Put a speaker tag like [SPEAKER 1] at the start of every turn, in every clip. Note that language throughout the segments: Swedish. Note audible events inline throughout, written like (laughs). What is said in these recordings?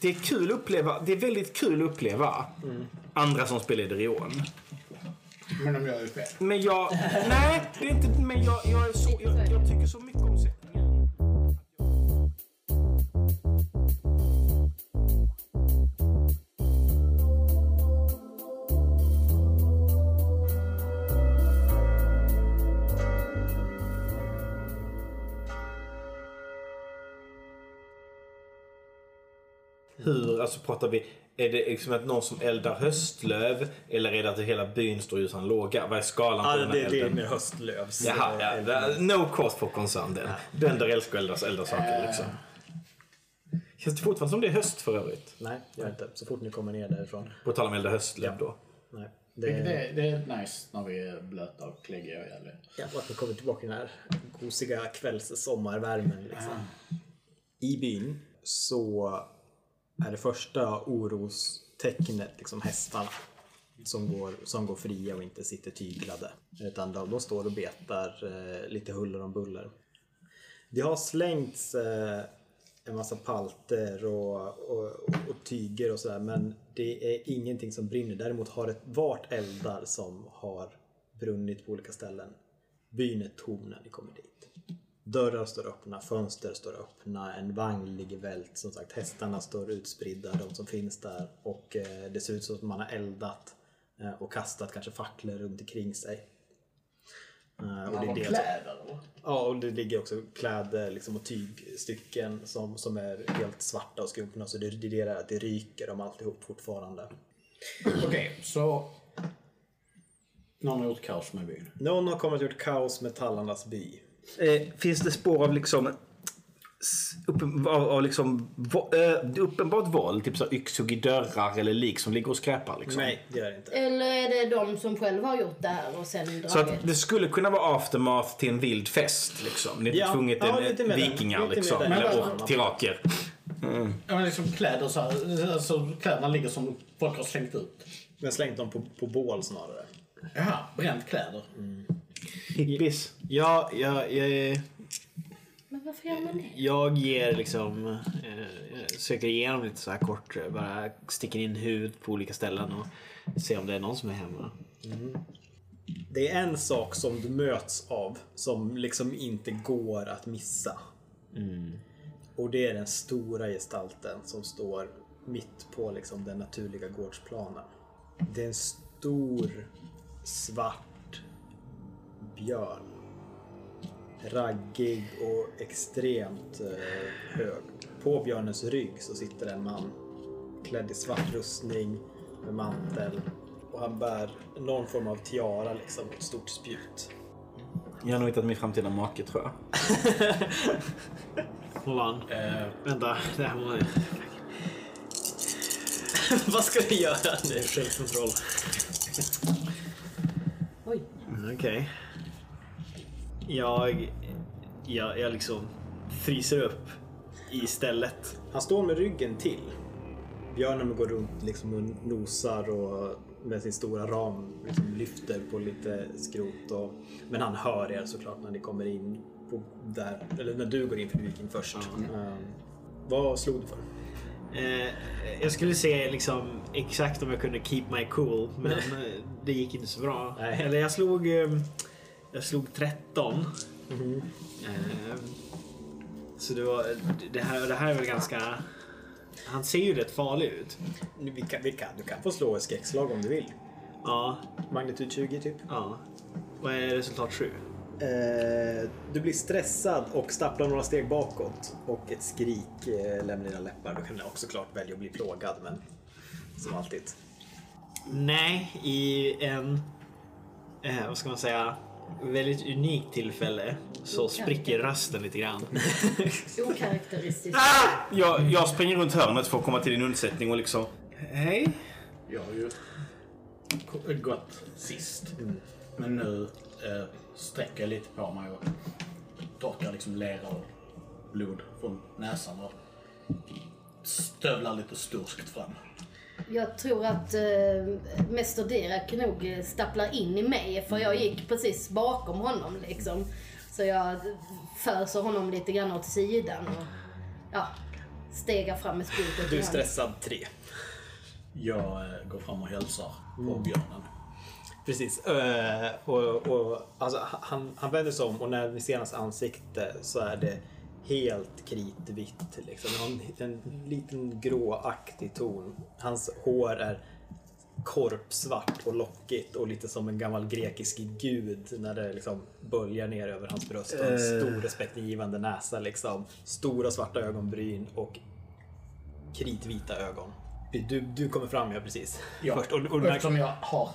[SPEAKER 1] det är kul att uppleva. Det är väldigt kul att uppleva andra som spelar Idrion.
[SPEAKER 2] Men de gör ju fel.
[SPEAKER 1] Men
[SPEAKER 3] (laughs)
[SPEAKER 1] jag... Nej, det är inte... Men jag, jag, är så, jag, jag tycker så mycket om sättningen. Hur, alltså pratar vi... Är det liksom att någon som eldar höstlöv? Eller är det att hela byn står utan låga? Vad är skalan på
[SPEAKER 3] Ja,
[SPEAKER 1] den här
[SPEAKER 3] det, det är
[SPEAKER 1] elden?
[SPEAKER 3] med höstlövs.
[SPEAKER 1] Jaha, ja,
[SPEAKER 3] eh,
[SPEAKER 1] det- no cause for concern den. Den där älskar att eldas, elda saker liksom. Känns det fortfarande som det är höst för övrigt?
[SPEAKER 3] Nej, gör inte. Så fort ni kommer ner därifrån.
[SPEAKER 1] På tal om elda höstlöv då.
[SPEAKER 3] Nej.
[SPEAKER 2] Vilket
[SPEAKER 3] Det,
[SPEAKER 2] är, det är nice när vi är blöta och kläggiga och jävliga.
[SPEAKER 3] ja, och att ni kommer tillbaka i den här gosiga kvälls sommarvärmen. Liksom. I byn så är det första orostecknet liksom hästarna. Som går, som går fria och inte sitter tyglade. Utan de, de står och betar eh, lite huller om buller. Det har slängts eh, en massa palter och, och, och, och tyger och sådär men det är ingenting som brinner. Däremot har det varit eldar som har brunnit på olika ställen. Byn är tom när ni kommer dit. Dörrar står öppna, fönster står öppna, en vagn ligger vält. Som sagt, hästarna står utspridda, de som finns där. Och eh, det ser ut som att man har eldat eh, och kastat kanske facklor runt omkring sig. Eh, och det är det som-
[SPEAKER 2] kläder
[SPEAKER 3] Ja, och det ligger också kläder liksom, och tygstycken som, som är helt svarta och skumpna. Så det, det är det där att det ryker om alltihop fortfarande.
[SPEAKER 2] Okej, så... Någon har gjort kaos med byn.
[SPEAKER 3] Någon har kommit och gjort kaos med tallarnas by.
[SPEAKER 1] Eh, finns det spår av liksom... s- Uppen, av, av liksom vo, eh, uppenbart våld? Typ så här yxhugg i dörrar eller lik som ligger och skräpar liksom?
[SPEAKER 3] Nej, det gör det inte.
[SPEAKER 4] Eller är det de som själva har gjort det här och sen dragit?
[SPEAKER 1] Så att det skulle kunna vara aftermath till en vild fest liksom? Ni är
[SPEAKER 3] Ja.
[SPEAKER 1] inte tvunget
[SPEAKER 3] Ja, lite
[SPEAKER 1] en
[SPEAKER 3] med den.
[SPEAKER 1] vikingar
[SPEAKER 3] Lite med
[SPEAKER 1] liksom?
[SPEAKER 3] den.
[SPEAKER 1] Eller
[SPEAKER 3] Men-
[SPEAKER 1] och tiraker?
[SPEAKER 2] Ja, men liksom kläder så här, alltså, kläderna ligger som folk har slängt ut.
[SPEAKER 3] Men slängt dem på, på bål snarare.
[SPEAKER 2] Jaha, bränt kläder.
[SPEAKER 1] Hippies?
[SPEAKER 5] Ja, jag, jag,
[SPEAKER 4] Men varför gör man det?
[SPEAKER 5] jag ger liksom... Eh, jag söker igenom lite så här kort. eh, Bara sticker in hud på olika ställen och ser om det är någon som är hemma.
[SPEAKER 3] Det är en sak som du möts av som liksom inte går att missa. Och det är den stora gestalten som står mitt på liksom den naturliga gårdsplanen. Det är en stor svart björn. Raggig och extremt eh, hög. På björnens rygg så sitter en man klädd i svart rustning med mantel och han bär någon form av tiara liksom, ett stort spjut.
[SPEAKER 1] Jag har nog hittat min framtida make tror jag.
[SPEAKER 5] Hold on. Vänta, det här var... (laughs)
[SPEAKER 3] Vad ska vi göra nu?
[SPEAKER 5] Självkontroll.
[SPEAKER 4] Oj.
[SPEAKER 5] Okej. Jag, jag... Jag liksom fryser upp i stället.
[SPEAKER 3] Han står med ryggen till. Björnen går runt liksom och nosar och med sin stora ram liksom lyfter på lite skrot. Och, men han hör er såklart när ni kommer in. På där, eller när du går in för viking först. Ehm, vad slog du för?
[SPEAKER 5] Eh, jag skulle se liksom exakt om jag kunde keep my cool, men eh, det gick inte så bra.
[SPEAKER 3] Nej.
[SPEAKER 5] Eller jag slog... eh, Jag slog 13. Eh, Så det var... Det här, det här är väl ganska... Han ser ju rätt farlig ut.
[SPEAKER 3] Vi kan, vi kan, du kan få slå ett skräckslag om du vill.
[SPEAKER 5] Ja,
[SPEAKER 3] Magnitud 20 typ.
[SPEAKER 5] ja. Vad är resultat 7?
[SPEAKER 3] Eh, du blir stressad och stapplar några steg bakåt. Och ett skrik eh, lämnar dina läppar. Du kan också klart välja att bli plågad, men som alltid.
[SPEAKER 5] Nej, i en... Eh, vad ska man säga? Väldigt unikt tillfälle så spricker rösten lite grann.
[SPEAKER 4] Okaraktäristiskt.
[SPEAKER 1] Ah! Jag, jag springer runt hörnet för att komma till din undsättning och liksom... Hej?
[SPEAKER 2] Jag har ju k- gått sist. Men nu eh, sträcker jag lite på mig och torkar liksom lera och blod från näsan och stövlar lite storskt fram.
[SPEAKER 4] Jag tror att eh, Mäster Dirac nog eh, stapplar in i mig för jag gick precis bakom honom liksom. Så jag föser honom lite grann åt sidan och ja, stegar fram med spjutet
[SPEAKER 3] Du är
[SPEAKER 4] i hand.
[SPEAKER 3] stressad tre.
[SPEAKER 2] Jag eh, går fram och hälsar
[SPEAKER 3] Mm.
[SPEAKER 2] på björnen.
[SPEAKER 3] Precis. Eh, och, och, alltså, han, han vänder sig om och när vi ser hans ansikte så är det helt kritvitt. Liksom. Han har en, en liten gråaktig ton. Hans hår är korpsvart och lockigt och lite som en gammal grekisk gud när det liksom böljar ner över hans bröst och en stor respektingivande näsa liksom. Stora svarta ögonbryn och kritvita ögon. Du, du kommer fram ja precis.
[SPEAKER 2] Ja,
[SPEAKER 3] Först, och, och när,
[SPEAKER 2] eftersom jag har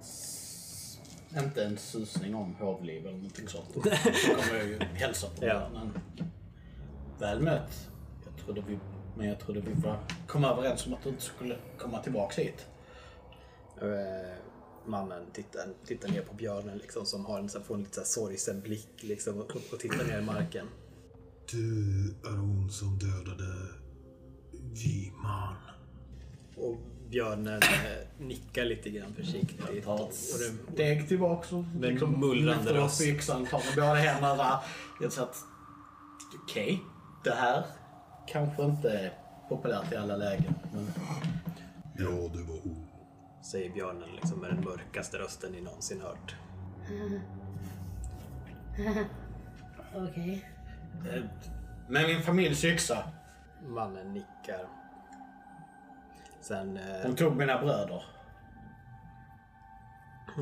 [SPEAKER 2] s- inte en susning om hovliv eller någonting sånt. Så kommer jag ju hälsa på
[SPEAKER 3] (laughs) Ja.
[SPEAKER 2] björnen. Väl mött. Jag trodde vi, men jag trodde vi var, kom överens om att du inte skulle komma tillbaks hit.
[SPEAKER 3] Eh, mannen tittar, tittar ner på björnen liksom, som har en, så här- får en lite så här sorgsen blick liksom, och, och tittar ner i marken.
[SPEAKER 6] Du är hon som dödade Jiman.
[SPEAKER 3] Och björnen eh, nickar lite grann försiktigt.
[SPEAKER 2] Ta
[SPEAKER 3] Och
[SPEAKER 2] ett
[SPEAKER 3] det,
[SPEAKER 2] steg tillbaks och liksom
[SPEAKER 3] en mullrande
[SPEAKER 2] lyfter upp
[SPEAKER 3] röst.
[SPEAKER 2] yxan, tar med båda händerna. Jag sa att okej, det här kanske inte är populärt i alla lägen. Men
[SPEAKER 6] Ja, det var hon.
[SPEAKER 3] säger björnen liksom, med den mörkaste rösten ni någonsin hört.
[SPEAKER 4] Okej.
[SPEAKER 2] Eh, Men min familjs yxa.
[SPEAKER 3] Mannen nickar. Sen, eh,
[SPEAKER 2] Hon tog mina bröder.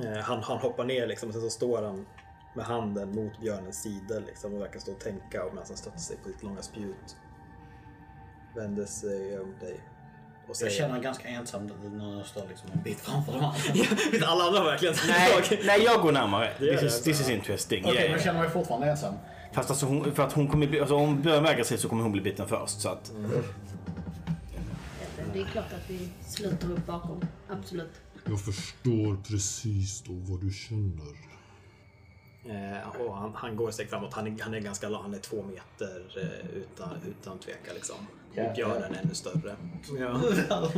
[SPEAKER 3] eh, han, han hoppar ner liksom, och sen så står han med handen mot björnens sida liksom, och verkar stå och tänka och medan han stöter sig på sitt långa spjut. Vänder sig om dig. Och
[SPEAKER 2] Jag
[SPEAKER 3] säger,
[SPEAKER 2] känner mig ganska ensam när jag står liksom en bit framför dem andra. Okej,
[SPEAKER 3] Vet (laughs) alla andra verkligen
[SPEAKER 1] (laughs) Nej, nej, jag går närmare.
[SPEAKER 3] gör
[SPEAKER 1] This
[SPEAKER 3] det,
[SPEAKER 1] is,
[SPEAKER 3] alltså.
[SPEAKER 1] this is interesting.
[SPEAKER 2] men
[SPEAKER 1] Yeah,
[SPEAKER 2] jag
[SPEAKER 1] yeah.
[SPEAKER 2] känner mig fortfarande ensam.
[SPEAKER 1] Fast alltså hon, för att hon kommer bli, alltså om Björn vägrar sig så kommer hon bli biten först. Så att,
[SPEAKER 4] Ja, Det är klart att vi sluter upp bakom. Absolut.
[SPEAKER 6] Jag förstår precis då vad du känner.
[SPEAKER 3] Eh, och han, han går ett steg framåt. Han är, han är ganska lång. Han är två meter eh, utan, utan tvekan. Liksom. Och björnen är ännu större.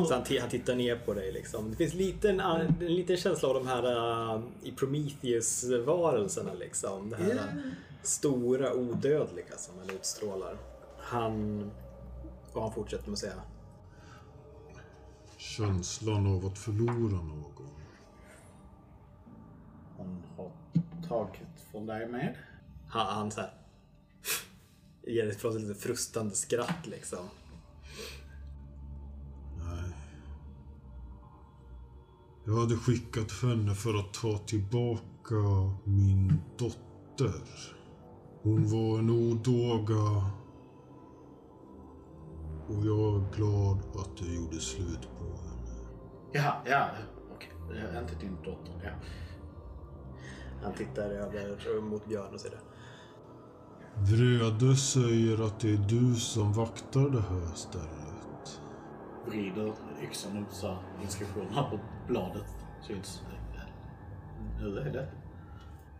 [SPEAKER 3] Så han, t- han tittar ner på dig. Liksom. Det finns liten, en liten känsla av de här eh, i Prometheus-varelserna. Liksom. Det här stora odödliga som han utstrålar. Han... Och han fortsätter med att säga
[SPEAKER 6] Känslan av att förlora någon.
[SPEAKER 2] Hon har tagit från dig med.
[SPEAKER 3] Han, han så här, ger ifrån sig lite frustande skratt liksom.
[SPEAKER 6] Nej. Jag hade skickat henne för att ta tillbaka min dotter. Hon var en odåga. Och jag är glad att jag gjorde slut på henne.
[SPEAKER 2] Ja, ja, okej. Det är inte din dotter. Ja.
[SPEAKER 3] Han tittar över mot Björn och säger
[SPEAKER 6] Vrede säger att det är du som vaktar det här stället.
[SPEAKER 2] Vrider yxan upp så här, inskriptionerna på bladet syns. eh, Nu är det.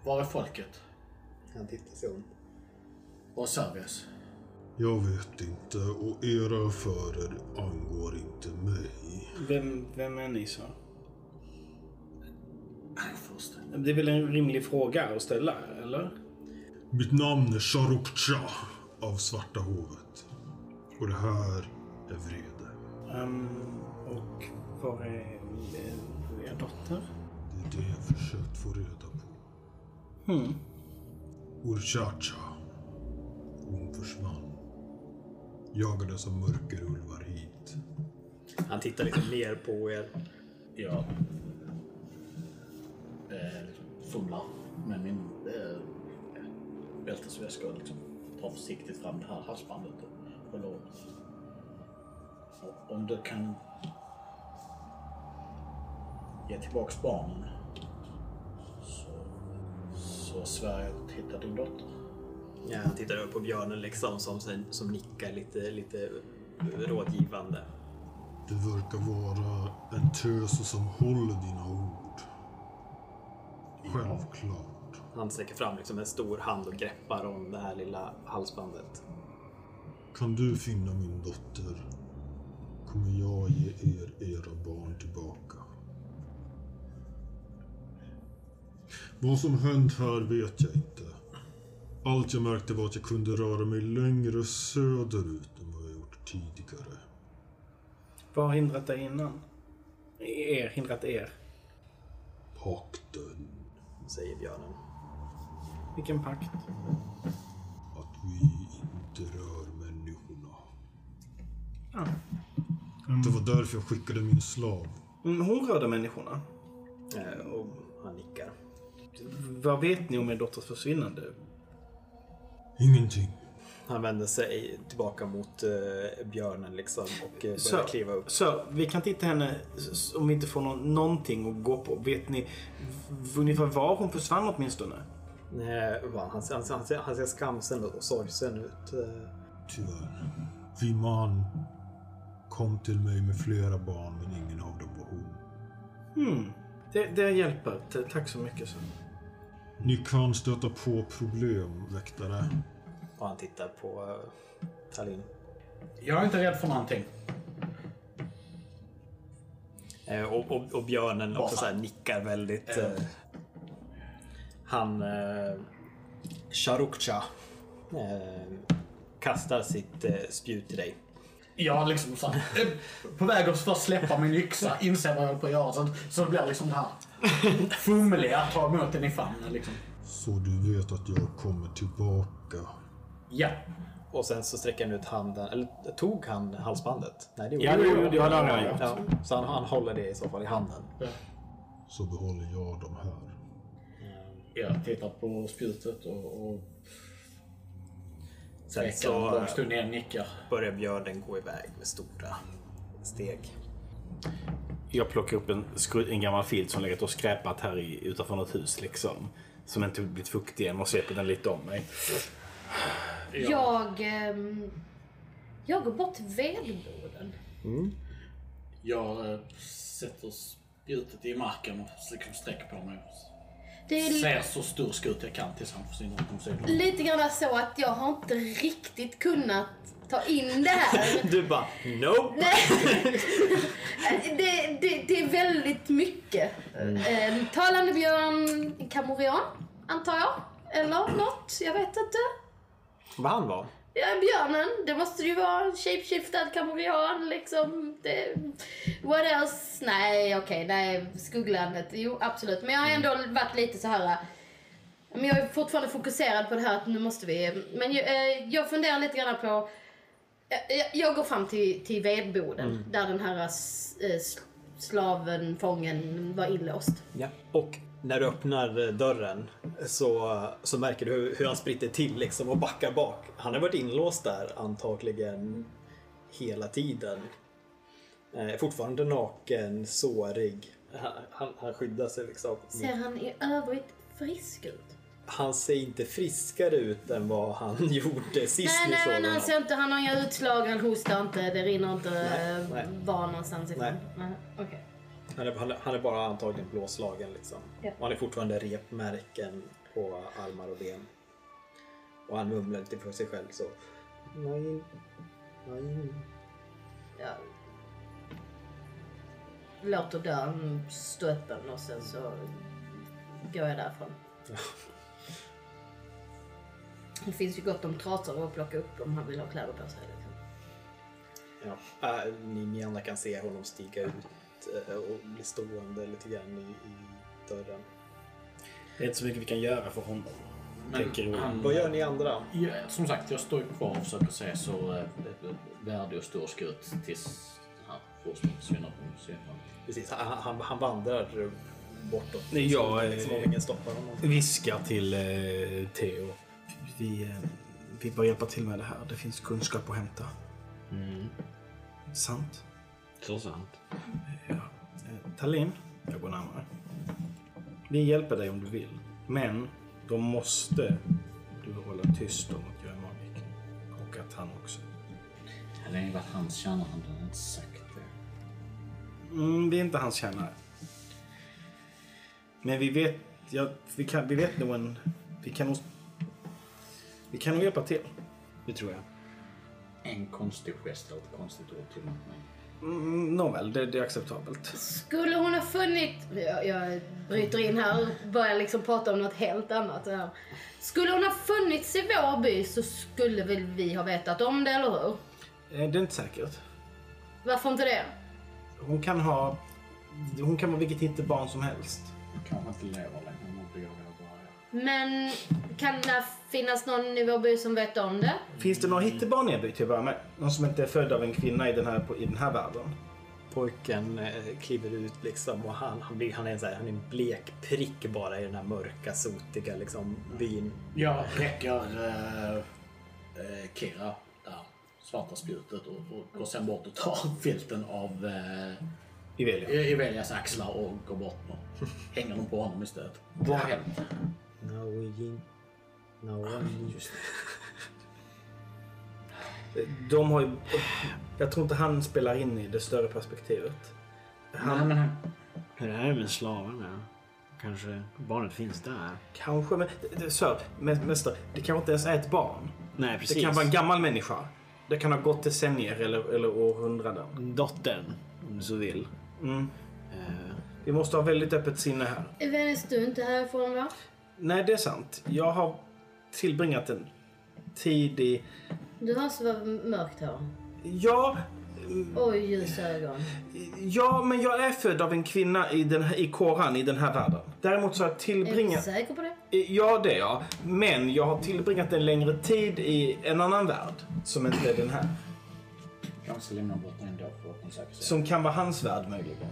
[SPEAKER 2] Var är folket?
[SPEAKER 3] Han tittar sig om.
[SPEAKER 2] Var är Servius?
[SPEAKER 6] Jag vet inte och era affärer angår inte mig.
[SPEAKER 1] vem, vem är ni så?
[SPEAKER 2] Nej, först.
[SPEAKER 1] Det är väl en rimlig fråga att ställa, eller?
[SPEAKER 6] Mitt namn är Sharukcha av Svarta hovet. Och det här är vrede.
[SPEAKER 1] Ehm, och var är er dotter?
[SPEAKER 6] Det är det jag försökt få reda på. Hmm. Urchacha. Hon försvann. Jagades av mörkerulvar hit.
[SPEAKER 3] Han tittar liksom ner på er.
[SPEAKER 2] Jag eh, fumlar med min eh, bältesväska och liksom tar försiktigt fram det här halsbandet och håller upp. Och Om du kan ge tillbaks barnen så, så svär jag att hitta din dotter.
[SPEAKER 3] Ja, han tittar över på björnen liksom som, sen- som nickar lite, lite rådgivande.
[SPEAKER 6] Du verkar vara en tös som håller dina ord. Självklart.
[SPEAKER 3] Han sträcker fram liksom en stor hand och greppar om det här lilla halsbandet.
[SPEAKER 6] Kan du finna min dotter kommer jag ge er era barn tillbaka. Vad som hänt här vet jag inte. Allt jag märkte var att jag kunde röra mig längre söderut än vad jag gjort tidigare.
[SPEAKER 1] Vad har hindrat dig innan? Er, hindrat er?
[SPEAKER 6] Pakten
[SPEAKER 3] säger björnen.
[SPEAKER 1] Vilken pakt?
[SPEAKER 6] att vi inte rör människorna.
[SPEAKER 1] Ah.
[SPEAKER 6] Det var därför jag skickade min slav.
[SPEAKER 1] Mm, Hon rörde människorna.
[SPEAKER 3] Eh, Och han nickar.
[SPEAKER 1] Vad vet ni om er dotters försvinnande?
[SPEAKER 6] Ingenting.
[SPEAKER 3] Han vänder sig tillbaka mot eh, björnen liksom och eh, börjar
[SPEAKER 1] Så,
[SPEAKER 3] kliva upp.
[SPEAKER 1] så vi kan titta henne s- om vi inte får någon, någonting att gå på. Vet ni v- ungefär var hon försvann åtminstone?
[SPEAKER 3] Nej, Eh, vad han, han, han, ser- han ser skamsen och sorgsen ut. eh.
[SPEAKER 6] Tyvärr. Viman kom till mig med flera barn men ingen av dem var hon.
[SPEAKER 1] Det, det hjälper. T- Tack så mycket. Så.
[SPEAKER 6] Ni kan stöta på problem, väktare.
[SPEAKER 3] Och han tittar på eh, Tallinn.
[SPEAKER 2] Jag är inte rädd för någonting.
[SPEAKER 3] Eh, Och, och, och björnen också så här nickar väldigt. eh. Han... Eh, Sharukcha eh, kastar sitt eh, spjut till dig.
[SPEAKER 2] Jag liksom så här, eh, på väg att först släppa min yxa, inser vad jag håller på att göra. Så, så blir det liksom det här fumliga, ta emot den i famnen liksom.
[SPEAKER 6] Så du vet att jag kommer tillbaka.
[SPEAKER 2] Ja.
[SPEAKER 3] Och sen så sträcker han ut handen, eller tog han halsbandet? Nej, det gjorde
[SPEAKER 1] Ja,
[SPEAKER 3] han.
[SPEAKER 1] det gjorde jag. Det hade han gjort.
[SPEAKER 3] Ja, så han, han håller det i så fall i handen.
[SPEAKER 6] Så behåller jag dem här.
[SPEAKER 2] Jag tittar på spjutet och, och
[SPEAKER 3] Sen
[SPEAKER 2] räcker en
[SPEAKER 3] så eh,
[SPEAKER 2] lång stund ner och nickar.
[SPEAKER 3] börjar björnen gå iväg med stora steg.
[SPEAKER 1] Jag plockar upp en, skru- en gammal filt som legat och skräpat här i, utanför något hus. Liksom, som inte blivit fuktig än och sveper den lite om mig.
[SPEAKER 4] Jag... ehm, jag går bort till vedboden.
[SPEAKER 2] Jag eh, sätter spjutet i marken och liksom sträcker på mig.
[SPEAKER 4] Det är
[SPEAKER 2] Ser så stor ut jag kan tills han försvinner utom synhåll.
[SPEAKER 4] lite grann så att jag har inte riktigt kunnat ta in det här.
[SPEAKER 3] Du bara nope!
[SPEAKER 4] Det, det, det är väldigt mycket. Eh, talande björn, kamorian, antar jag. Eller något, jag vet inte.
[SPEAKER 3] Vad han var?
[SPEAKER 4] Ja, björnen, det måste ju vara en shapeshiftad kamorian liksom. Det, what else? Nej, okej, nej, skugglandet. Jo, absolut. Men jag har ändå varit lite så här... Men jag är fortfarande fokuserad på det här att nu måste vi... Men jag, eh, jag funderar lite grann på... Jag, jag- jag går fram till, till vedboden där den här s- eh, s- slaven, fången, var inlåst.
[SPEAKER 3] Ja. Och när du öppnar eh, dörren så, så märker du hur, hur han spritter till liksom och backar bak. Han har varit inlåst där antagligen hela tiden. Eh, fortfarande naken, sårig. Han, han, han skyddar sig liksom.
[SPEAKER 4] Ser han i övrigt frisk ut?
[SPEAKER 3] Han ser inte friskare ut än vad han (laughs) gjorde sist
[SPEAKER 4] Nej,
[SPEAKER 3] vi såg
[SPEAKER 4] nej, men alltså, han
[SPEAKER 3] honom.
[SPEAKER 4] ser inte, han har inga utslag, han hostar inte, det rinner inte
[SPEAKER 3] Nej,
[SPEAKER 4] eh,
[SPEAKER 3] nej.
[SPEAKER 4] var någonstans ifrån.
[SPEAKER 3] Nej.
[SPEAKER 4] Nej, okej.
[SPEAKER 3] Han är, han är- han är bara antagligen blåslagen liksom.
[SPEAKER 4] Ja.
[SPEAKER 3] Och han är fortfarande repmärken på armar och ben. Och han mumlar lite för sig själv så. Nej, nej.
[SPEAKER 4] Ja. Låter dörren stå öppen mm, och sen så går
[SPEAKER 3] (laughs)
[SPEAKER 4] jag därifrån. Det finns ju gott om trasor att plocka upp om han vill ha kläder på sig. Liksom.
[SPEAKER 3] Ja. Äh, ni, ni andra kan se honom stiga ut eh, och bli stående lite grann i, i dörren.
[SPEAKER 1] Det är inte så mycket vi kan göra för honom. Tänker
[SPEAKER 2] Men
[SPEAKER 1] hon.
[SPEAKER 2] han,
[SPEAKER 3] Vad gör ni andra?
[SPEAKER 2] Ja, som sagt, jag står ju kvar och försöker se så eh, värdig och stor ut tills han fortfarande försvinner från synhåll.
[SPEAKER 3] Precis, han, han, han vandrar bortåt. Liksom,
[SPEAKER 1] Nej, jag,
[SPEAKER 3] Som- Som om
[SPEAKER 1] eh,
[SPEAKER 3] ingen stoppar honom.
[SPEAKER 1] Viskar till eh, Theo. Vi, eh, vi bör hjälpa till med det här. Det finns kunskap att hämta.
[SPEAKER 2] Mm.
[SPEAKER 1] Sant?
[SPEAKER 5] Så sant.
[SPEAKER 1] Ja. Eh, Tallinn, jag går närmare. Vi hjälper dig om du vill. Men då måste du hålla tyst om att jag är magiker. Och att han också.
[SPEAKER 2] Hade det varit hans kärna hade han inte sagt det.
[SPEAKER 1] Mm, det är inte hans tjänare. Men vi vet... Ja, vi, kan, vi vet nog en... Vi kan nog... Vi kan nog hjälpa till. Det tror jag.
[SPEAKER 2] En konstig gest eller ett konstigt ord till mig.
[SPEAKER 1] Mm, Nåväl, det, det är acceptabelt.
[SPEAKER 4] Skulle hon ha funnit... Jag, jag bryter in här och börjar liksom prata om något helt annat. Här. Skulle hon ha funnits i vår by så skulle väl vi ha vetat om det, eller hur?
[SPEAKER 1] Eh, Det är inte säkert.
[SPEAKER 4] Varför inte det?
[SPEAKER 1] Hon kan ha... Hon kan vara vilket inte barn som helst.
[SPEAKER 2] Kanske inte lever längre om hon begår bara.
[SPEAKER 4] Men kan det finnas någon i vår by som vet om det?
[SPEAKER 1] Finns det några
[SPEAKER 3] Mm.
[SPEAKER 1] hittebarn i er by till att börja med? Någon som inte är född av en kvinna i den här, i den här världen?
[SPEAKER 3] Pojken eh, kliver ut liksom och han, han, blir, han, är en så här, han är en blek prick bara i den här mörka, sotiga liksom, byn.
[SPEAKER 2] Jag räcker eh, eh, Kira det här svarta spjutet och, och går sen bort och tar (laughs) filten av eh,
[SPEAKER 1] Ivelia.
[SPEAKER 2] Evelias axlar och går bort och (laughs) hänger den på honom istället. Vad har hänt?
[SPEAKER 3] No, yin. No,
[SPEAKER 2] Ah,
[SPEAKER 3] yin.
[SPEAKER 1] De har ju... Jag tror inte han spelar in i det större perspektivet.
[SPEAKER 2] Nej, men han
[SPEAKER 5] Hur är det med slavarna? Kanske barnet finns där?
[SPEAKER 1] Kanske, men... Sör, mä- mästare, det kanske inte ens är ett barn.
[SPEAKER 5] Nej,
[SPEAKER 1] Det
[SPEAKER 5] precis.
[SPEAKER 1] kan vara en gammal människa. Det kan ha gått decennier eller, eller århundraden.
[SPEAKER 5] Dottern, om du så vill.
[SPEAKER 1] Mm.
[SPEAKER 5] Eh,
[SPEAKER 1] Vi måste ha väldigt öppet sinne här.
[SPEAKER 4] Venice, du är inte härifrån va?
[SPEAKER 1] Nej, det är sant. Jag har tillbringat en tid i...
[SPEAKER 4] Du har så mörkt hår.
[SPEAKER 1] Ja,
[SPEAKER 4] Och ljusa ögon.
[SPEAKER 1] ja, men jag är född av en kvinna i, den här, i Koran, i den här världen. Däremot så har jag
[SPEAKER 4] Är du
[SPEAKER 1] tillbringat...
[SPEAKER 4] säker på det?
[SPEAKER 1] Ja, det är jag. Men jag har tillbringat en längre tid i en annan värld. Som inte är den här.
[SPEAKER 2] kanske ska lämna bort den ändå för att hon säkert ser.
[SPEAKER 1] Som kan vara hans värld möjligen.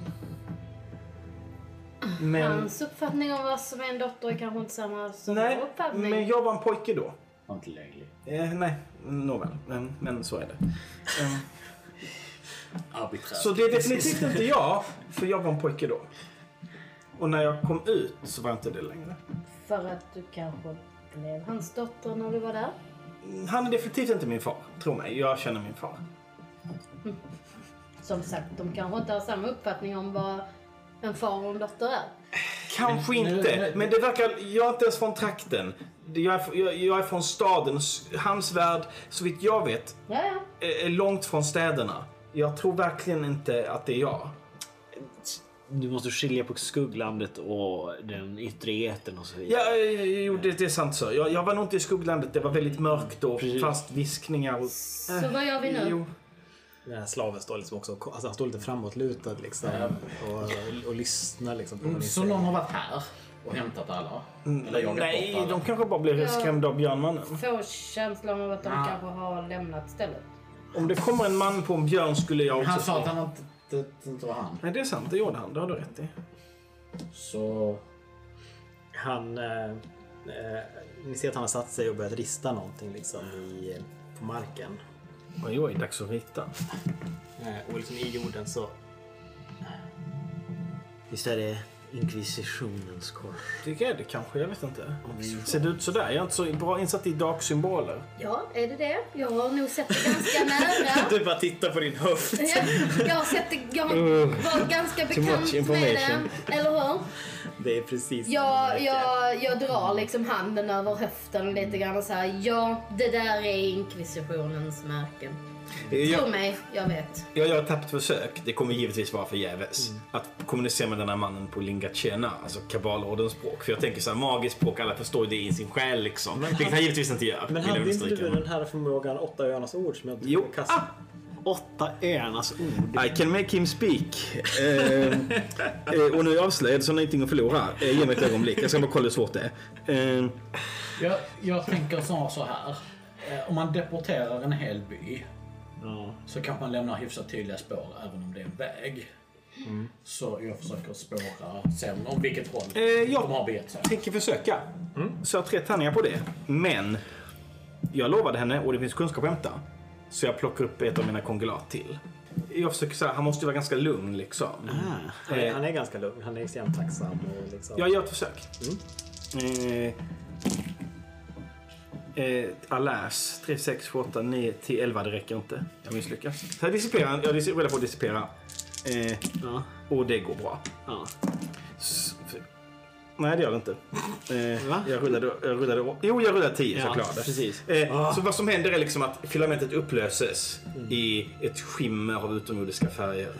[SPEAKER 1] Men...
[SPEAKER 4] Hans uppfattning om vad som är en dotter är kanske inte samma som
[SPEAKER 1] Nej,
[SPEAKER 4] vår uppfattning.
[SPEAKER 1] men jag var en pojke då.
[SPEAKER 2] Var inte läglig.
[SPEAKER 1] Eh, nej, nåväl. Men, men så är det. Eh,
[SPEAKER 2] Arbiträrt.
[SPEAKER 1] så det är definitivt inte jag, för jag var en pojke då. Och när jag kom ut så var jag inte det längre.
[SPEAKER 4] För att du kanske blev hans dotter när du var där?
[SPEAKER 1] Han är definitivt inte min far, tro mig. Jag känner min far.
[SPEAKER 4] Som sagt, de kanske inte har samma uppfattning om vad en far och en dotter är.
[SPEAKER 1] Kanske
[SPEAKER 2] Men-
[SPEAKER 1] inte,
[SPEAKER 2] nej, nej.
[SPEAKER 1] men det verkar... Jag är inte ens från trakten. Jag är, jag, jag är från staden. Hans värld, så vitt jag vet,
[SPEAKER 4] Ja, ja.
[SPEAKER 1] är, är långt från städerna. Jag tror verkligen inte att det är jag.
[SPEAKER 5] Du måste skilja på skugglandet och den yttre etern och så vidare.
[SPEAKER 1] Ja, eh, jo, det, det är sant så. Jag, jag var nog inte i skugglandet. Det var väldigt mörkt och
[SPEAKER 5] Precis.
[SPEAKER 1] fast viskningar och...
[SPEAKER 3] Äh,
[SPEAKER 4] Så vad gör vi nu?
[SPEAKER 1] Jo.
[SPEAKER 3] Den här slaven står liksom också och- alltså han står lite framåtlutad liksom och, och lyssnar liksom på vad ni
[SPEAKER 2] Så
[SPEAKER 3] säger.
[SPEAKER 2] någon har varit här och hämtat alla? Eller jagat
[SPEAKER 1] Nej,
[SPEAKER 2] bort alla?
[SPEAKER 1] de kanske bara blir
[SPEAKER 4] Ja.
[SPEAKER 1] skrämda av björnmannen.
[SPEAKER 4] Få känslan av att de
[SPEAKER 2] Ja.
[SPEAKER 4] kanske har lämnat stället.
[SPEAKER 1] Om det kommer en man på en björn skulle jag också...
[SPEAKER 2] Han sa
[SPEAKER 1] springa.
[SPEAKER 2] att han inte, det inte var han.
[SPEAKER 1] Nej, det är sant. Det gjorde han. Det har du rätt i.
[SPEAKER 2] Så...
[SPEAKER 3] Han, eh, eh, ni ser att han har satt sig och börjat rista någonting liksom i, på marken.
[SPEAKER 1] Oj, oj, dags att rita.
[SPEAKER 3] Eh, och liksom i jorden så
[SPEAKER 5] Visst är det inkvisitionens kors?
[SPEAKER 1] Tycker jag det kanske? Jag vet inte. Ser det ut sådär? Jag är inte så bra insatt i dagsymboler.
[SPEAKER 4] Ja, är det det? Jag har nog sett det ganska nära.
[SPEAKER 3] (laughs) Du bara tittar på din höft.
[SPEAKER 4] Ja, Jag har sett det, jag har varit ganska bekant med
[SPEAKER 1] information.
[SPEAKER 4] det. Eller hur?
[SPEAKER 3] Det är precis samma
[SPEAKER 4] Jag,
[SPEAKER 3] märke.
[SPEAKER 4] jag, jag drar liksom handen över höften lite grann och säger ja, det där är inkvisitionens märken. Tro
[SPEAKER 1] Jag,
[SPEAKER 4] mig, jag vet.
[SPEAKER 1] jag gör ett tappt försök. Det kommer givetvis vara förgäves. Att kommunicera med den här mannen på lingachena, alltså kabalordens språk. För jag tänker så här, magiskt språk, alla förstår ju det i sin själ liksom. Vilket han givetvis inte gör.
[SPEAKER 3] Men
[SPEAKER 1] vill jag
[SPEAKER 3] hade inte
[SPEAKER 1] understryka.
[SPEAKER 3] du den här förmågan, åtta öarnas ord, som jag
[SPEAKER 1] Jo.
[SPEAKER 3] kastade?
[SPEAKER 5] Åtta öarnas ord.
[SPEAKER 1] I can make him speak. Eh, eh, och nu är jag avslöjad så har ni ingenting att förlora. Eh, ge mig ett ögonblick. Jag ska bara kolla hur svårt det är. Eh,
[SPEAKER 2] Jag, jag tänker snarare så här. Eh, Om man deporterar en hel by
[SPEAKER 5] Ja.
[SPEAKER 2] så kanske man lämnar hyfsat tydliga spår även om det är en väg. Så jag försöker spåra sen om vilket håll
[SPEAKER 1] Eh, ja.
[SPEAKER 2] de har begett sig.
[SPEAKER 1] tänker försöka. Så jag har tre tärningar på det. Men jag lovade henne och det finns kunskap att hämta. Så jag plockar upp ett av mina kongelat till. Jag försöker så här, han måste ju vara ganska lugn liksom.
[SPEAKER 3] Han är, han är ganska lugn, han är extremt tacksam och liksom...
[SPEAKER 1] Jag gör ett försök. Eh, eh, alas, 3, 6, 7, 8, 9, 10, 11. Det räcker inte. Jag misslyckas. Så jag dissiperar. Jag dis- rullar på att dissipera. Eh,
[SPEAKER 5] Ja.
[SPEAKER 1] och det går bra.
[SPEAKER 5] ja.
[SPEAKER 1] S- f- Nej, det gör det inte.
[SPEAKER 5] Va?
[SPEAKER 1] Eh, jag rullade... Jag rullade å- jo, jag rullade 10 så
[SPEAKER 5] Ja,
[SPEAKER 1] jag klarade.
[SPEAKER 5] precis. Ah.
[SPEAKER 1] Eh, Så vad som händer är liksom att filamentet upplöses i ett skimmer av utomjordiska färger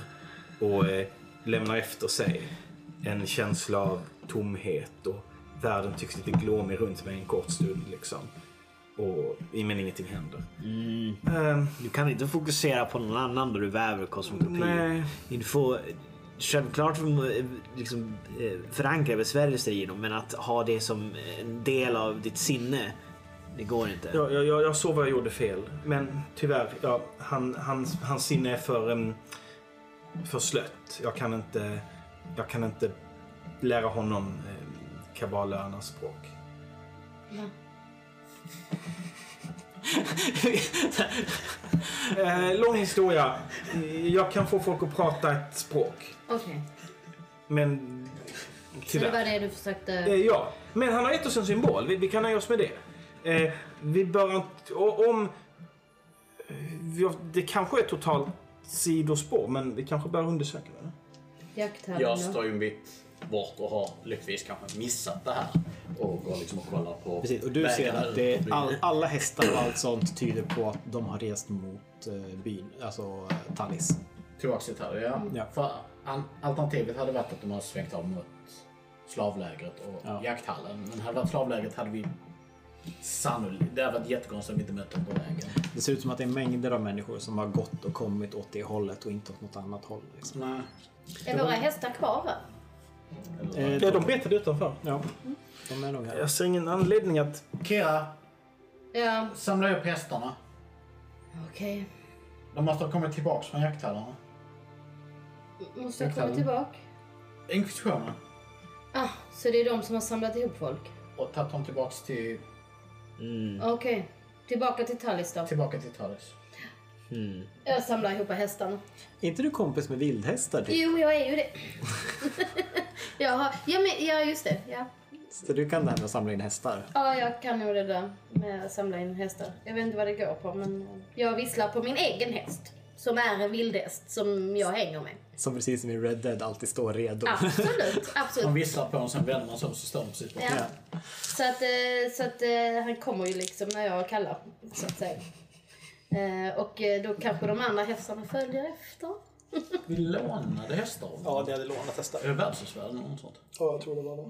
[SPEAKER 1] och eh, lämnar efter sig en känsla av tomhet och världen tycks lite glåmig runt mig en kort stund. Liksom. Och, men ingenting händer.
[SPEAKER 5] Du kan inte fokusera på någon annan när du väver kosmografier.
[SPEAKER 1] Nej.
[SPEAKER 5] Du får självklart eh, liksom, eh, förankra besvärjelser i dem men att ha det som eh, en del av ditt sinne, det går inte.
[SPEAKER 1] Jag, jag, jag, jag såg vad jag gjorde fel. Men tyvärr, ja, han, hans, hans sinne är för, em, för slött. Jag kan inte, jag kan inte lära honom um, kabbalöarnas språk. Eh, lång historia. Jag kan få folk att prata ett språk.
[SPEAKER 4] Okej,
[SPEAKER 1] Men
[SPEAKER 4] så det
[SPEAKER 1] tyvärr.
[SPEAKER 4] var det du
[SPEAKER 1] Eh,
[SPEAKER 4] försökte...
[SPEAKER 1] ja, men han har gett oss en symbol. Vi, vi kan nöja oss med det. Eh, vi bör inte... och Om... eh, vi har- Det kanske är totalt sidospår, men vi kanske bör undersöka det.
[SPEAKER 2] Jag
[SPEAKER 4] Jakthörna.
[SPEAKER 2] står ju en bit bort och har lyckligtvis kanske missat det här. Och går liksom och kollar på
[SPEAKER 3] Precis, och du ser
[SPEAKER 2] vägarna
[SPEAKER 3] att
[SPEAKER 2] ut
[SPEAKER 3] det
[SPEAKER 2] ur
[SPEAKER 3] är
[SPEAKER 2] byn.
[SPEAKER 3] all, alla hästar och allt sånt tyder på att de har rest mot eh, byn, alltså eh, Tallis.
[SPEAKER 2] Tillbaks till Terry, ja.
[SPEAKER 3] Ja.
[SPEAKER 2] För an- alternativet hade varit att de hade svängt av mot slavlägret och
[SPEAKER 3] Ja.
[SPEAKER 2] jakthallen. Men hade det varit slavlägret hade vi sannolikt... Det hade varit jättekonstigt om vi inte mött dem på vägen.
[SPEAKER 3] Det ser ut som att det är mängder av människor som har gått och kommit åt det hållet och inte åt något annat håll. Liksom.
[SPEAKER 2] Nej.
[SPEAKER 4] Är våra hästar kvar här?
[SPEAKER 3] Eh,
[SPEAKER 1] Ja, de betade utanför.
[SPEAKER 3] ja, de är nog här.
[SPEAKER 1] Jag ser ingen anledning att...
[SPEAKER 2] Kira,
[SPEAKER 4] Ja,
[SPEAKER 2] samla upp hästarna.
[SPEAKER 4] okej.
[SPEAKER 2] De måste ha kommit tillbaks från jakthallarna.
[SPEAKER 4] Måste jag komma tillbaka?
[SPEAKER 2] Inkvisitionen.
[SPEAKER 4] Ah, så det är de som har samlat ihop folk?
[SPEAKER 2] Och tagit dem tillbaks till, Mm.
[SPEAKER 4] Okej. Tillbaka till Tallis då.
[SPEAKER 2] tillbaka till Talis.
[SPEAKER 4] Jag samlar ihop hästarna.
[SPEAKER 3] Är inte du kompis med vildhästar? Typ?
[SPEAKER 4] Jo, jag är
[SPEAKER 2] (laughs)
[SPEAKER 4] ju det. jag har, ja, men, ja, just det. Ja.
[SPEAKER 3] Så du kan det här med att samla in hästar?
[SPEAKER 4] ja, jag kan nog det där med att samla in hästar. Jag vet inte vad det går på, men eh, jag visslar på min egen häst. Som är en vildhäst som jag
[SPEAKER 2] (laughs)
[SPEAKER 4] hänger med.
[SPEAKER 3] Som precis som i Red Dead alltid står redo.
[SPEAKER 4] Absolut,
[SPEAKER 2] De
[SPEAKER 4] absolut.
[SPEAKER 2] visslar på en sen vänder man sig om så står de precis på.
[SPEAKER 4] Ja. Så att, eh, så att eh, han kommer ju liksom när jag kallar, så att säga. Eh, Och eh, då kanske de andra hästarna följer efter.
[SPEAKER 2] Vi lånade hästar av dem.
[SPEAKER 3] Ja, ni hade lånat hästar.
[SPEAKER 2] Är det världshusvärden eller något sånt?
[SPEAKER 3] Ja, jag tror det var det.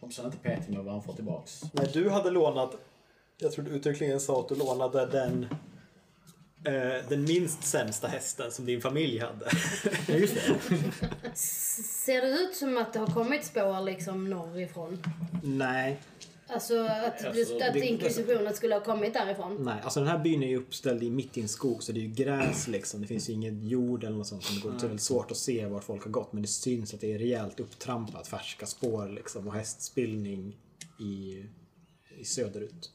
[SPEAKER 2] Om sen inte petig med vad han får tillbaks.
[SPEAKER 3] Nej, du hade lånat, jag tror du uttryckligen sa att du lånade den eh, den minst sämsta hästen som din familj hade.
[SPEAKER 2] Ja, just det.
[SPEAKER 4] Ser det ut som att det har kommit spår liksom norrifrån?
[SPEAKER 3] nej,
[SPEAKER 4] Alltså att,
[SPEAKER 2] Alltså,
[SPEAKER 4] att
[SPEAKER 3] det-
[SPEAKER 4] inkvisitionen skulle ha kommit därifrån?
[SPEAKER 3] nej. Alltså den här byn är ju uppställd i mitt i en skog så det är ju gräs liksom. Det finns ju ingen jord eller något sånt som det går. Så det är väl svårt att se var folk har gått men det syns att det är rejält upptrampat färska spår liksom och hästspillning i, i söderut.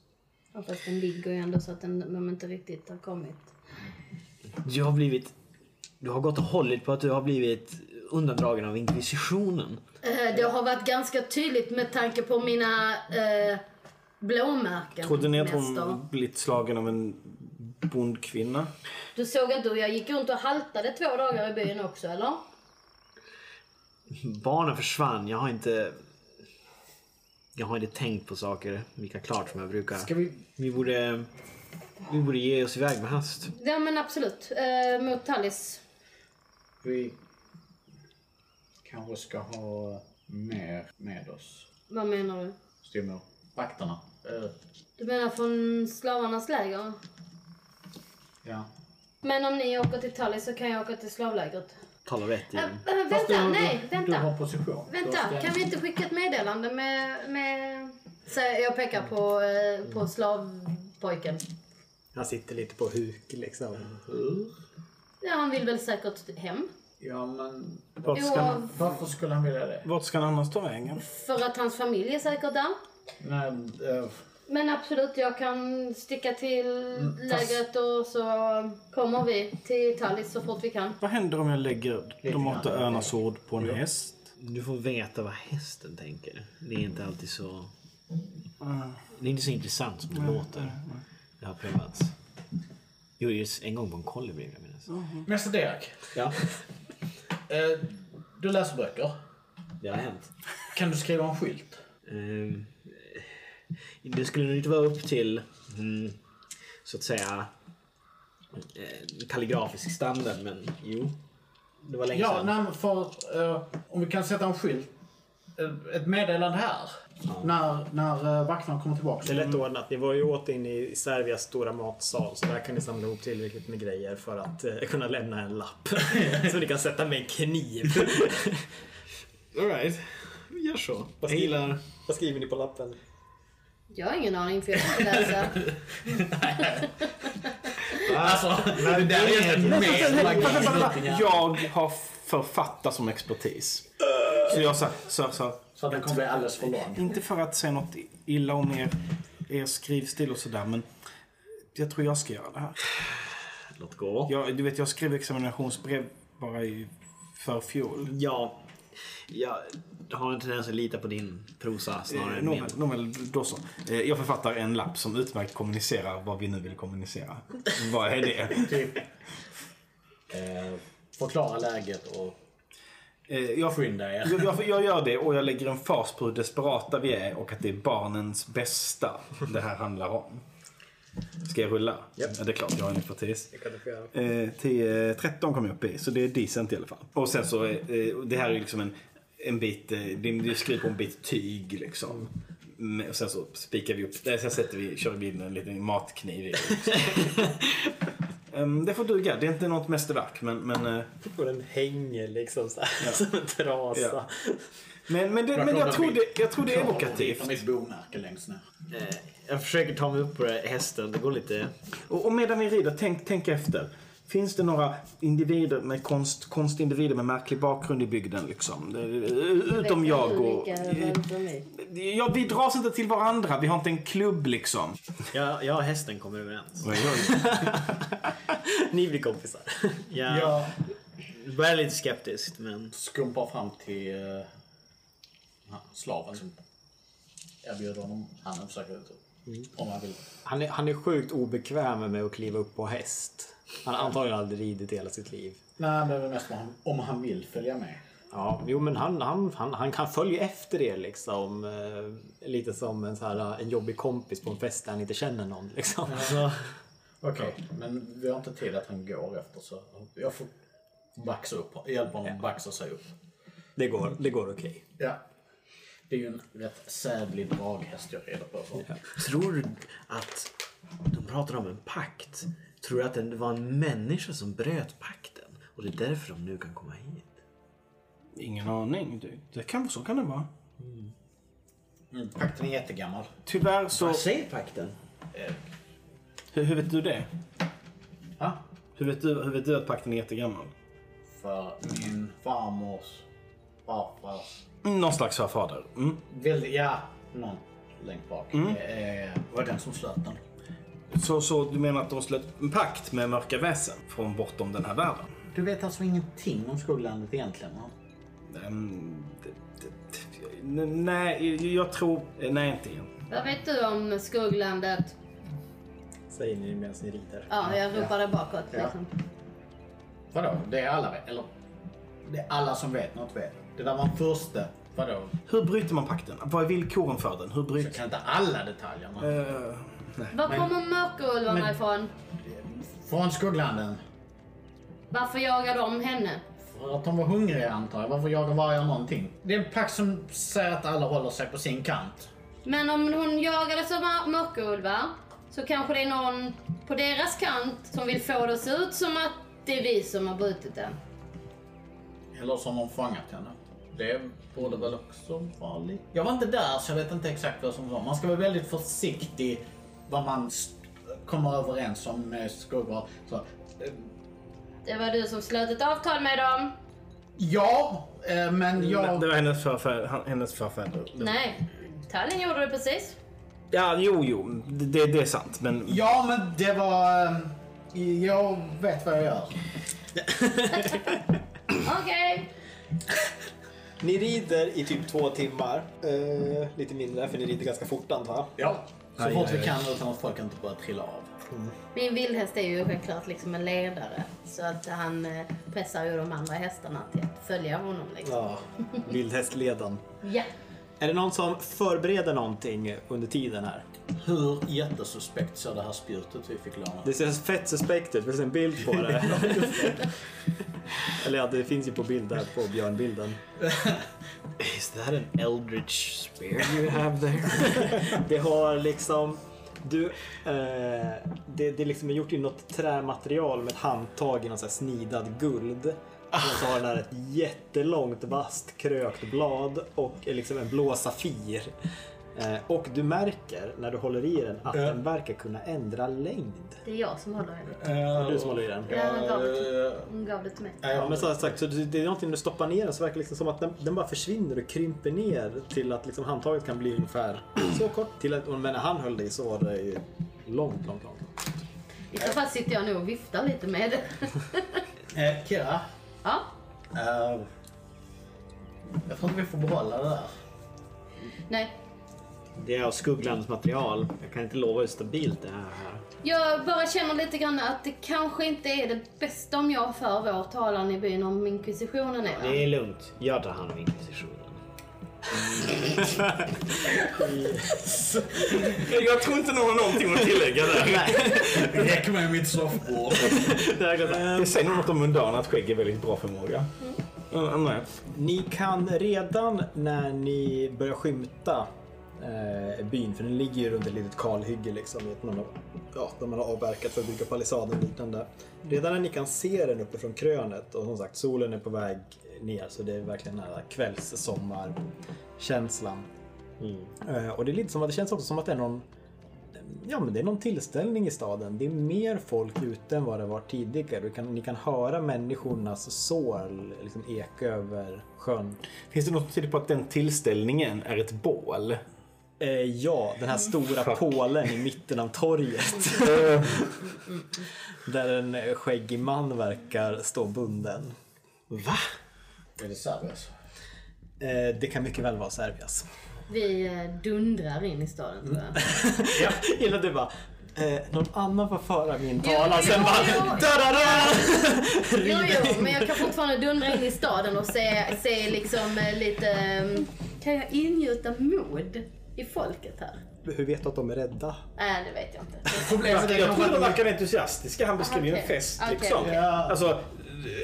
[SPEAKER 4] Ja, fast den ligger ju ändå så att den, de inte riktigt har kommit.
[SPEAKER 5] Du har blivit... Du har gått och hållit på att du har blivit undandragen av inkvisitionen.
[SPEAKER 4] Eh, Det har varit ganska tydligt med tanke på mina eh, blåmärken.
[SPEAKER 1] Trodde ni att
[SPEAKER 4] mäster.
[SPEAKER 1] hon blivit slagen av en bondkvinna?
[SPEAKER 4] Du såg inte hur jag gick runt och haltade två dagar i byn också, eller?
[SPEAKER 5] Barnen försvann. Jag har inte... Jag har inte tänkt på saker lika klart som jag brukar.
[SPEAKER 2] Ska vi...
[SPEAKER 5] Vi borde... Vi borde ge oss iväg med hast.
[SPEAKER 4] Ja, men absolut. Eh, mot Tallis.
[SPEAKER 2] Vi... Kanske ska ha mer med oss.
[SPEAKER 4] Vad menar du?
[SPEAKER 2] Stämmer. Vakterna. Eh,
[SPEAKER 4] Du menar från slavarnas läger?
[SPEAKER 2] ja.
[SPEAKER 4] Men om ni åker till Tallis så kan jag åka till slavlägret.
[SPEAKER 5] Tala rätt
[SPEAKER 4] Äh,
[SPEAKER 5] igen.
[SPEAKER 4] äh,
[SPEAKER 2] Mm. Fast
[SPEAKER 4] vänta,
[SPEAKER 2] du har-
[SPEAKER 4] nej,
[SPEAKER 2] du,
[SPEAKER 4] vänta.
[SPEAKER 2] Du har position. Du har
[SPEAKER 4] Vänta,
[SPEAKER 2] ställning.
[SPEAKER 4] kan vi inte skicka ett meddelande med... med... Så jag pekar på, eh,
[SPEAKER 2] Mm.
[SPEAKER 4] på slavpojken.
[SPEAKER 3] Han sitter lite på huk liksom.
[SPEAKER 4] Ja, han vill väl säkert hem.
[SPEAKER 2] Ja, men...
[SPEAKER 1] Vart ska, han-
[SPEAKER 4] Jo,
[SPEAKER 2] Varför skulle han vilja det?
[SPEAKER 1] vart ska han annars ta vägen?
[SPEAKER 4] för att hans familj är säkert där.
[SPEAKER 2] Nej, eh,
[SPEAKER 4] Men absolut, jag kan sticka till
[SPEAKER 2] Mm, fast-
[SPEAKER 4] lägret och så kommer vi till Tallis så fort vi kan.
[SPEAKER 1] Vad händer om jag lägger de
[SPEAKER 2] grann.
[SPEAKER 1] åtta öarnas ord på en häst?
[SPEAKER 5] Du får veta vad hästen tänker. Det är inte alltid så... Det är inte så intressant som det låter. Det har prövats. Jo, just en gång på en kolibri vill jag minnas.
[SPEAKER 2] Mäster Derek.
[SPEAKER 5] Ja,
[SPEAKER 2] Eh, du läser böcker.
[SPEAKER 5] det har hänt.
[SPEAKER 2] Kan du skriva en skylt?
[SPEAKER 5] Ehm, Det skulle nog inte vara upp till mm, så att säga eh, kalligrafisk standard, men jo. Det var länge
[SPEAKER 2] Ja,
[SPEAKER 5] sedan.
[SPEAKER 2] nej, men för, eh, om vi kan sätta en skylt. eh, Ett meddelande här. När, när eh, vakterna kommer tillbaka.
[SPEAKER 3] Det är lätt ordnat. Ni var ju åt in i Servias stora matsal så där kan ni samla ihop tillräckligt med grejer för att eh, kunna lämna en (laughs) lapp. så ni kan sätta med en kniv.
[SPEAKER 5] Alright. Vi gör så. Jag
[SPEAKER 3] skriver-
[SPEAKER 5] gillar...
[SPEAKER 3] Vad skriver ni på lappen?
[SPEAKER 4] Jag har ingen aning för jag kan inte läsa.
[SPEAKER 2] Alltså, det där är helt mer magi.
[SPEAKER 1] Jag har författa som expertis. Så jag sa, så, så,
[SPEAKER 2] Så att den kommer bli alldeles för lång.
[SPEAKER 1] inte för att säga något illa om er, er skrivstil och sådär, men jag tror jag ska göra det här.
[SPEAKER 5] Låt gå.
[SPEAKER 1] Jag, du vet, jag skrev examinationsbrev bara i förfjol.
[SPEAKER 5] Ja. Jag har en tendens att lita på din prosa snarare än min.
[SPEAKER 1] Nåväl, nåväl, då så. Eh, Jag författar en lapp som utmärkt kommunicerar vad vi nu vill kommunicera. Vad är det?
[SPEAKER 2] Typ. Eh, förklara läget och
[SPEAKER 1] Eh, Jag,
[SPEAKER 2] skynda
[SPEAKER 5] (laughs)
[SPEAKER 2] er.
[SPEAKER 1] Alltså, jag, jag- jag gör det och jag lägger en fas på hur desperata vi är och att det är barnens bästa det här handlar om. Ska jag rulla? Ja, det är klart. Jag har en expertis.
[SPEAKER 3] Det kan du få göra.
[SPEAKER 1] Eh, 10, 13 kom jag upp i, så det är decent i alla fall. Och sen så, eh, det här är ju liksom en, en bit, eh, det är- du skriver på en bit tyg liksom. Mm, Och sen så spikar vi upp, nej, sen sätter vi, kör vi in en liten matkniv i.
[SPEAKER 3] (laughs)
[SPEAKER 1] Liksom. Ehm, det får duga, det är inte något mästerverk men, men, eh,
[SPEAKER 3] Och den hänger liksom så här som en trasa.
[SPEAKER 1] Ja. men, men, det, men jag tror det, jag tror det är evokativt.
[SPEAKER 2] Mitt bomärke längst ner.
[SPEAKER 5] Eh, Jag försöker ta mig upp på det här hästen. Det går lite...
[SPEAKER 1] Och, och medan vi rider, tänk, tänk efter. Finns det några individer med konst, konstindivider med märklig bakgrund i bygden liksom? Det- Utom jag och... Eh,
[SPEAKER 4] Vilka var de i?
[SPEAKER 1] Ja, vi dras inte till varandra. Vi har inte en klubb liksom.
[SPEAKER 5] Jag, jag och hästen
[SPEAKER 1] (laughs)
[SPEAKER 5] kommer överens.
[SPEAKER 3] Ni blir kompisar.
[SPEAKER 5] Jag
[SPEAKER 2] Jag
[SPEAKER 5] börjar lite skeptiskt men...
[SPEAKER 2] skumpar fram till eh, han- slaven som erbjuder honom. Han försöker ut om han vill.
[SPEAKER 3] Han är, han är sjukt obekväm med att kliva upp på häst. Han har antagligen aldrig ridit i hela sitt liv.
[SPEAKER 2] Nej, men det är väl mest om han, om han vill följa med.
[SPEAKER 3] Ja, jo men han, han, han, han kan följa efter er liksom. Eh, lite som en, så här, eh, en jobbig kompis på en fest där han inte känner någon. Liksom.
[SPEAKER 2] Okej, men vi har inte tid att han går efter så jag får baxa upp, hjälpa honom att baxa sig upp.
[SPEAKER 3] Det går, det går okej.
[SPEAKER 2] Ja. Det är ju en rätt sävlig draghäst jag rider på. Så.
[SPEAKER 5] Tror du att... De pratar om en pakt. Tror du att det var en människa som bröt pakten? Och det är därför de nu kan komma hit?
[SPEAKER 1] Ingen aning. Det, det kan, så kan det vara.
[SPEAKER 2] Mm. Pakten är jättegammal.
[SPEAKER 1] Tyvärr så...
[SPEAKER 5] Vad säger pakten?
[SPEAKER 1] Hur, hur vet du det?
[SPEAKER 2] Ja.
[SPEAKER 1] Hur vet du, hur vet du att pakten är jättegammal?
[SPEAKER 2] För min farmors farfars...
[SPEAKER 1] Någon slags förfader. Mm.
[SPEAKER 2] Väldigt, ja, någon längst bak. Eh, var den som slöt den.
[SPEAKER 1] Så, så du menar att de slöt en pakt med mörka väsen från bortom den här världen?
[SPEAKER 2] Du vet alltså ingenting om skugglandet egentligen? va?
[SPEAKER 1] Ehm, det, det, det, n- nej, jag tror... eh, Nej, inte igen.
[SPEAKER 4] Vad vet du om skugglandet?
[SPEAKER 3] Säger ni medan ni rider.
[SPEAKER 4] Ja, jag ropar det bakåt
[SPEAKER 2] Ja.
[SPEAKER 4] liksom.
[SPEAKER 2] Vadå? Det är alla vet. Eller? Det är alla som vet något vet. Det där var en första. Vadå?
[SPEAKER 1] Hur bryter man pakten? Vad är villkoren för den? Hur
[SPEAKER 2] Jag
[SPEAKER 1] bryter...
[SPEAKER 2] kan inte alla detaljerna.
[SPEAKER 1] Eh, nej.
[SPEAKER 4] Var kommer mörkerulvarna ifrån?
[SPEAKER 2] Från skugglanden.
[SPEAKER 4] Varför jagar de henne?
[SPEAKER 2] För att de var hungriga antar jag. Varför jagar vargar någonting? Det är en pakt som säger att alla håller sig på sin kant.
[SPEAKER 4] Men om hon jagades av mör- mörkerulvar så kanske det är någon på deras kant som vill få det att se ut som att det är vi som har brutit den.
[SPEAKER 2] Eller som har fångat henne. Det borde väl också vara lite... Jag var inte där så jag vet inte exakt vad som var. Man ska vara väldigt försiktig vad man st- kommer överens om med skuggor. Så, eh,
[SPEAKER 4] Det var du som slöt ett avtal med dem.
[SPEAKER 2] ja, eh, men jag...
[SPEAKER 1] Det var hennes förfäder. han- Hennes förfäder.
[SPEAKER 4] Nej, Tallinn gjorde det precis.
[SPEAKER 1] Ja, jo, jo. Det, det är sant. Men
[SPEAKER 2] Ja, men det var... eh, Jag vet vad jag gör.
[SPEAKER 4] Okej.
[SPEAKER 3] Ni rider i typ två timmar. Eh, lite mindre för ni rider ganska fort antar jag.
[SPEAKER 2] Ja. Så fort vi kan utan att folk inte börjar trilla av.
[SPEAKER 4] Min vildhäst är ju självklart liksom en ledare. Så att han eh, pressar ju de andra hästarna till att följa honom. Liksom.
[SPEAKER 3] Ja, vildhästledan.
[SPEAKER 4] Ja.
[SPEAKER 3] Är det någon som förbereder någonting under tiden här?
[SPEAKER 2] Hur jättesuspekt såg det här spjutet vi fick låna?
[SPEAKER 3] Det ser fett suspekt ut, vi ser en bild på det. Eller ja, det finns ju på bild där på björnbilden.
[SPEAKER 5] Is that an eldritch spear you have there?
[SPEAKER 3] Det har liksom... Du, eh, det, det liksom är gjort i något trämaterial med ett handtag i någon så här snidad guld. Och så har den här ett jättelångt vasst krökt blad och är liksom en blå safir. Eh, och du märker när du håller i den att den verkar kunna ändra längd.
[SPEAKER 4] Det är jag som håller den.
[SPEAKER 2] Eh,
[SPEAKER 3] Du som håller i den.
[SPEAKER 4] Ja, han gav det till-
[SPEAKER 2] eh,
[SPEAKER 4] Hon gav det till mig.
[SPEAKER 2] nej,
[SPEAKER 3] Ja, men som sagt, så det det är någonting du stoppar ner den så verkar det liksom som att den, den bara försvinner och krymper ner till att liksom handtaget kan bli ungefär (clears throat) så kort. Till att, men när han höll dig så var det ju långt, långt, långt.
[SPEAKER 4] I så fall sitter jag nog och viftar lite med det.
[SPEAKER 2] (laughs) Eh, Kira.
[SPEAKER 4] Ja.
[SPEAKER 2] Eh, jag tror inte vi får behålla det där.
[SPEAKER 4] Nej.
[SPEAKER 5] Det är av Skugglands material. Jag kan inte lova hur stabilt det här är.
[SPEAKER 4] Jag bara känner lite grann att det kanske inte är det bästa om jag för vår talan i byn om inkvisitionen är.
[SPEAKER 5] Det är lugnt. Jag tar hand om inkvisitionen.
[SPEAKER 1] Jag tror inte någon har någonting att tillägga (laughs) där.
[SPEAKER 2] Räck mig mitt soffbord.
[SPEAKER 1] Det säger något om Mundan att skägg är väldigt bra förmåga. Mm, nej.
[SPEAKER 4] Alltså,
[SPEAKER 3] Ni kan redan när ni börjar skymta eh, byn, för den ligger ju runt ett litet kalhygge liksom, i ett- man har, ja, där man har avverkat för att bygga palissader och liknande. Redan när ni kan se den uppe från krönet och som sagt solen är på väg ner så det är verkligen den här kvällssommarkänslan. Eh, och det är lite som att det känns också som att det är någon Ja, men det är någon tillställning i staden. Det är mer folk ute än vad det var tidigare. Du kan, ni kan höra människornas sår liksom eka över sjön.
[SPEAKER 1] Finns det något som tyder på att den tillställningen är ett bål?
[SPEAKER 3] Eh, ja, den här stora pålen i mitten av
[SPEAKER 1] (laughs)
[SPEAKER 3] torget.
[SPEAKER 1] Eh.
[SPEAKER 3] Där en eh, skäggig man verkar stå bunden.
[SPEAKER 5] Va?
[SPEAKER 2] Är det Servius?
[SPEAKER 3] Eh, det kan mycket väl
[SPEAKER 1] (laughs)
[SPEAKER 3] vara Servias.
[SPEAKER 4] Vi eh, dundrar in i staden tror jag.
[SPEAKER 3] Gillar du bara eh, någon annan får föra min
[SPEAKER 4] Jo,
[SPEAKER 3] talan.
[SPEAKER 4] jo,
[SPEAKER 3] Sen
[SPEAKER 4] jo.
[SPEAKER 3] bara... "Dadada!"
[SPEAKER 4] Jo, jo, men jag kan fortfarande dundra in i staden och se, se liksom eh, lite... eh, Kan jag ingjuta mod i folket här?
[SPEAKER 3] Hur vet du att de är rädda?
[SPEAKER 4] Nej, det vet jag inte.
[SPEAKER 2] Problemet är
[SPEAKER 1] Jag tror
[SPEAKER 2] kanske
[SPEAKER 1] de
[SPEAKER 2] att
[SPEAKER 1] verkar entusiastiska. Han beskriver ju en
[SPEAKER 4] Okej.
[SPEAKER 1] fest
[SPEAKER 4] Okej,
[SPEAKER 1] liksom.
[SPEAKER 4] okej.
[SPEAKER 1] Alltså,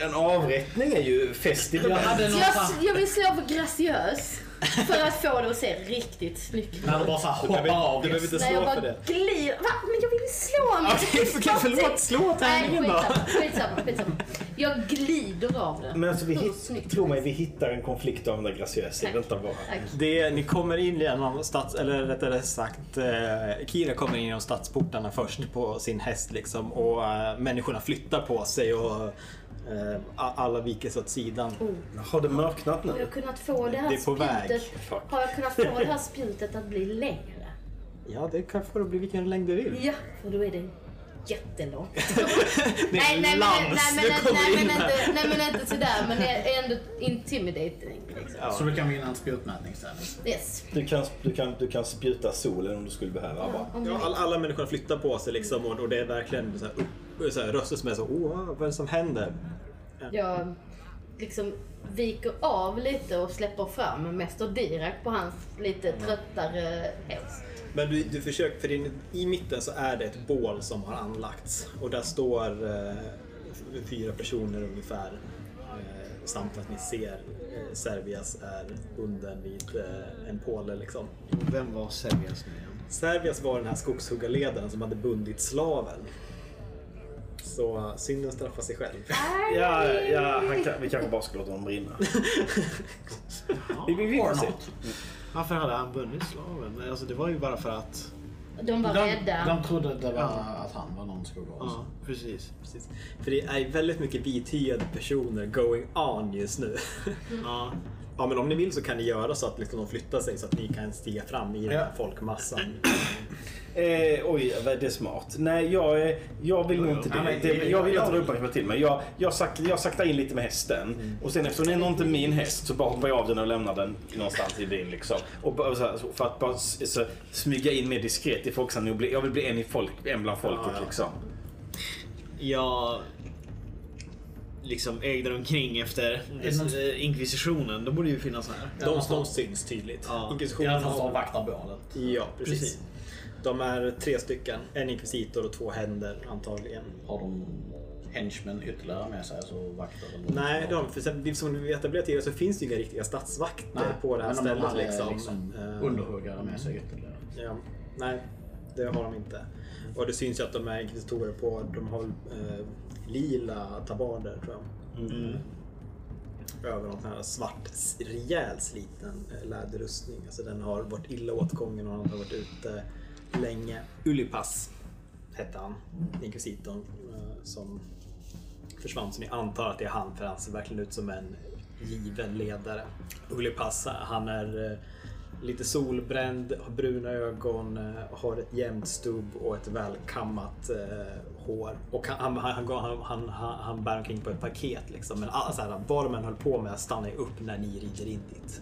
[SPEAKER 1] en avrättning är ju fest i
[SPEAKER 2] jag
[SPEAKER 1] rebell.
[SPEAKER 2] hade någon
[SPEAKER 4] Jag,
[SPEAKER 2] sån här-
[SPEAKER 4] jag vill slå för graciös för att få det att se riktigt snyggt ut.
[SPEAKER 2] Han bara såhär hoppar av.
[SPEAKER 3] Du behöver inte
[SPEAKER 4] Nej,
[SPEAKER 3] slå
[SPEAKER 4] jag
[SPEAKER 3] för
[SPEAKER 4] bara
[SPEAKER 3] det.
[SPEAKER 4] glider. Va? Men jag vill ju slå mig!
[SPEAKER 3] Okej, förlåt, förlåt. Slå tärningen
[SPEAKER 4] Nej,
[SPEAKER 3] då.
[SPEAKER 4] skitsamma, skitsamma, skitsamma. Jag glider av det.
[SPEAKER 1] Men alltså, vi
[SPEAKER 4] Hur
[SPEAKER 1] hit,
[SPEAKER 4] snyggt
[SPEAKER 1] tro
[SPEAKER 4] som
[SPEAKER 1] mig,
[SPEAKER 4] helst.
[SPEAKER 1] vi hittar en konflikt av den där graciösa.
[SPEAKER 4] Tack.
[SPEAKER 1] Vänta bara.
[SPEAKER 4] Tack.
[SPEAKER 3] Det, ni kommer in genom stads... Eller rättare sagt, eh, Kira kommer in genom stadsportarna först på sin häst liksom och eh, människorna flyttar på sig och eh, a- alla viker sig åt sidan.
[SPEAKER 1] Har det mörknat
[SPEAKER 4] Har
[SPEAKER 1] nu?
[SPEAKER 4] jag kunnat få det här
[SPEAKER 3] Det är på väg.
[SPEAKER 4] spjutet?
[SPEAKER 1] Fuck.
[SPEAKER 4] Har jag kunnat få det här spjutet att bli längre?
[SPEAKER 3] Ja, det kan få det bli vilken längd du vill.
[SPEAKER 4] Ja, för då är det jättelångt.
[SPEAKER 3] (laughs) Det är en lans
[SPEAKER 4] nej,
[SPEAKER 3] du
[SPEAKER 4] men,
[SPEAKER 3] kommer
[SPEAKER 4] nej, men,
[SPEAKER 3] in med.
[SPEAKER 4] inte, nej, men inte sådär, men det är ändå intimidating. Liksom.
[SPEAKER 2] Så du kan vinna en spjutmätning sen.
[SPEAKER 4] Yes.
[SPEAKER 1] Du kan, du, kan, du kan spjuta solen om du skulle behöva. Bara.
[SPEAKER 4] Om du
[SPEAKER 3] Ja,
[SPEAKER 4] vill.
[SPEAKER 3] alla, alla människor flyttar på sig liksom och, och det är verkligen så här, upp, så här, röster som är så åh, vad är det som händer?
[SPEAKER 4] Jag liksom viker av lite och släpper fram Mäster Dirac på hans lite tröttare häst.
[SPEAKER 3] Men du, du försöker, för din, i mitten så är det ett bål som har anlagts och där står eh, f- fyra personer ungefär eh, samt att ni ser eh, Servias är bunden vid eh, en påle liksom.
[SPEAKER 5] Vem var Seljas nu igen?
[SPEAKER 3] Servias var den här skogshuggarledaren som hade bundit slaven. Så eh, synden straffar sig själv.
[SPEAKER 1] Ja, ja, han kan, vi kanske bara ska låta honom brinna. vi, vi, vi får se.
[SPEAKER 5] Varför hade han bundit slaven? Alltså, det var ju bara för att...
[SPEAKER 4] De var
[SPEAKER 2] De,
[SPEAKER 4] rädda.
[SPEAKER 2] de trodde det var att han var någon skugga
[SPEAKER 5] Ja,
[SPEAKER 2] också.
[SPEAKER 5] precis.
[SPEAKER 3] Precis. För det är väldigt mycket vithyade personer going on just nu.
[SPEAKER 5] Ja.
[SPEAKER 3] Ja men om ni vill så kan ni göra så att liksom de flyttar sig så att ni kan stiga fram i den här folkmassan.
[SPEAKER 1] Eh, oj, vad det är smart. Nej, jag, eh, jag vill nog inte det. det jag vill inte dra uppmärksamhet till mig. Jag, jag, sak, jag saktar in lite med hästen. Och sen eftersom det är nog inte min häst så bara hoppar jag av den och lämnar den någonstans i byn. Liksom. Och bara, så här, så- för att bara s- så, smyga in mer diskret i folksamlingen. och bli- Jag vill bli en, i folk, en bland folket liksom.
[SPEAKER 5] Jag liksom ägde omkring efter
[SPEAKER 2] det någon-
[SPEAKER 5] eh, inkvisitionen. Då borde ju finnas här.
[SPEAKER 3] De, de syns tydligt.
[SPEAKER 5] Ja.
[SPEAKER 2] I alla
[SPEAKER 3] Inkvisitionen
[SPEAKER 2] fall som
[SPEAKER 3] har...
[SPEAKER 2] vaktar bålet.
[SPEAKER 3] Ja, precis.
[SPEAKER 5] Precis.
[SPEAKER 3] De är tre stycken. En inkvisitor och två händer antagligen.
[SPEAKER 2] Har de henchmen ytterligare med sig? Alltså vakter? Eller
[SPEAKER 3] Nej, de, för sen, som vi etablerade tidigare så finns det ju inga riktiga stadsvakter
[SPEAKER 2] Nej,
[SPEAKER 3] på det här
[SPEAKER 2] men de
[SPEAKER 3] stället.
[SPEAKER 2] hade
[SPEAKER 3] liksom.
[SPEAKER 2] liksom
[SPEAKER 3] Eh,
[SPEAKER 2] underhuggare med sig ytterligare.
[SPEAKER 3] Ja, nej, det har de inte. Och det syns ju att de är inkvisitorer på, de har eh, lila tabarder tror jag. Eh, Över någon sån här svart, s- rejäl sliten eh, läderrustning. Alltså den har varit illa åtgången och han har varit ute länge. Ulipas hette han, inkvisitorn eh, som försvann. Så ni antar att det är han för han ser verkligen ut som en given ledare. Ulipas, han är eh, lite solbränd, har bruna ögon, eh, har ett jämnt stubb och ett välkammat eh, hår. Och han, han, han, går- han, han, han, han bär omkring på ett paket liksom. Men all, så här, vad de än höll på med stannar ju upp när ni rider in dit.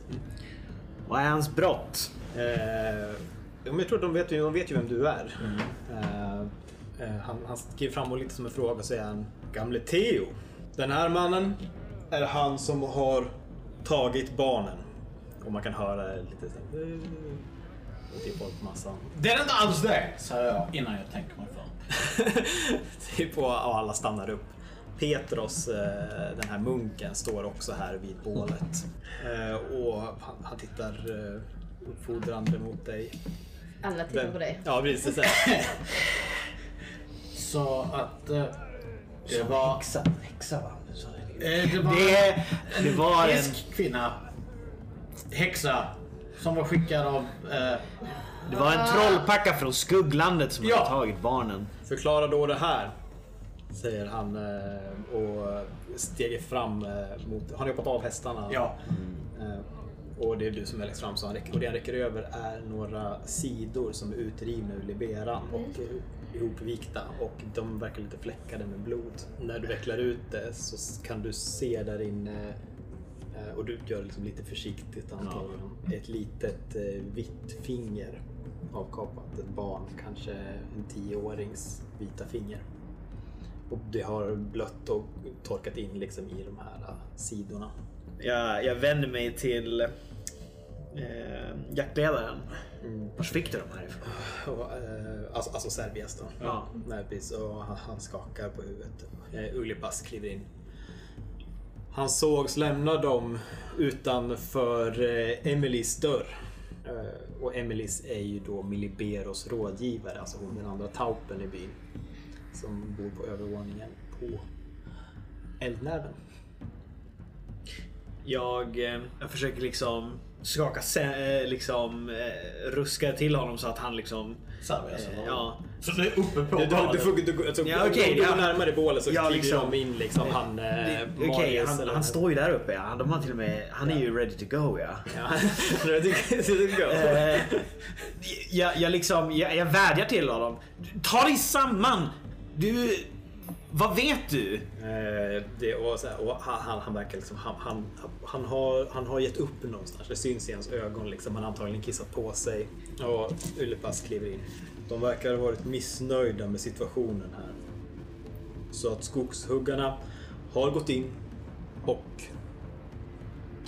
[SPEAKER 5] Vad är hans brott?
[SPEAKER 3] Eh, ja, men jag tror att de vet, ju- de vet ju vem du är. Eh, eh, han, han skriver fram och lite som en fråga och säger han, Gamle Theo. Den här mannen är han som har tagit barnen. Och man kan höra lite så här, "Eh", Typ folkmassan. (laughs)
[SPEAKER 2] Det är inte alls det! Säger jag innan jag tänker mig för.
[SPEAKER 3] typ och, och alla stannar upp. Petros, eh, den här munken, står också här vid bålet. Eh, Och han, han tittar eh, uppfordrande mot dig.
[SPEAKER 4] Alla tittar på dig.
[SPEAKER 3] Ja, precis. Eh,
[SPEAKER 2] Så att... Eh, det var...
[SPEAKER 5] Häxa, häxa va? Så det-
[SPEAKER 2] Eh, det var
[SPEAKER 5] Det, det var en...
[SPEAKER 2] frisk kvinna. Häxa. Som var skickad av... Eh,
[SPEAKER 5] Det var en trollpacka från skugglandet som
[SPEAKER 2] Ja.
[SPEAKER 5] hade tagit barnen.
[SPEAKER 3] Förklara då det här, säger han eh, och steger fram eh, mot... Har ni hoppat av hästarna?
[SPEAKER 2] ja.
[SPEAKER 3] Eh, Och det är du som är längst fram, så han räcker, och det han räcker över är några sidor som är utrivna ur liberan och eh, ihopvikta och de verkar lite fläckade med blod. När du vecklar ut det så s- kan du se där inne eh, och du gör det liksom lite försiktigt antagligen. Ett litet eh, vitt finger avkapat. Ett barn, kanske en tioårings vita finger. Och det har blött och torkat in liksom i de här eh, sidorna.
[SPEAKER 5] Jag, jag vänder mig till eh, jaktledaren. Var Mm. fick du de här ifrån?
[SPEAKER 3] Och, eh, alltså, alltså Serbias då.
[SPEAKER 5] Ja.
[SPEAKER 3] Nej, precis. Och han, han skakar på huvudet. Eh, Ulipas kliver in. Han sågs lämna dem utanför eh, Emelies dörr. Eh, och Emelies är ju då Miliberos rådgivare, alltså hon den andra taupen i byn. Som bor på övervåningen på Eldnäven.
[SPEAKER 5] Jag, eh, jag försöker liksom skaka, sä- eh, liksom eh, ruska till honom så att han liksom...
[SPEAKER 2] Serbias.
[SPEAKER 5] Eh, ja.
[SPEAKER 2] Så det är uppe på
[SPEAKER 3] Du, du, du, får- du, alltså,
[SPEAKER 5] Ja,
[SPEAKER 3] om
[SPEAKER 5] okej,
[SPEAKER 3] du går
[SPEAKER 5] ja.
[SPEAKER 3] närmare bålet så
[SPEAKER 5] Ja,
[SPEAKER 3] kliver
[SPEAKER 5] liksom.
[SPEAKER 3] de in liksom. Han, eh,
[SPEAKER 5] Det- Okej,
[SPEAKER 3] Marius
[SPEAKER 5] han,
[SPEAKER 3] eller-
[SPEAKER 5] han står ju där uppe. Ja. De har till och med, han är ju ready to go ja. (laughs)
[SPEAKER 3] Ja. Det tycker- det tycker jag.
[SPEAKER 5] Eh, jag, jag, liksom, jag, jag vädjar till honom. Ta dig samman! Du... Vad vet du?
[SPEAKER 3] Eh, det, och så här, och han, han, han verkar liksom, han, han, han, har, han har gett upp någonstans. Det syns i hans ögon liksom. Han har antagligen kissat på sig. Och Ulipas kliver in. De verkar ha varit missnöjda med situationen här. Så att skogshuggarna har gått in och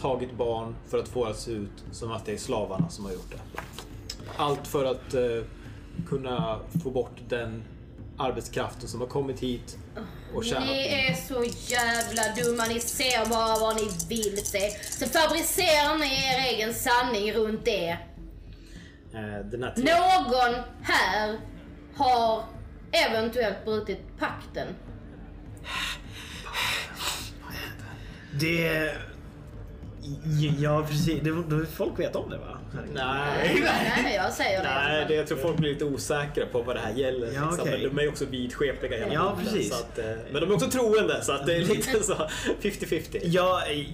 [SPEAKER 3] tagit barn för att få det att se ut som att det är slavarna som har gjort det. Allt för att eh, kunna få bort den arbetskraften som har kommit hit och tjänat
[SPEAKER 4] Ni är så jävla dumma, ni ser bara vad ni vill se. Så fabricerar ni er egen sanning runt det.
[SPEAKER 3] Eh, Den här tiden.
[SPEAKER 4] Någon här har eventuellt brutit pakten.
[SPEAKER 5] Det... Ja precis, det, det, folk vet om det va?
[SPEAKER 3] Nej.
[SPEAKER 4] Nej, jag säger det.
[SPEAKER 3] Nej, det, jag tror folk blir lite osäkra på vad det här gäller.
[SPEAKER 5] Ja,
[SPEAKER 3] liksom.
[SPEAKER 5] okej.
[SPEAKER 3] Men de är ju också vidskepliga hela
[SPEAKER 5] Ja,
[SPEAKER 3] tiden,
[SPEAKER 5] precis.
[SPEAKER 3] Så att, eh, men de är också troende, så att det är lite så (laughs) 50-50.
[SPEAKER 5] Jag, eh,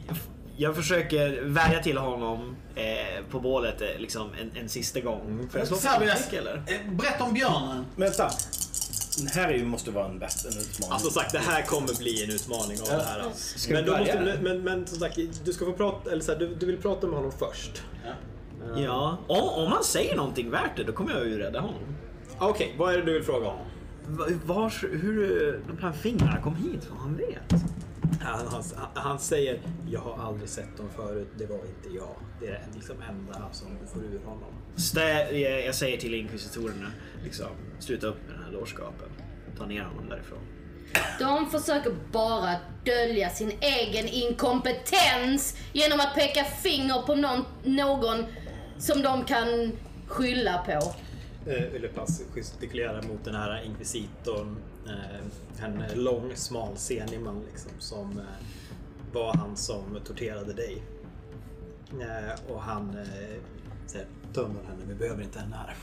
[SPEAKER 5] jag försöker vädja till honom eh, på bålet eh, liksom en, en sista gång. Får jag slå för
[SPEAKER 2] Serbias.
[SPEAKER 5] attack, eller?
[SPEAKER 2] Eh, Berätta om björnen.
[SPEAKER 1] Vänta! Den här är ju, måste vara en, bäst, en utmaning.
[SPEAKER 3] Alltså sagt, det här kommer bli en utmaning av det här. Alltså. Men,
[SPEAKER 1] vi
[SPEAKER 3] då
[SPEAKER 1] börja?
[SPEAKER 3] måste, men, men, men som sagt, du ska få prata, eller så här, du, du vill prata med honom först.
[SPEAKER 5] Ja. Om, om han säger någonting värt det då kommer jag ju rädda honom.
[SPEAKER 3] Ah, Okej, vad är det du vill fråga om?
[SPEAKER 5] Va- Vars, hur de här fingrarna kom hit? Vad han vet?
[SPEAKER 3] Han, han, han säger, jag har aldrig sett dem förut, det var inte jag. Det är det liksom enda som du får ur honom.
[SPEAKER 5] Stä, jag, jag säger till inkvisitorerna, liksom, sluta upp med den här dårskapen. Ta ner honom därifrån.
[SPEAKER 4] De försöker bara dölja sin egen inkompetens genom att peka finger på någon, någon som de kan skylla på.
[SPEAKER 3] Eh, Ullepass gestikulerar mot den här inkvisitorn. Eh, en lång, smal, senig man liksom, som eh, var han som torterade dig. Eh, och han eh, säger dömer henne, vi behöver inte henne här.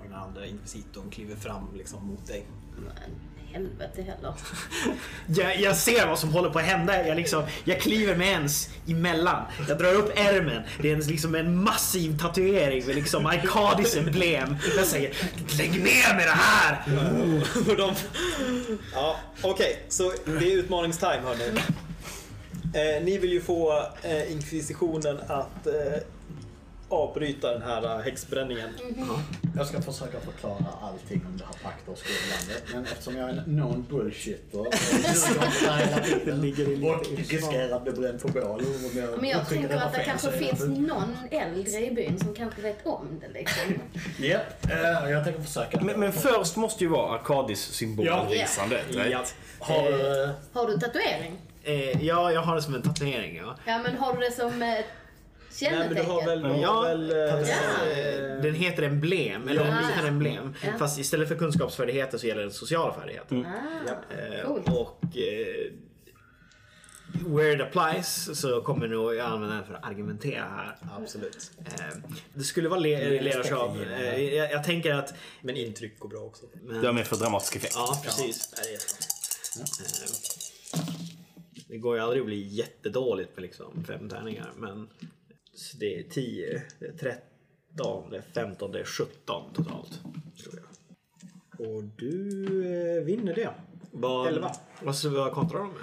[SPEAKER 3] Och den andra inkvisitorn kliver fram liksom, mot dig.
[SPEAKER 4] Men helvete heller.
[SPEAKER 5] Jag, jag ser vad som håller på att hända. Jag, liksom, jag kliver med ens emellan. Jag drar upp ärmen. Det är en, liksom en massiv tatuering med liksom Arkadis emblem. Jag säger lägg ner med det här!
[SPEAKER 3] (laughs) Och de... Ja, okej. Så det är utmaningstime hörni. Eh, ni vill ju få eh, inkvisitionen att eh, avbryta den här eh, häxbränningen.
[SPEAKER 2] Jag ska försöka förklara allting om det här pakter och skuldlandet. Men eftersom jag är en known bullshitter och (laughs)
[SPEAKER 3] ligger i lite
[SPEAKER 2] och riskerar att bli bränd på bål om jag
[SPEAKER 4] Men jag
[SPEAKER 2] tycker det
[SPEAKER 4] tänker
[SPEAKER 2] var
[SPEAKER 4] att det
[SPEAKER 2] fel,
[SPEAKER 4] kanske
[SPEAKER 2] så är jag
[SPEAKER 4] finns
[SPEAKER 2] bu-
[SPEAKER 4] någon äldre i byn som kanske vet om det liksom.
[SPEAKER 2] Ja, eh, jag tänker försöka.
[SPEAKER 1] Men, men först måste ju vara Arkadis symbol
[SPEAKER 2] Ja.
[SPEAKER 1] risandet. right?
[SPEAKER 5] Ja.
[SPEAKER 2] Har du... eh,
[SPEAKER 4] Har du tatuering?
[SPEAKER 5] Eh, ja, jag har det som en tatuering. Ja.
[SPEAKER 4] Ja men har du det som eh,
[SPEAKER 3] Nej, men du
[SPEAKER 4] kännetecken?
[SPEAKER 3] har väl... Du har
[SPEAKER 5] Ja.
[SPEAKER 3] väl eh,
[SPEAKER 5] Eh, Den heter emblem, eller den liknar emblem.
[SPEAKER 4] Ja.
[SPEAKER 5] Fast istället för kunskapsfärdigheter så gäller det sociala färdigheter.
[SPEAKER 3] Mm.
[SPEAKER 5] Eh,
[SPEAKER 4] Ah, Coolt.
[SPEAKER 5] Och eh, where it applies så kommer nog jag använda den för att argumentera här.
[SPEAKER 3] Absolut.
[SPEAKER 5] Eh, det skulle vara le- ledarskap. Eh, jag, jag tänker att...
[SPEAKER 3] Men intryck går bra också.
[SPEAKER 5] Men,
[SPEAKER 1] Det är mer för dramatisk effekt.
[SPEAKER 5] Ja, precis. Ja. Det, är jättebra. Eh, det går ju aldrig att bli jättedåligt på liksom fem tärningar. Men så det är 10, det är 13, det är 15, det är 17 totalt. Tror jag.
[SPEAKER 3] Och du eh, vinner det.
[SPEAKER 5] Vad,
[SPEAKER 3] Elva.
[SPEAKER 5] Vad, så vad kontrar de med?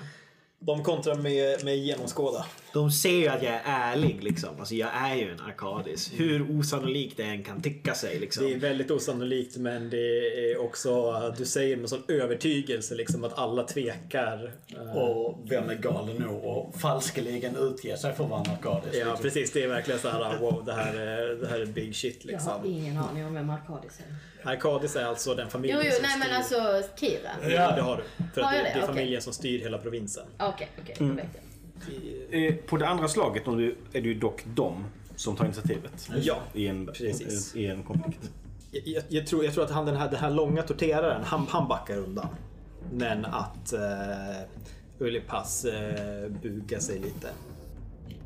[SPEAKER 3] De kontrar med, med genomskåda.
[SPEAKER 5] De ser ju att jag är ärlig liksom. Alltså jag är ju en arkadis. Hur osannolikt det än kan tycka sig liksom.
[SPEAKER 3] Mm. Det är väldigt osannolikt men det är också, eh, du säger med sån övertygelse liksom att alla tvekar. eh,
[SPEAKER 2] Och vem är galen nog och falskeligen utge sig för att vara narkotisk?
[SPEAKER 3] Ja precis, det är verkligen så här wow, det här är, det här är big shit
[SPEAKER 4] Jag har
[SPEAKER 3] liksom.
[SPEAKER 4] ingen aning om vem Arkadis är.
[SPEAKER 3] Arkadis är alltså den
[SPEAKER 4] Jo,
[SPEAKER 3] familjen
[SPEAKER 4] jo,
[SPEAKER 3] som Mm.
[SPEAKER 4] nej
[SPEAKER 3] styr.
[SPEAKER 4] men alltså Kira.
[SPEAKER 3] Ja, det har du. För att
[SPEAKER 4] Har
[SPEAKER 3] det,
[SPEAKER 4] jag
[SPEAKER 3] det
[SPEAKER 4] det?
[SPEAKER 3] är
[SPEAKER 4] Okej.
[SPEAKER 3] familjen som styr hela provinsen.
[SPEAKER 4] Okej, okej,
[SPEAKER 3] Mm.
[SPEAKER 4] då vet jag.
[SPEAKER 1] Eh, På det andra slaget om du, är det ju dock de som tar initiativet.
[SPEAKER 3] Ja,
[SPEAKER 1] I en,
[SPEAKER 3] Precis.
[SPEAKER 1] i en konflikt.
[SPEAKER 3] jag, jag- jag, tror, jag tror att han den här, den här långa torteraren, han, han backar undan. Men att eh, Ullipass eh, bugar sig lite.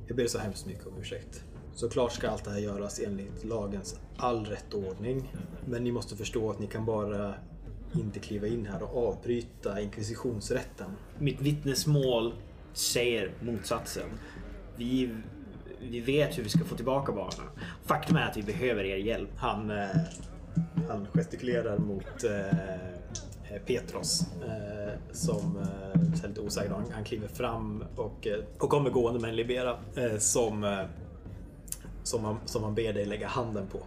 [SPEAKER 3] Jag ber så hemskt mycket om ursäkt. Såklart ska allt det här göras enligt lagens all rätt ordning. Men ni måste förstå att ni kan bara inte kliva in här och avbryta inkvisitionsrätten.
[SPEAKER 5] Mitt vittnesmål säger motsatsen. Vi, vi vet hur vi ska få tillbaka barnen. Faktum är att vi behöver er hjälp.
[SPEAKER 3] Han, eh, han gestikulerar mot eh, Petros eh, som eh, ser lite osäker ut. Han, han kliver fram och, eh, och kommer gående med en libera eh, som, eh, som, han, som han ber dig lägga handen på.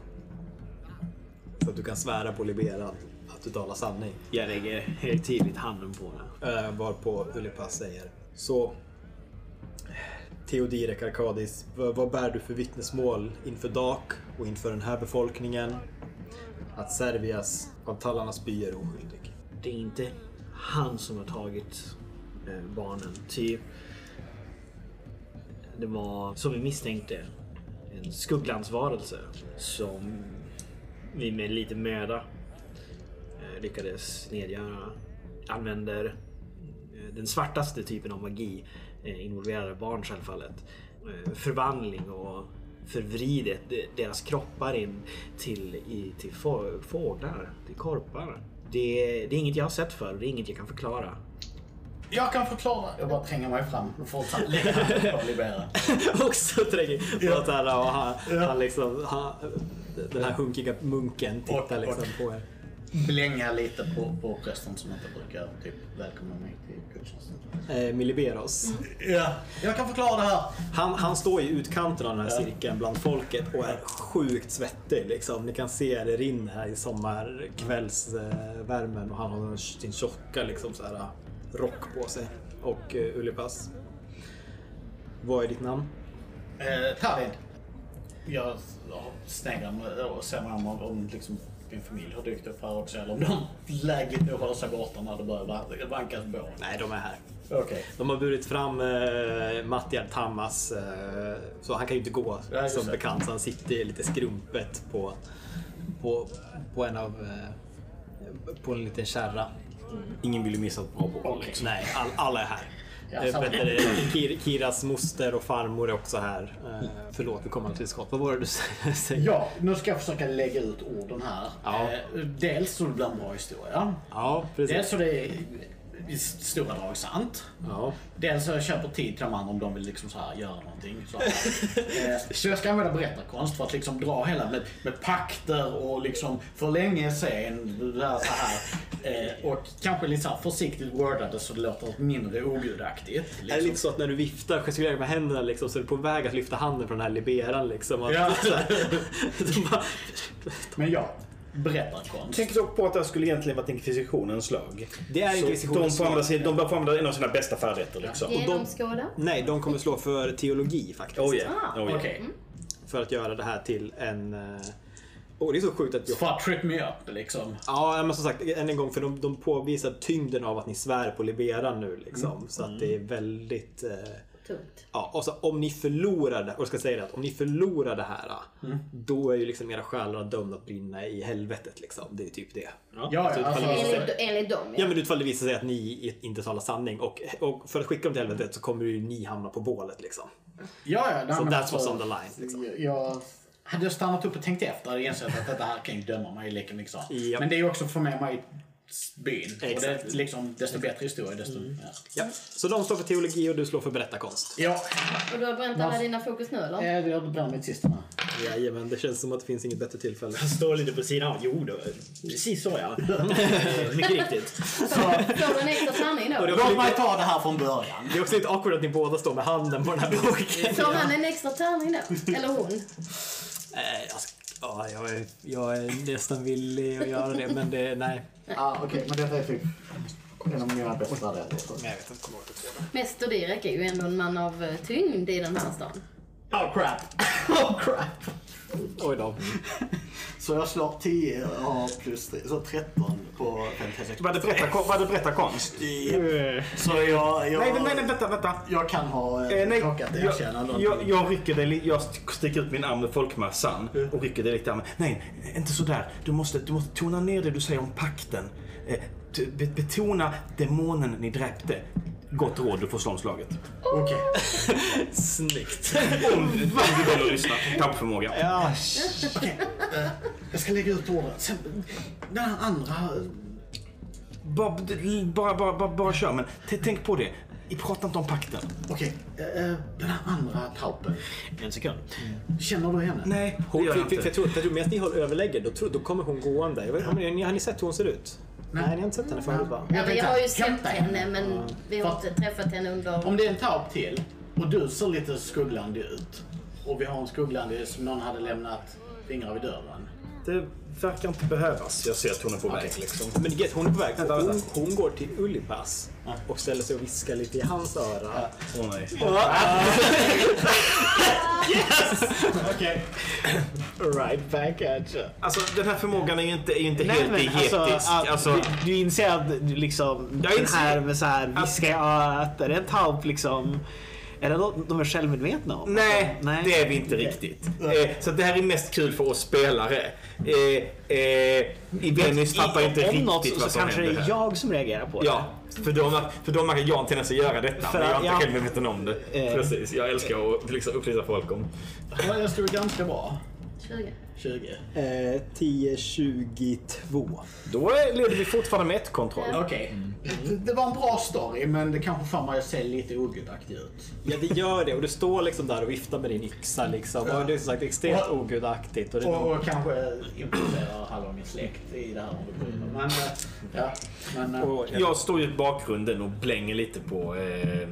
[SPEAKER 3] Så att du kan svära på liberan att du talar sanning.
[SPEAKER 5] Jag lägger helt tydligt handen på den.
[SPEAKER 3] Eh, varpå Ulipas säger så Theodirek Arkadis, v- vad bär du för vittnesmål inför Dak och inför den här befolkningen? Att Servias av tallarnas by är oskyldig. (laughs)
[SPEAKER 5] Det är inte han som har tagit eh, barnen. Ty det var, som vi misstänkte, en skugglandsvarelse som vi med lite möda eh, lyckades nedgöra. Använder eh, den svartaste typen av magi, eh, involverar barn självfallet. Eh, förvandling och förvridet de- deras kroppar in till, i, till få- fåglar, till korpar. Det, det är inget jag har sett förr, det är inget jag kan förklara.
[SPEAKER 2] Jag kan förklara. Jag bara tränger mig fram och fortsätter lägga (laughs) handen på Libera.
[SPEAKER 3] Också trängig. Ja. Och han, han liksom, han, den här hunkiga munken
[SPEAKER 2] Och-
[SPEAKER 3] tittar
[SPEAKER 2] och-
[SPEAKER 3] liksom på er.
[SPEAKER 2] Blänga lite på, på prästen som inte brukar typ välkomna mig till gudstjänsten.
[SPEAKER 3] Eh, Miliberos.
[SPEAKER 2] Ja, jag kan förklara det här.
[SPEAKER 3] Han, han står i utkanten av den här cirkeln bland folket och är sjukt svettig. Liksom. Ni kan se det rinner här i sommarkvällsvärmen och han har sin tjocka liksom, så här, rock på sig. Och uh, Ullipass. Vad är ditt namn?
[SPEAKER 2] Eh, Tavid. Jag sneglar mig och ser mig om, om liksom din familj har dykt upp här också eller om de lägligt nog håller sig borta när det börjar van- vankas på.
[SPEAKER 3] Nej, de är här.
[SPEAKER 2] Okej.
[SPEAKER 3] De har burit fram eh, Mattiad Tammas, eh, så han kan ju inte gå
[SPEAKER 2] Nej, just
[SPEAKER 3] som
[SPEAKER 2] det.
[SPEAKER 3] bekant. Så han sitter lite skrumpet på, på, på en av... Eh, på en liten kärra.
[SPEAKER 1] Ingen vill ju missa ett bra boll.
[SPEAKER 2] Okej.
[SPEAKER 3] Nej, all, alla är här.
[SPEAKER 2] Ja,
[SPEAKER 3] Eh,
[SPEAKER 2] samma.
[SPEAKER 3] vet du, Kir, Kiras moster och farmor är också här. Eh, förlåt, vi kommer aldrig till skott. Vad var det du (laughs) säger?
[SPEAKER 2] Ja, nu ska jag försöka lägga ut orden här.
[SPEAKER 3] Ja.
[SPEAKER 2] Eh, Dels så det blir en bra historia.
[SPEAKER 3] Ja, precis.
[SPEAKER 2] Dels så det är i stora drag sant.
[SPEAKER 3] Ja.
[SPEAKER 2] Dels så jag köper tid till de andra om de vill liksom så här göra någonting. Så,
[SPEAKER 3] (laughs)
[SPEAKER 2] här. Eh, så jag ska använda berättarkonst för att liksom dra hela med, med pakter och liksom för länge sen. Det här, så här. Eh, och kanske lite så här försiktigt wordade så det låter mindre ogudaktigt.
[SPEAKER 3] Är det
[SPEAKER 2] Liksom.
[SPEAKER 3] lite så att när du viftar gestikulerar med händerna liksom, så är du på väg att lyfta handen från den här liberan liksom? Att, (laughs)
[SPEAKER 2] Ja.
[SPEAKER 3] så här, så bara,
[SPEAKER 2] Men ja, berättarkonst.
[SPEAKER 1] Tänk dock på att det här skulle egentligen varit inkvisitionens slag.
[SPEAKER 3] det är
[SPEAKER 1] Så de,
[SPEAKER 3] inkvisitionens
[SPEAKER 1] får använda
[SPEAKER 3] slag.
[SPEAKER 1] sin, de bör få använda en av sina bästa färdigheter liksom.
[SPEAKER 4] Genomskåda.
[SPEAKER 3] Nej, de kommer slå för teologi faktiskt.
[SPEAKER 1] Oh yeah.
[SPEAKER 4] Ah.
[SPEAKER 1] Oh,
[SPEAKER 2] Okej.
[SPEAKER 1] yeah.
[SPEAKER 3] Mm. För att göra det här till en... eh, Åh, det är så sjukt att jag
[SPEAKER 2] För att trip me up liksom.
[SPEAKER 3] Ja, men som sagt, än en gång, för de, de påvisar tyngden av att ni svär på Liberan nu. Liksom,
[SPEAKER 2] Mm.
[SPEAKER 3] Så att det är väldigt... Eh,
[SPEAKER 4] Tungt.
[SPEAKER 3] ja, och så, om ni förlorar det, och jag ska säga det, att om ni förlorar det här,
[SPEAKER 2] Mm.
[SPEAKER 3] då är ju liksom era själar dömda att brinna i helvetet. Liksom. Det är typ det.
[SPEAKER 2] Ja, ja, alltså,
[SPEAKER 4] Enligt, enligt dem
[SPEAKER 3] Ja, men utfall det visar sig att ni inte talar sanning och, och för att skicka dem till helvetet så kommer ju ni hamna på bålet. Liksom.
[SPEAKER 2] Ja, ja. nej,
[SPEAKER 3] Så
[SPEAKER 2] men
[SPEAKER 3] that's
[SPEAKER 2] alltså,
[SPEAKER 3] what's on the line, liksom.
[SPEAKER 2] jag- Jag hade jag stannat upp och tänkt efter hade jag insett att det här kan ju döma mig lika mycket. så.
[SPEAKER 3] Japp.
[SPEAKER 2] Men det är ju också att få med mig byn. Och det är
[SPEAKER 3] Exakt.
[SPEAKER 2] liksom, desto bättre historia, desto mer.
[SPEAKER 3] Ja. Så de står för teologi och du slår för berättarkonst.
[SPEAKER 2] Ja,
[SPEAKER 4] Och du har bränt alla dina fokus nu eller?
[SPEAKER 2] eh, jag blir mitt sista nu.
[SPEAKER 3] Jajamän, det känns som att det finns inget bättre tillfälle.
[SPEAKER 5] Jag står lite på sidan. Jo, då, precis så ja. Eh, (laughs) Mycket riktigt.
[SPEAKER 4] Får du en extra sanning då?
[SPEAKER 2] Låt mig ta det här från början.
[SPEAKER 3] Det är också lite awkward att ni båda står med handen på den här boken.
[SPEAKER 4] Får han en extra tärning då? Eller hon?
[SPEAKER 3] (laughs) Eh, jag, sk- ja, jag, är, jag är nästan villig att göra det, men det, nej.
[SPEAKER 2] ah, okej. Men detta är typ en av mina bästa rätter.
[SPEAKER 3] Men jag vet inte, kommer ihåg det.
[SPEAKER 4] Mäster Direk är ju ändå en man av eh, tyngd i den här stan.
[SPEAKER 2] Oh crap. (laughs) Oh crap. (laughs)
[SPEAKER 3] Oj då.
[SPEAKER 2] Så jag slår 10 ja, plus 3, så 13 på 56.
[SPEAKER 1] Var det berättarkonst? Var det berättarkonst?
[SPEAKER 2] Så jag... jag
[SPEAKER 1] Nej, nej, nej, vänta, vänta.
[SPEAKER 2] Jag kan ha eh,
[SPEAKER 1] Eh, nej,
[SPEAKER 2] råkat erkänna
[SPEAKER 1] jag,
[SPEAKER 2] någonting.
[SPEAKER 1] jag, jag rycker dig, li- jag st- sticker ut min arm ur folkmassan
[SPEAKER 3] Mm.
[SPEAKER 1] och rycker dig lite i armen. Nej, inte sådär. Du måste, du måste tona ner det du säger om pakten. Eh, t- be- betona demonen ni dräpte. Gott råd, du får slå om slaget.
[SPEAKER 3] Oh,
[SPEAKER 2] Okej.
[SPEAKER 3] Snyggt.
[SPEAKER 1] Om, om du väljer att lyssna. Tappförmåga.
[SPEAKER 3] Ja,
[SPEAKER 2] Jag ska lägga ut orden. Sen, den här andra...
[SPEAKER 1] Bara, bara, bara, bara, bara kör, men t- tänk på det. I- Prata inte om pakten.
[SPEAKER 2] Okej, eh, eh, den här andra taupen.
[SPEAKER 5] En sekund.
[SPEAKER 2] Känner du henne?
[SPEAKER 1] Nej, det
[SPEAKER 3] hon,
[SPEAKER 1] gör
[SPEAKER 3] för,
[SPEAKER 1] jag
[SPEAKER 3] för, för jag
[SPEAKER 1] inte.
[SPEAKER 3] tror, för jag tror medan ni håller överlägger, då, tror, då kommer hon gående. Jag vet, har, ni, har ni sett hur hon ser ut? Nej, ni har inte sett henne förut va?
[SPEAKER 4] Jag, jag
[SPEAKER 2] tänkte-
[SPEAKER 4] har ju sett
[SPEAKER 2] hämta
[SPEAKER 4] henne men vi har
[SPEAKER 2] Fast-
[SPEAKER 4] inte träffat henne under...
[SPEAKER 2] Om det är en taup till och du ser lite skugglandig ut och vi har en skugglandig som någon hade lämnat fingrar vid dörren.
[SPEAKER 1] Det verkar inte behövas. Jag ser att hon är på väg. Liksom.
[SPEAKER 3] Men get, hon är på väg.
[SPEAKER 1] Vänta,
[SPEAKER 3] Hon,
[SPEAKER 1] vänta.
[SPEAKER 3] hon går till Ullipas och ställer sig och viskar lite i hans öra.
[SPEAKER 1] Åh nej.
[SPEAKER 2] Okej.
[SPEAKER 5] Right back at you.
[SPEAKER 1] Alltså den här förmågan är ju inte, är ju inte
[SPEAKER 5] Nej,
[SPEAKER 1] helt
[SPEAKER 5] men
[SPEAKER 1] dietisk.
[SPEAKER 5] alltså, att
[SPEAKER 1] Alltså,
[SPEAKER 5] du, du inser att du liksom,
[SPEAKER 1] Jag
[SPEAKER 5] den
[SPEAKER 1] inser-
[SPEAKER 5] här med så här viska i örat, är det en taup liksom? Är det något de är självmedvetna om? Alltså,
[SPEAKER 1] Nej,
[SPEAKER 5] Nej.
[SPEAKER 1] det är vi inte riktigt. Eh, så det här är mest kul för oss spelare. Eh, eh, Dennis fattar inte
[SPEAKER 5] om
[SPEAKER 1] riktigt
[SPEAKER 5] något så,
[SPEAKER 1] vad
[SPEAKER 5] så
[SPEAKER 1] som
[SPEAKER 5] kanske det
[SPEAKER 1] händer
[SPEAKER 5] är
[SPEAKER 1] här.
[SPEAKER 5] jag som reagerar på det.
[SPEAKER 1] Ja, för de, för de märker jag en tendens att göra detta,
[SPEAKER 5] För
[SPEAKER 1] men jag är
[SPEAKER 5] att-
[SPEAKER 1] inte
[SPEAKER 5] ja.
[SPEAKER 1] själv medveten om det.
[SPEAKER 5] Eh.
[SPEAKER 1] Precis, jag älskar att liksom upplysa folk om.
[SPEAKER 2] Ja, jag stod ganska bra.
[SPEAKER 4] 20.
[SPEAKER 2] 20.
[SPEAKER 3] Eh, 10, 22.
[SPEAKER 1] Då är- leder vi fortfarande med ett kontroll.
[SPEAKER 2] Okej. Det- Det var en bra story men det kanske får mig att se lite ogudaktig ut.
[SPEAKER 3] Ja, det gör det. Och du står liksom där och viftar med din yxa. Liksom. Och det är som sagt extremt
[SPEAKER 2] Och-
[SPEAKER 3] ogudaktigt. Och det
[SPEAKER 2] Och, och kanske implicerar halva min släkt i det här om du bryr dig. Men, eh, ja. Men, eh,
[SPEAKER 3] och,
[SPEAKER 1] Jag står ju i bakgrunden och blänger lite på, eh,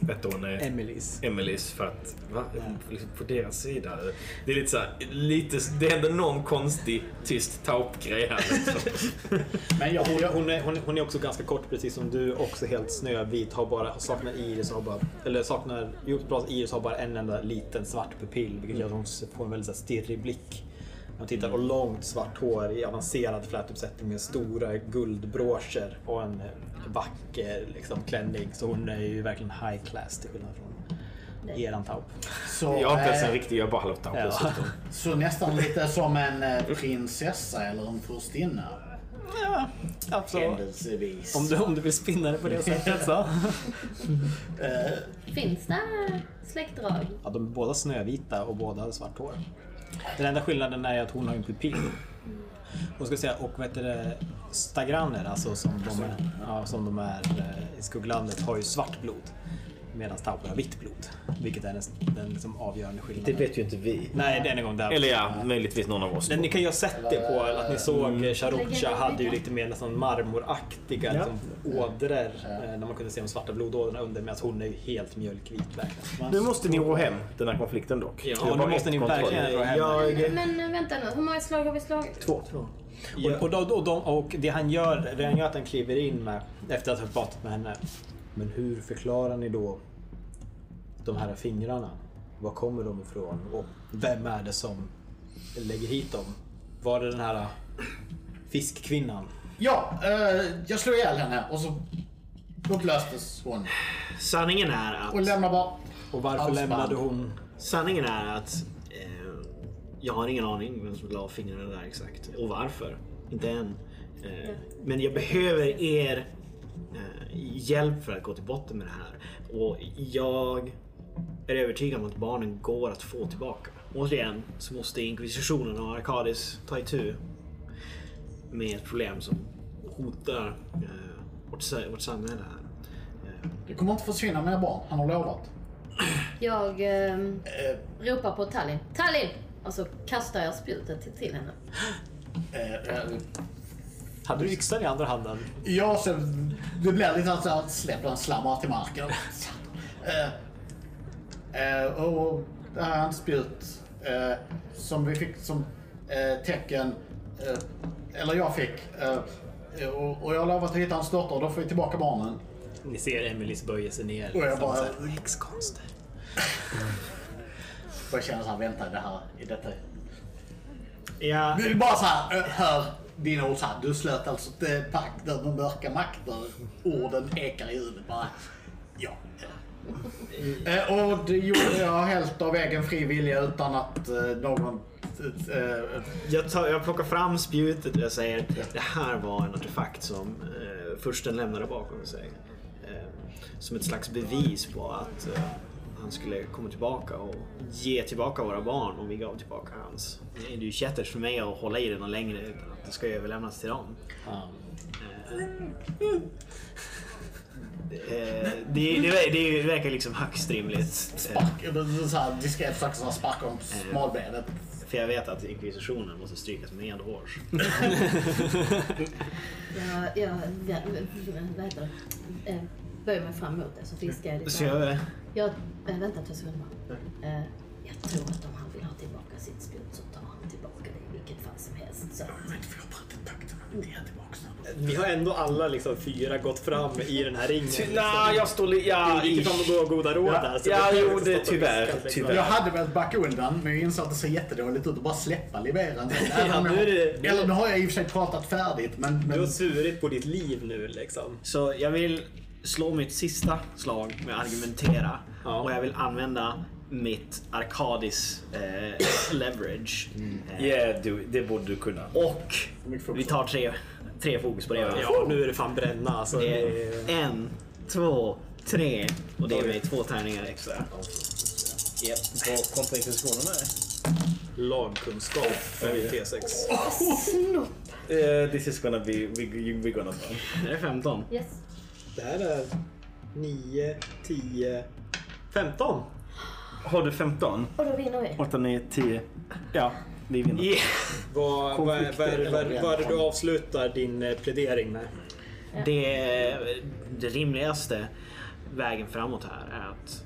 [SPEAKER 1] vet hon, eh,
[SPEAKER 3] Emelies.
[SPEAKER 1] Emelies för att, va? Liksom på deras sida. Det är lite så här, lite, det händer någon konstig
[SPEAKER 7] typ.
[SPEAKER 1] tyst taupgrej här. Liksom.
[SPEAKER 2] men jag,
[SPEAKER 3] Hon,
[SPEAKER 2] jag,
[SPEAKER 3] hon, är, hon, är- hon är också ganska kort precis som du. Också helt snövit. Har bara, saknar iris. Har bara, eller saknar ljusblad iris. Har bara en enda liten svart pupill. Vilket gör att hon får en väldigt så här, stirrig blick. Man tittar på långt svart hår i avancerad flätuppsättning med stora guldbroscher och en eh, vacker liksom, klänning. Så hon är ju verkligen high class till skillnad från eran Taup.
[SPEAKER 2] Så,
[SPEAKER 7] Jag är inte ens en
[SPEAKER 2] eh,
[SPEAKER 7] riktig, jag är bara halvt
[SPEAKER 3] Ja.
[SPEAKER 7] dessutom.
[SPEAKER 2] så nästan lite som en eh, prinsessa eller en furstinna.
[SPEAKER 3] Ja, absolut.
[SPEAKER 2] Händelsevis.
[SPEAKER 3] Om du, om du vill spinna det på det sättet så.
[SPEAKER 2] Eh,
[SPEAKER 4] Finns det släktdrag?
[SPEAKER 3] Ja, de är båda snövita och båda hade svart hår. Den enda skillnaden är att hon har en pupill. Och ska säga, och vet du, det, stagranner, alltså som de är, ja, som de är eh, i skugglandet, har ju svart blod. Medan tauper har vitt blod. Vilket är den, den liksom avgörande
[SPEAKER 5] Det
[SPEAKER 3] skillnaden.
[SPEAKER 5] vet ju inte vi.
[SPEAKER 3] Nej, det är en gång där.
[SPEAKER 7] Eller ja, möjligtvis någon av oss.
[SPEAKER 3] Men ni kan ju ha sett det på att ni såg eh, Charucha hade ju lite mer nästan marmoraktiga liksom, ådror. eh, När man kunde se de svarta blodådrorna under. Medan hon är ju helt mjölkvit verkligen.
[SPEAKER 7] Nu måste ni ro hem den här konflikten dock.
[SPEAKER 3] Ja,
[SPEAKER 7] Det är
[SPEAKER 3] nu
[SPEAKER 7] bara
[SPEAKER 3] måste
[SPEAKER 7] ett
[SPEAKER 3] ni
[SPEAKER 7] kontroll.
[SPEAKER 3] verkligen ro hem.
[SPEAKER 7] Jag...
[SPEAKER 4] Men eh, vänta nu, hur många slag har vi slagit?
[SPEAKER 7] Två.
[SPEAKER 3] Och, och, då- och, de, och det han gör, det han gör att han kliver in med efter att ha pratat med henne. Men hur förklarar ni då de här fingrarna? Var kommer de ifrån? Och vem är det som lägger hit dem? Var det den här fiskkvinnan?
[SPEAKER 2] ja, eh, jag slog ihjäl henne och så upplöstes hon.
[SPEAKER 5] Sanningen är att...
[SPEAKER 2] Och lämnade bara...
[SPEAKER 3] Och varför
[SPEAKER 2] Alls
[SPEAKER 3] lämnade
[SPEAKER 2] band.
[SPEAKER 3] hon?
[SPEAKER 5] Sanningen är att eh, jag har ingen aning vem som la fingrarna där exakt och varför. Inte än. Eh, men jag behöver er eh, hjälp för att gå till botten med det här. Och jag är övertygad om att barnen går att få tillbaka. Återigen så måste inkvisitionen och Arkadis ta itu med ett problem som hotar eh, vårt, sa- vårt samhälle här. Eh,
[SPEAKER 2] Det kommer inte försvinna mina barn, han har lovat.
[SPEAKER 4] Jag eh, ropar på Tallinn. Tallinn! Och så kastar jag spjutet till, till henne.
[SPEAKER 2] Eh, eh,
[SPEAKER 3] Hade du yxan i andra handen?
[SPEAKER 2] Ja, så det blir lite så att släpper den slammar till marken. Eh, eh, och det här är ett spjut eh, som vi fick som eh, tecken, eh, eller jag fick. eh, och, och jag har lovat att hitta hans dotter, då får vi tillbaka barnen.
[SPEAKER 3] Ni ser Emelies böjer sig ner.
[SPEAKER 2] Och jag bara-
[SPEAKER 3] Så här, Häxkonster.
[SPEAKER 2] Och jag känner så här, vänta det här, i detta.
[SPEAKER 5] Ja,
[SPEAKER 2] Det är bara så här, eh, hör dina ord så här, du slöt alltså ett pakt där med mörka makter. Orden ekar i huvudet bara. Ja. (laughs) Eh, Och det gjorde jag helt av egen fri vilja utan att eh, någon... eh, eh,
[SPEAKER 5] Jag, tar, jag plockar fram spjutet och jag säger det här var en artefakt som eh, försten lämnade bakom sig. Eh, som ett slags bevis på att eh, han skulle komma tillbaka och ge tillbaka våra barn om vi gav tillbaka hans. Det är ju kätters för mig att hålla i den någon längre utan att det ska överlämnas till dem. Eh, det, det, det verkar liksom högst rimligt. Eh,
[SPEAKER 2] Spark, det är så här diskret försöker så här sparka om smalbenet.
[SPEAKER 5] för jag vet att inkvisitionen måste strykas med hårs.
[SPEAKER 4] Jag, jag ja, vad heter det? Eh, böjer mig fram mot det så viskar jag
[SPEAKER 5] Så
[SPEAKER 4] lite.
[SPEAKER 5] jag, eh,
[SPEAKER 4] Jag, eh, vänta två sekunder bara. Eh, jag tror att om han vill ha tillbaka sitt spjut så tar han tillbaka det i vilket fall som helst. Så.
[SPEAKER 2] Men för jag har brutit pakten, men
[SPEAKER 3] Mm.
[SPEAKER 2] det är jag tillbaka snart.
[SPEAKER 3] Ni har ändå alla liksom fyra gått fram i den här ringen. liksom.
[SPEAKER 7] Nej, jag står li-
[SPEAKER 3] Du
[SPEAKER 7] ja,
[SPEAKER 3] gick fram och gav goda råd där. så
[SPEAKER 7] Ja,
[SPEAKER 3] det-
[SPEAKER 7] jo, det- tyvärr,
[SPEAKER 3] liksom.
[SPEAKER 7] tyvärr.
[SPEAKER 2] Jag hade velat backa undan men jag insåg att det ser jättedåligt ut att bara släppa
[SPEAKER 3] (laughs)
[SPEAKER 2] Liberan. Även om
[SPEAKER 3] nu är det-
[SPEAKER 2] jag- Eller nu har jag i och för sig pratat färdigt men...
[SPEAKER 3] Du har
[SPEAKER 2] men
[SPEAKER 3] svurit på ditt liv nu liksom.
[SPEAKER 5] Så jag vill slå mitt sista slag med argumentera.
[SPEAKER 3] Ja.
[SPEAKER 5] Och jag vill använda mitt Arkadis eh, (coughs) leverage.
[SPEAKER 3] Mm.
[SPEAKER 5] Eh,
[SPEAKER 7] Yeah, du, det borde du kunna.
[SPEAKER 5] Och
[SPEAKER 2] mycket fokus.
[SPEAKER 5] vi tar tre, tre fokus på det. va?
[SPEAKER 3] Ja, nu är det fan bränna alltså.
[SPEAKER 5] Det
[SPEAKER 3] Det
[SPEAKER 5] är En, två, tre. Och det är med två tärningar extra.
[SPEAKER 7] Yep. Vad kontraintentionen är?
[SPEAKER 3] lagkunskap för T6.
[SPEAKER 7] Eh, this is gonna be... We, we gonna be.
[SPEAKER 5] (laughs) Det är 15.
[SPEAKER 4] Yes.
[SPEAKER 3] Det här är 9, 10, 15.
[SPEAKER 7] Har du 15?
[SPEAKER 4] Och då vinner vi.
[SPEAKER 7] 8, 9, 10. Ja, vi vinner.
[SPEAKER 5] Yeah.
[SPEAKER 3] Vad, vad, vad, vad,
[SPEAKER 2] eller
[SPEAKER 3] vad, vad är det du
[SPEAKER 2] bränna.
[SPEAKER 3] avslutar din eh, plädering med?
[SPEAKER 5] Det, det rimligaste vägen framåt här är att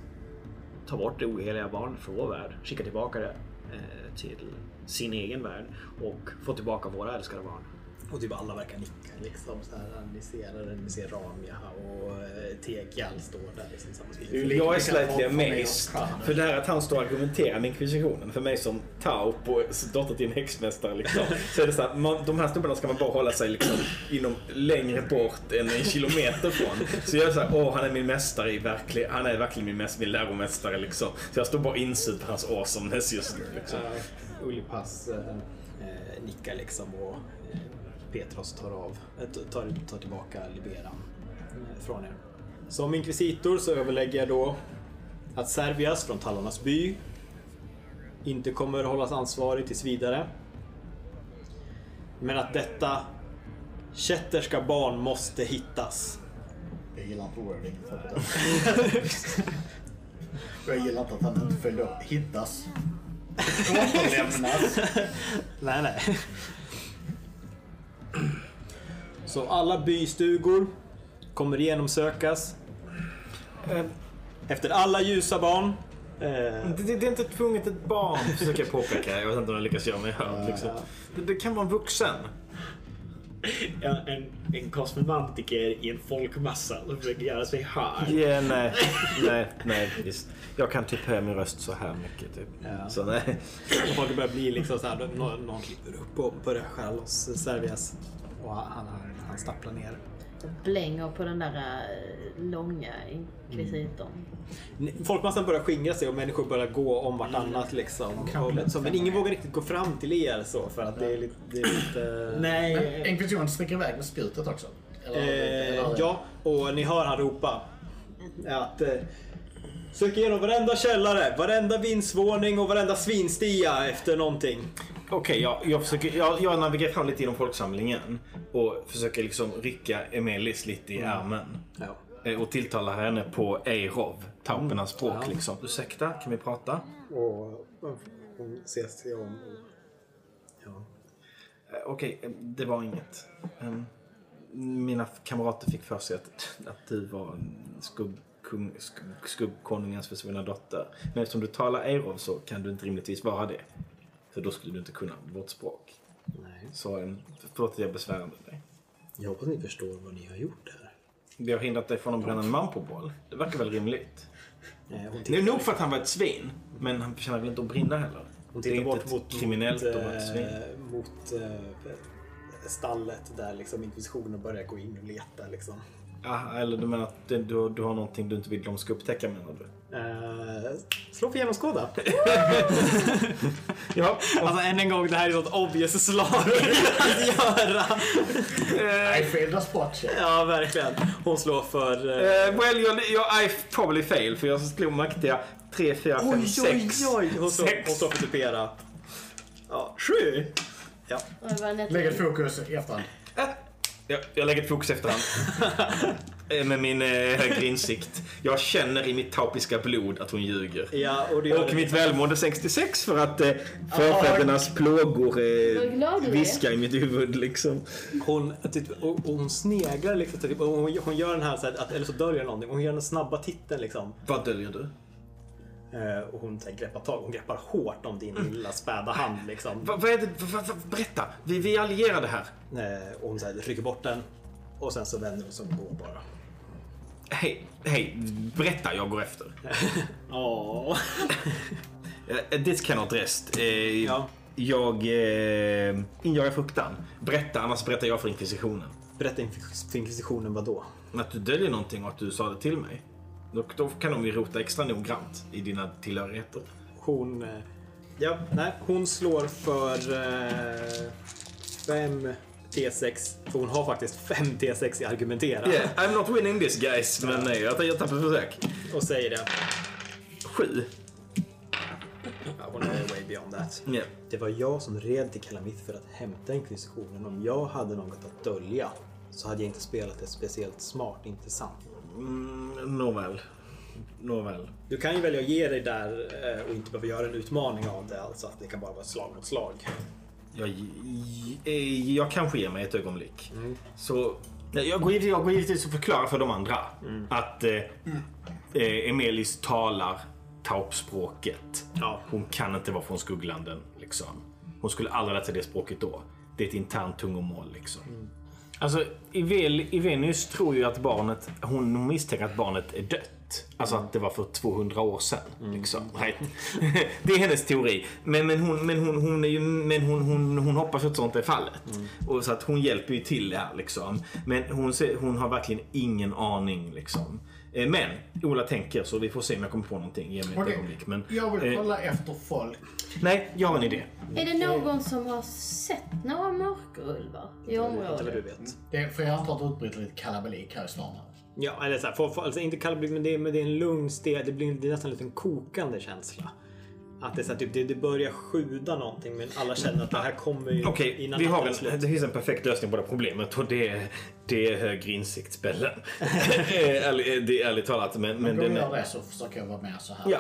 [SPEAKER 5] ta bort det oheliga barnet från vår värld, skicka tillbaka det eh, till sin egen värld och få tillbaka våra älskade barn.
[SPEAKER 3] Och typ alla verkar nicka liksom. Så här, ni ser den, ni ser Ramia och eh, Tegial står där liksom. Samma
[SPEAKER 7] Jag är slightly amazed. För det här att han står och argumenterar med inkvisitionen. För mig som taup och dotter till en häxmästare liksom. Så är det så här, man, de här snubbarna ska man bara hålla sig liksom inom längre bort än en kilometer från. Så jag är så här, åh han är min mästare i verklig, han är verkligen min, mäst, min läromästare liksom. Så jag står bara insedd på hans awesomeness just nu liksom.
[SPEAKER 3] Eh, Ullipass eh, eh, nickar liksom och eh, Petros tar, av, eh, tar, tar tillbaka liberan eh, från er. Som inkvisitor så överlägger jag då att Servias från Tallarnas by inte kommer hållas ansvarig tills vidare. Men att detta kätterska barn måste hittas.
[SPEAKER 2] Jag gillar inte wordingen för det. Och (laughs) jag gillar inte att han inte följde upp. Hittas. (laughs) Återlämnas.
[SPEAKER 3] Nej, nej. (clears throat) Så alla bystugor kommer genomsökas.
[SPEAKER 1] Eh.
[SPEAKER 3] Efter alla ljusa barn. Eh,
[SPEAKER 1] Det, det är inte tvunget ett barn, försöker jag påpeka. Jag vet inte om jag lyckas göra mig hörd. Liksom. Det, det kan vara en vuxen.
[SPEAKER 5] Ja, en, en kosmonantiker i en folkmassa som försöker göra sig hörd.
[SPEAKER 1] Ja, nej, nej, nej, visst. Jag kan typ höja min röst så här mycket. Typ.
[SPEAKER 3] Ja.
[SPEAKER 1] Så nej.
[SPEAKER 3] och folk börjar bli liksom såhär, någon, någon klipper upp och börjar skära loss Servias. Och han, han, han stapplar ner.
[SPEAKER 4] Jag blänger på den där eh, långa inkvisitorn.
[SPEAKER 3] Folkmassan börjar skingra sig och människor börjar gå om vartannat liksom. Och, så, men ingen vågar riktigt gå fram till er så för att det är lite... Det är lite
[SPEAKER 2] Men Inkvisitionen sticker iväg med spjutet också. Eller,
[SPEAKER 3] Eh, ja, och ni hör han ropa. Att, eh, sök igenom varenda källare, varenda vindsvåning och varenda svinstia efter någonting.
[SPEAKER 1] Okej, jag, jag, försöker- jag, jag navigerar fram lite genom folksamlingen och försöker liksom rycka Emelis lite i ärmen.
[SPEAKER 3] Ja.
[SPEAKER 1] Eh, Och tilltala henne på Eirov, taupernas språk liksom. Ursäkta, kan vi prata?
[SPEAKER 3] Och hon ser sig om. Ja.
[SPEAKER 1] Eh, Okej, eh, det var inget. Ehm, Mina f- kamrater fick för sig att, att du var skuggkung, skugg, skuggkonungens försvunna dotter. Men eftersom du talar Eirov så kan du inte rimligtvis vara det. För då skulle du inte kunna vårt språk.
[SPEAKER 3] Nej.
[SPEAKER 1] Så ehm, förlåt att jag besvärade dig.
[SPEAKER 3] Jag hoppas ni förstår vad ni har gjort här.
[SPEAKER 1] Vi har hindrat dig från att bränna en man på boll. Det verkar väl rimligt?
[SPEAKER 3] Eh, hon
[SPEAKER 1] Det
[SPEAKER 3] tittar,
[SPEAKER 1] är nog för att han var ett svin, men han förtjänar väl inte att brinna heller.
[SPEAKER 3] hon
[SPEAKER 1] Det är
[SPEAKER 3] tittar
[SPEAKER 1] inte
[SPEAKER 3] bort
[SPEAKER 1] ett
[SPEAKER 3] mot,
[SPEAKER 1] kriminellt
[SPEAKER 3] mot,
[SPEAKER 1] att vara ett svin.
[SPEAKER 3] eh, mot eh, stallet där liksom inkvisitionen börjar gå in och leta liksom.
[SPEAKER 1] Ah, eller du menar att det- du, du har någonting du inte vill de ska upptäcka menar du?
[SPEAKER 3] Eh, slå för genomskåda.
[SPEAKER 1] Ja,
[SPEAKER 3] (laughs) Alltså än en gång, det här är sånt obvious slag (laughs) att göra.
[SPEAKER 2] I failed a spot check.
[SPEAKER 3] Ja, verkligen. Hon slår för... eh,
[SPEAKER 1] Eh, well, jag, jag, I probably fail för jag slog mäktiga 3, 4, 5, 6.
[SPEAKER 3] Hon slår,
[SPEAKER 1] Sex.
[SPEAKER 3] hon slår för typ typera. Ja, sju.
[SPEAKER 4] Och det var nätt-
[SPEAKER 2] Lägg ett fokus i efterhand.
[SPEAKER 1] Jag, jag lägger ett fokus efterhand. (laughs) Eh, Med min eh, högre insikt. Jag känner i mitt taupiska blod att hon ljuger.
[SPEAKER 3] Ja, och det gör
[SPEAKER 1] Och
[SPEAKER 3] det.
[SPEAKER 1] mitt välmående 66 för att eh, förfädernas plågor
[SPEAKER 4] Vad glad
[SPEAKER 1] eh,
[SPEAKER 4] du är.
[SPEAKER 1] viskar i mitt huvud liksom.
[SPEAKER 3] Hon, typ, och, och hon sneglar liksom. Typ, och hon, hon gör den här, så här att, eller så döljer någonting. Hon gör den snabba titten liksom.
[SPEAKER 1] Vad döljer du?
[SPEAKER 3] Eh, och hon så här, greppar tag. Hon greppar hårt om din lilla späda hand liksom.
[SPEAKER 1] Va, vad är det? Va, va, va, berätta! Vi, vi är allierade här.
[SPEAKER 3] Eh, och hon så här, rycker bort den. Och sen så vänder hon sig och går bara.
[SPEAKER 1] Hej, hej, berätta, jag går efter.
[SPEAKER 3] Åh.
[SPEAKER 1] Eh, this cannot rest. Eh,
[SPEAKER 3] Ja.
[SPEAKER 1] Jag eh, injagar fruktan. Berätta, annars berättar jag för inkvisitionen.
[SPEAKER 3] Berätta inför inkvisitionen vad då?
[SPEAKER 1] Men Att du döljer någonting och att du sa det till mig. Då, då kan de ju rota extra noggrant i dina tillhörigheter.
[SPEAKER 3] Hon... eh, Ja, nej. Hon slår för eh, 5 T6. För hon har faktiskt 5 T6 i argumentera.
[SPEAKER 1] Yeah, I'm not winning this guys, men nej, jag, jag tappar försök.
[SPEAKER 3] Och säger det.
[SPEAKER 1] Sju.
[SPEAKER 3] Ja, hon är way beyond that.
[SPEAKER 1] Yeah.
[SPEAKER 3] Det var jag som red till Kalamith för att hämta inkvisitionen. Om jag hade något att dölja så hade jag inte spelat det speciellt smart, inte sant?
[SPEAKER 1] Mm, nåväl. Nåväl.
[SPEAKER 3] Du kan ju välja att ge dig där eh, och inte behöva göra en utmaning av det. Alltså att det kan bara vara slag mot slag.
[SPEAKER 1] Jag, eh, jag kanske ger mig ett ögonblick. Så, Mm. nej, jag, går givetvis, jag går givetvis och förklarar för de andra att eh, eh, Emelis talar taupspråket.
[SPEAKER 3] Ja.
[SPEAKER 1] Hon kan inte vara från skugglanden. Liksom. Hon skulle aldrig lärt sig det språket då. det är ett internt tungomål liksom. Alltså, Ivel, Ivenius tror ju att barnet, hon misstänker att barnet är dött. Alltså att det var för 200 år sedan. Liksom. Right. (laughs) Det är hennes teori. Men, men, hon, men, hon, hon, är ju, men hon, hon, hon hoppas ju att sånt är fallet. Och så att hon hjälper ju till det här. Liksom. Men hon, ser, hon har verkligen ingen aning. Liksom. Eh, Men Ola tänker så vi får se om jag kommer på någonting. Ge mig ett
[SPEAKER 2] Okej.
[SPEAKER 1] ögonblick. Men,
[SPEAKER 2] Jag vill
[SPEAKER 1] eh,
[SPEAKER 2] kolla efter folk.
[SPEAKER 1] nej, jag har en idé.
[SPEAKER 4] Är det någon som har sett några mörkerulvar i
[SPEAKER 3] Inte vad du
[SPEAKER 4] området?
[SPEAKER 3] vet.
[SPEAKER 2] Det, för jag antar att det utbryter lite kalabalik här i stan.
[SPEAKER 3] Ja, eller så här, för, för, alltså inte kallblod, men det, är- men det är en lugn sted. Det blir det är nästan en liten kokande känsla. Att det, är så här, typ, det, det börjar sjuda någonting men alla känner att det här kommer ju
[SPEAKER 1] Okej,
[SPEAKER 3] innan
[SPEAKER 1] vi har
[SPEAKER 3] natten är slut.
[SPEAKER 1] en, det finns en perfekt lösning på det här problemet och det är, det är högre
[SPEAKER 3] (laughs)
[SPEAKER 1] insiktsspällen. Ärlig- eh, det är ärligt talat, men, men
[SPEAKER 2] Men om
[SPEAKER 1] den
[SPEAKER 2] jag
[SPEAKER 1] är,
[SPEAKER 2] gör det så försöker jag vara med så här.
[SPEAKER 1] Ja,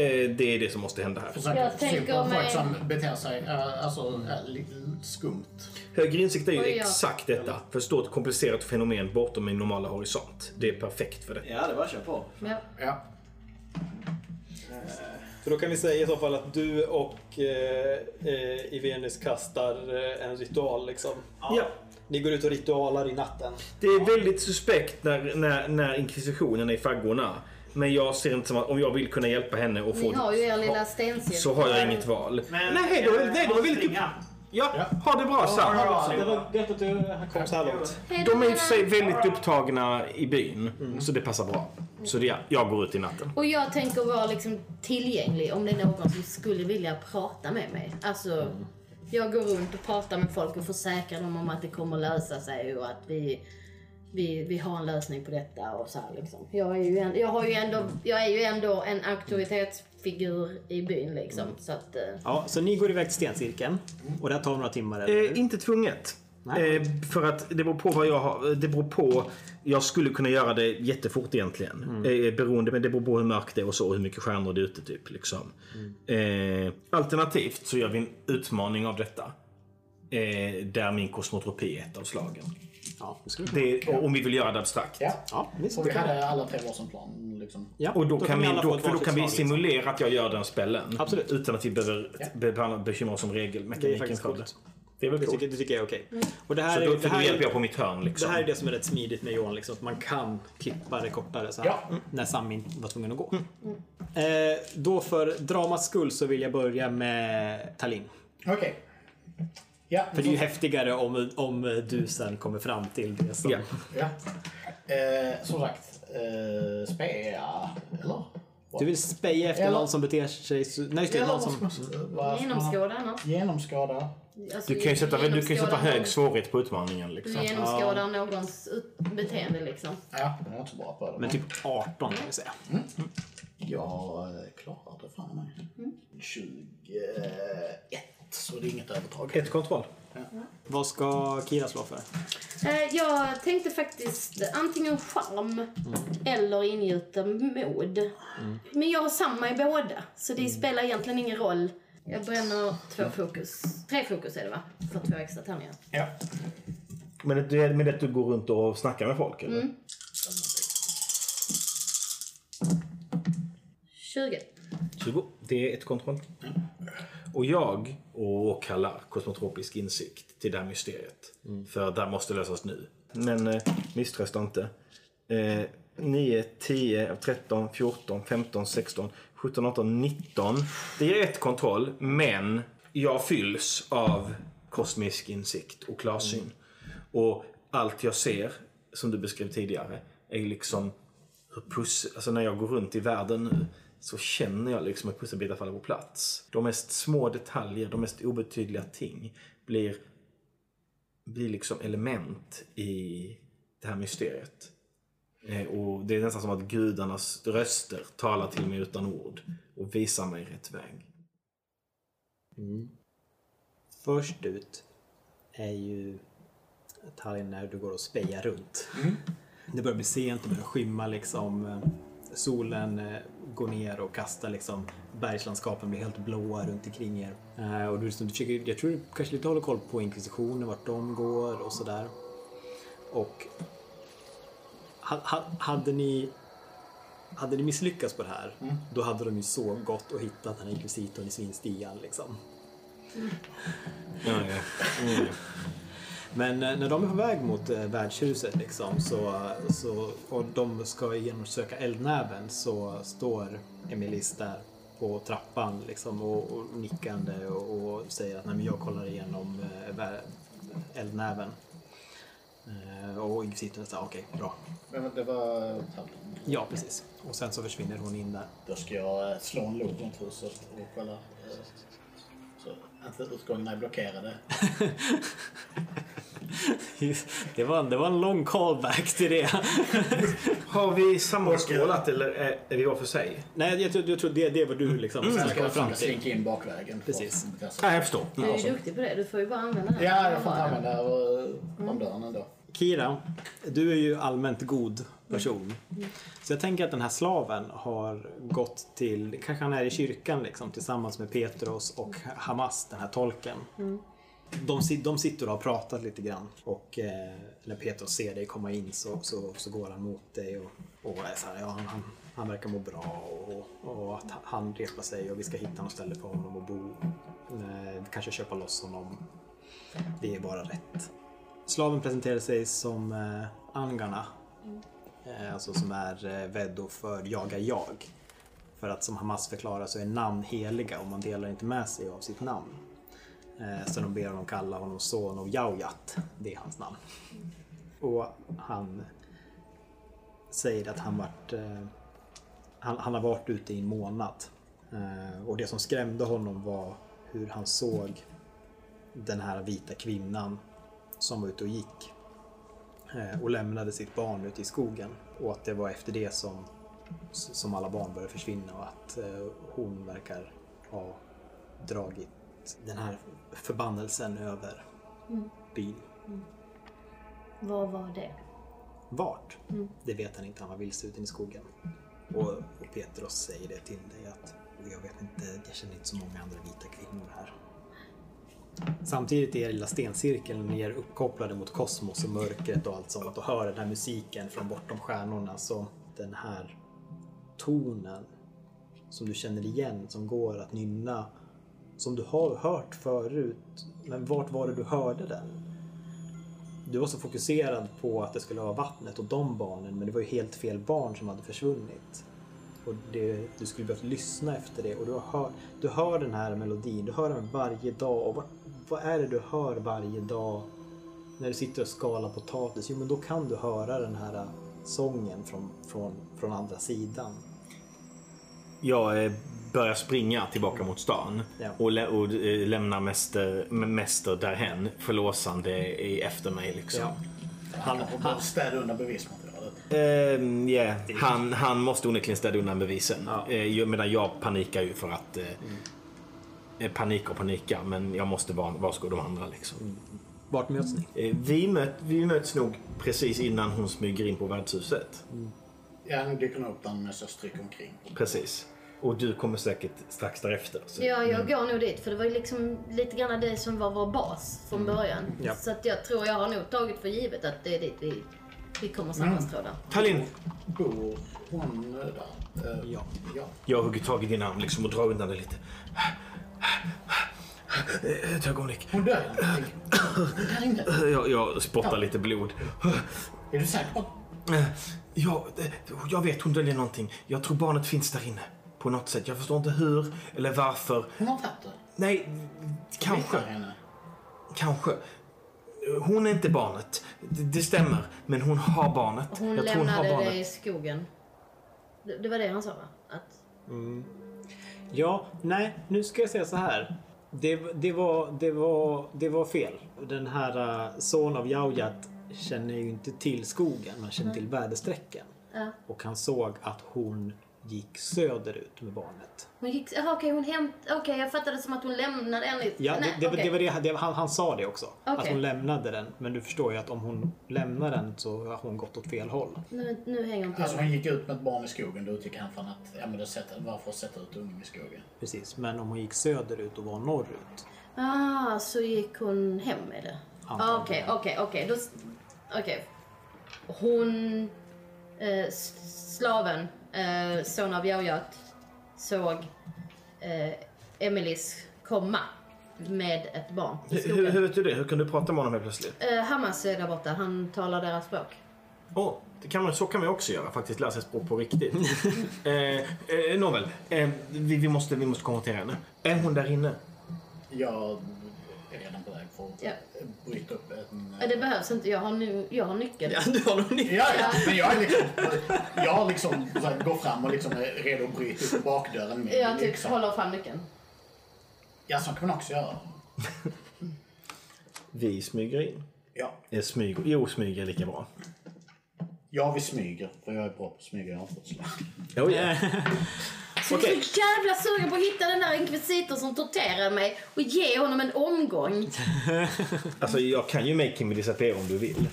[SPEAKER 1] eh, det är det som måste hända här.
[SPEAKER 2] Försöker
[SPEAKER 4] Jag tänker
[SPEAKER 2] förstå folk
[SPEAKER 4] mig-
[SPEAKER 2] som beter sig eh, alltså, eh, lite skumt.
[SPEAKER 1] Högre insikt är ju
[SPEAKER 4] Oj, ja.
[SPEAKER 1] exakt detta. Förstå ett komplicerat fenomen bortom min normala horisont. Det är perfekt för det.
[SPEAKER 8] Ja, det var kör på.
[SPEAKER 4] Ja.
[SPEAKER 2] Ja.
[SPEAKER 3] Så då kan vi säga i så fall att du och eh, eh, Ivenis kastar eh, en ritual liksom.
[SPEAKER 1] Ja.
[SPEAKER 3] Ni går ut och ritualar i natten.
[SPEAKER 1] Det är väldigt suspekt när, när, när inkvisitionen är i faggorna. Men jag ser inte som att om jag vill kunna hjälpa henne och få
[SPEAKER 4] Ni har ju er lilla stencirkel.
[SPEAKER 1] så har jag inget val. nej, det var, nej, det var väldigt... Ja, ha det bra Sam.
[SPEAKER 3] det var gött att du kom så här långt.
[SPEAKER 4] Hej då,
[SPEAKER 1] De är i och för sig
[SPEAKER 4] Lena.
[SPEAKER 1] väldigt upptagna i byn, så det passar bra. Så det, jag går ut i natten.
[SPEAKER 4] Och jag tänker vara liksom tillgänglig om det är någon som skulle vilja prata med mig. Alltså, jag går runt och pratar med folk och försäkrar dem om att det kommer lösa sig och att vi, vi, vi har en lösning på detta och så här liksom. Jag är ju, en, jag har ju, ändå, jag är ju ändå en auktoritetsfigur i byn liksom. Så att, eh,
[SPEAKER 3] Ja, så ni går iväg till stencirkeln och det här tar några timmar eller
[SPEAKER 1] Eh,
[SPEAKER 3] hur?
[SPEAKER 1] inte tvunget.
[SPEAKER 3] Nej.
[SPEAKER 1] Eh, för att det beror på vad jag har... Det beror på... Jag skulle kunna göra det jättefort egentligen. Eh, beroende, men det beror på hur mörkt det är och så och hur mycket stjärnor det är ute typ. Liksom. Eh, alternativt så gör vi en utmaning av detta. Eh, där min kosmotropi är ett av slagen.
[SPEAKER 3] Ja, det skulle vi-
[SPEAKER 1] Det, och om vi vill göra det abstrakt.
[SPEAKER 2] ja.
[SPEAKER 3] ja, visst.
[SPEAKER 2] Och vi hade alla tre varsin plan. Liksom.
[SPEAKER 3] Ja,
[SPEAKER 1] Och då, kan, vi,
[SPEAKER 3] alla få
[SPEAKER 1] då,
[SPEAKER 3] ett
[SPEAKER 1] för då
[SPEAKER 3] varsitt
[SPEAKER 1] kan vi
[SPEAKER 3] slag, liksom.
[SPEAKER 1] simulera att jag gör den spellen.
[SPEAKER 3] Absolut.
[SPEAKER 1] Utan att vi behöver
[SPEAKER 2] Ja.
[SPEAKER 1] be- bekymra oss om
[SPEAKER 3] Det är
[SPEAKER 1] regelmekaniken.
[SPEAKER 3] faktiskt
[SPEAKER 1] för
[SPEAKER 3] coolt.
[SPEAKER 1] Det är väl
[SPEAKER 3] Det
[SPEAKER 1] coolt.
[SPEAKER 3] tycker, det tycker jag är okej. Och det här,
[SPEAKER 1] Så
[SPEAKER 3] är,
[SPEAKER 1] då,
[SPEAKER 3] det,
[SPEAKER 1] för då
[SPEAKER 3] här
[SPEAKER 1] hjälper jag
[SPEAKER 3] är,
[SPEAKER 1] på mitt hörn
[SPEAKER 3] det
[SPEAKER 1] liksom.
[SPEAKER 3] här är det som är rätt smidigt med Johan, liksom, att man kan klippa det kortare så här, mm,
[SPEAKER 2] Ja.
[SPEAKER 3] när Sammy var tvungen att gå. Eh, då för dramas skull så vill jag börja med Talin.
[SPEAKER 2] Okej. Ja,
[SPEAKER 3] För det är ju häftigare om, om du sen kommer fram till det som...
[SPEAKER 1] Ja.
[SPEAKER 2] ja. Eh, som sagt, eh, spea, eller?
[SPEAKER 3] Du vill speja efter
[SPEAKER 2] Eller-
[SPEAKER 3] någon som beter sig... su- Nej, just det,
[SPEAKER 2] Eller
[SPEAKER 3] någon
[SPEAKER 2] vad
[SPEAKER 3] som...
[SPEAKER 2] ska man- vad ska man-
[SPEAKER 4] genomskåda något.
[SPEAKER 2] Genomskåda.
[SPEAKER 4] Alltså,
[SPEAKER 1] Du kan ju sätta, du kan ju sätta
[SPEAKER 4] genomskåda
[SPEAKER 1] hög
[SPEAKER 4] någon-
[SPEAKER 1] svårighet på utmaningen. Liksom.
[SPEAKER 4] Du genomskådar någons ut- beteende liksom.
[SPEAKER 2] Ja, jag är inte så bra på det.
[SPEAKER 3] Men typ 18 kan vi säga.
[SPEAKER 2] Jag eh, klarar det fan mig. 21, så det är inget övertag.
[SPEAKER 1] Ett kontroll.
[SPEAKER 3] Vad ska Kira slå för?
[SPEAKER 4] Eh, Jag tänkte faktiskt antingen charm
[SPEAKER 2] Mm.
[SPEAKER 4] eller ingjuta mod. Men jag har samma i båda, så
[SPEAKER 2] Mm.
[SPEAKER 4] det spelar egentligen ingen roll. Jag bränner två fokus. Tre fokus är det va? För två extra tärningar.
[SPEAKER 2] Ja.
[SPEAKER 1] Men det- det är med det att du går runt och snackar med folk eller?
[SPEAKER 4] 20.
[SPEAKER 1] 20. Det är ett kontroll. Och jag åkallar kosmotropisk insikt till det här mysteriet. För det här måste lösas nu. Mm. Men eh, misströsta inte. Eh, 9, 10, 13, 14, 15, 16, 17, 18, 19. Det är ett kontroll, men jag fylls av kosmisk insikt och klarsyn. Och allt jag ser, som du beskrev tidigare, är liksom hur puss, alltså när jag går runt i världen nu så känner jag liksom att pusselbitar faller på plats. De mest små detaljer, de mest obetydliga ting blir, blir liksom element i det här mysteriet. Eh, Och det är nästan som att gudarnas röster talar till mig utan ord och visar mig rätt väg.
[SPEAKER 3] Först ut är ju Tallinn när du går och spejar runt. Det börjar bli sent, det börjar skymma liksom. eh, Solen eh, går ner och kastar liksom bergslandskapen blir helt blåa runt omkring er. Eh, Och du, liksom, du försöker, jag tror du kanske lite håller koll på inkvisitionen, vart de går och sådär. Och ha- ha- hade ni hade ni misslyckats på det här, då hade de ju så gått och hittat den här inkvisitorn i svinstian liksom. Men eh, när de är på väg mot eh, värdshuset liksom, så, så, och de ska genomsöka eldnäven så står Emilis där på trappan liksom, och, och nickande och, och säger att Nej, men jag kollar igenom eh, vär- eldnäven. Eh, Och Ygg sitter och säger okej, bra.
[SPEAKER 2] Men det var Tallinn.
[SPEAKER 3] Ja, precis. Och sen så försvinner hon in där.
[SPEAKER 2] Då ska jag eh, slå en lod mot huset och kolla. eh, Så att utgångarna är blockerade.
[SPEAKER 3] (laughs) Det var, det var en lång callback till det.
[SPEAKER 5] Har vi sammanskålat eller är, är vi var för sig?
[SPEAKER 3] (laughs) Nej, jag tror, jag tror det, det var du liksom
[SPEAKER 2] Sen ska
[SPEAKER 3] kom
[SPEAKER 2] jag
[SPEAKER 3] fram
[SPEAKER 2] försöka
[SPEAKER 3] till.
[SPEAKER 2] slinka in bakvägen.
[SPEAKER 3] Precis.
[SPEAKER 5] Nej, jag förstår.
[SPEAKER 4] Du är ju duktig på det. Du får ju bara använda den.
[SPEAKER 2] Ja, jag får inte använda eh, ramdörren ändå.
[SPEAKER 3] Kira, du är ju allmänt god person. Så jag tänker att den här slaven har gått till, kanske han är i kyrkan liksom tillsammans med Petros och Hamas, den här tolken. De, si- de sitter och har pratat lite grann och eh, när Petros ser dig komma in så, så, så går han mot dig och, och är så här, ja, han, han, han verkar må bra och, och att han repar sig och vi ska hitta något ställe för honom att bo. Eh, kanske köpa loss honom. Det är bara rätt. Slaven presenterar sig som eh, Angarna. Eh, alltså som är eh, Veddo för jagar jag. För att som Hamas förklarar så är namn heliga och man delar inte med sig av sitt namn. Eh, så de ber honom kalla honom son av Jaujat. Det är hans namn. Och han säger att han varit eh, han, han har varit ute i en månad. Eh, och det som skrämde honom var hur han såg den här vita kvinnan som var ute och gick eh, och lämnade sitt barn ute i skogen. Och att det var efter det som, som alla barn började försvinna och att eh, hon verkar ha dragit den här förbannelsen över byn.
[SPEAKER 4] Vad var det?
[SPEAKER 3] Vart? Det vet han inte, han var vilse ute i skogen. Och, och Petros säger det till dig att jag vet inte, jag känner inte så många andra vita kvinnor här. Samtidigt är er lilla stencirkeln, ni är uppkopplade mot kosmos och mörkret och allt sånt och hör den här musiken från bortom stjärnorna så den här tonen som du känner igen, som går att nynna, som du har hört förut. Men vart var det du hörde den? Du var så fokuserad på att det skulle vara vattnet och de barnen men det var ju helt fel barn som hade försvunnit. Och det, du skulle behövt lyssna efter det och du hör, du hör den här melodin, du hör den varje dag. Och vad, vad är det du hör varje dag när du sitter och skalar potatis? Jo men då kan du höra den här äh, sången från, från, från andra sidan.
[SPEAKER 1] Jag eh, börjar springa tillbaka mot stan
[SPEAKER 3] Ja.
[SPEAKER 1] och, lä- och eh, lämnar mäster, m- mäster därhen förlåsande i efter mig. Liksom.
[SPEAKER 3] Ja.
[SPEAKER 2] Han behöver städa undan bevismaterialet.
[SPEAKER 1] Ehm, yeah. han, han måste onekligen städa undan bevisen. Eh, ju- medan jag panikar ju för att... Eh,
[SPEAKER 3] Mm.
[SPEAKER 1] eh, Panika och panika, men jag måste vara varsko de andra. Liksom.
[SPEAKER 3] Mm. Vart möts ni?
[SPEAKER 1] Eh, vi, möt, vi möts nog precis innan hon smyger in på värdshuset.
[SPEAKER 3] Mm.
[SPEAKER 2] Ja, han dyker nog upp där med jag stryker omkring.
[SPEAKER 1] Precis. Och du kommer säkert strax därefter. Så.
[SPEAKER 4] Ja,
[SPEAKER 2] Mm.
[SPEAKER 4] jag går nog dit för det var ju liksom lite grann det som var vår bas från
[SPEAKER 2] Mm.
[SPEAKER 4] början.
[SPEAKER 3] Ja.
[SPEAKER 4] Så att jag tror jag har nog tagit för givet att det är dit vi, vi kommer
[SPEAKER 2] Mm.
[SPEAKER 4] sammanstråda.
[SPEAKER 1] Tallinn!
[SPEAKER 2] Bor hon eh, där? Eh,
[SPEAKER 3] Ja.
[SPEAKER 2] ja.
[SPEAKER 1] Jag hugger tag i din arm liksom och drar undan dig lite. Eh, Ett ögonblick.
[SPEAKER 2] Hon dör inte. Hon dör inte.
[SPEAKER 1] Jag, jag spottar lite blod.
[SPEAKER 2] Är du säker?
[SPEAKER 1] Eh, Ja, eh, jag vet hon döljer någonting. Jag tror barnet finns där inne. På något sätt. Jag förstår inte hur eller varför.
[SPEAKER 2] Hon har tagit det.
[SPEAKER 1] Nej,
[SPEAKER 2] Hittar
[SPEAKER 1] kanske.
[SPEAKER 2] henne.
[SPEAKER 1] Kanske. Hon är inte barnet. Det, det stämmer. Men hon har barnet.
[SPEAKER 4] Hon
[SPEAKER 1] jag tror hon har
[SPEAKER 4] lämnade
[SPEAKER 1] barnet.
[SPEAKER 4] det i skogen. Det, det var det han sa va? Att,
[SPEAKER 3] Ja, nej, nu ska jag säga så här. Det, det, var, det, var, det var fel. Den här eh, son av Jaujat känner ju inte till skogen, han känner till väderstrecken.
[SPEAKER 4] ja.
[SPEAKER 3] Och han såg att hon gick söderut med barnet.
[SPEAKER 4] Hon gick, jaha okej hon hämt, okej jag fattade som att hon lämnade en i...
[SPEAKER 3] Ja,
[SPEAKER 4] nej,
[SPEAKER 3] det, det, var-
[SPEAKER 4] okej.
[SPEAKER 3] det var det, det han, han sa det också. Att
[SPEAKER 4] Okej.
[SPEAKER 3] hon lämnade den. Men du förstår ju att om
[SPEAKER 1] Mm.
[SPEAKER 3] hon lämnar den så har hon gått åt fel håll.
[SPEAKER 4] Nu, nu hänger hon på.
[SPEAKER 2] Alltså hon gick ut med ett barn i skogen. Då utgick han från att, ja men det sätter, varför sätta ut ungen i skogen?
[SPEAKER 3] Precis, men om hon gick söderut och var norrut.
[SPEAKER 4] Ah, så gick hon hem med det? Ah, Okej, okej, okej. Då s- Okej. Hon... Eh, s- slaven, eh, son av Jaujat, såg eh, Emilys komma med ett barn i
[SPEAKER 1] Hur, hur,
[SPEAKER 4] skogen.
[SPEAKER 1] hur vet du det? Hur kan du prata med honom helt plötsligt?
[SPEAKER 4] Eh, Hamas är där borta, han talar deras språk.
[SPEAKER 1] Åh, det kan man, så kan man ju också göra faktiskt. Lära sig språk på (laughs) riktigt. eh, eh, Nåväl, eh, vi, vi, måste, vi måste konfrontera henne. Är hon där inne?
[SPEAKER 2] Jag är redan på väg för att
[SPEAKER 4] Ja.
[SPEAKER 2] bryta upp en...
[SPEAKER 4] Eh, Det behövs inte, jag har, nu, jag har nyckeln.
[SPEAKER 3] Ja, du har nog nyckeln.
[SPEAKER 2] Ja, ja. Men jag är liksom... Jag liksom så här, går fram och liksom är redo att bryta upp bakdörren med
[SPEAKER 4] Jag typ
[SPEAKER 2] yxan.
[SPEAKER 4] håller fram nyckeln.
[SPEAKER 2] Ja, så kan man också göra.
[SPEAKER 1] Vi smyger in.
[SPEAKER 2] Ja.
[SPEAKER 1] Eh, smyg, jo, smyg är lika bra.
[SPEAKER 2] ja, vi smyger. För jag är bra på att smyga i avfallslag.
[SPEAKER 1] Oh, yeah.
[SPEAKER 4] Så Jag är så jävla sugen på att hitta den där inkvisitorn som torterade mig och ge honom en omgång.
[SPEAKER 1] Alltså, jag kan ju make him disappear om du vill.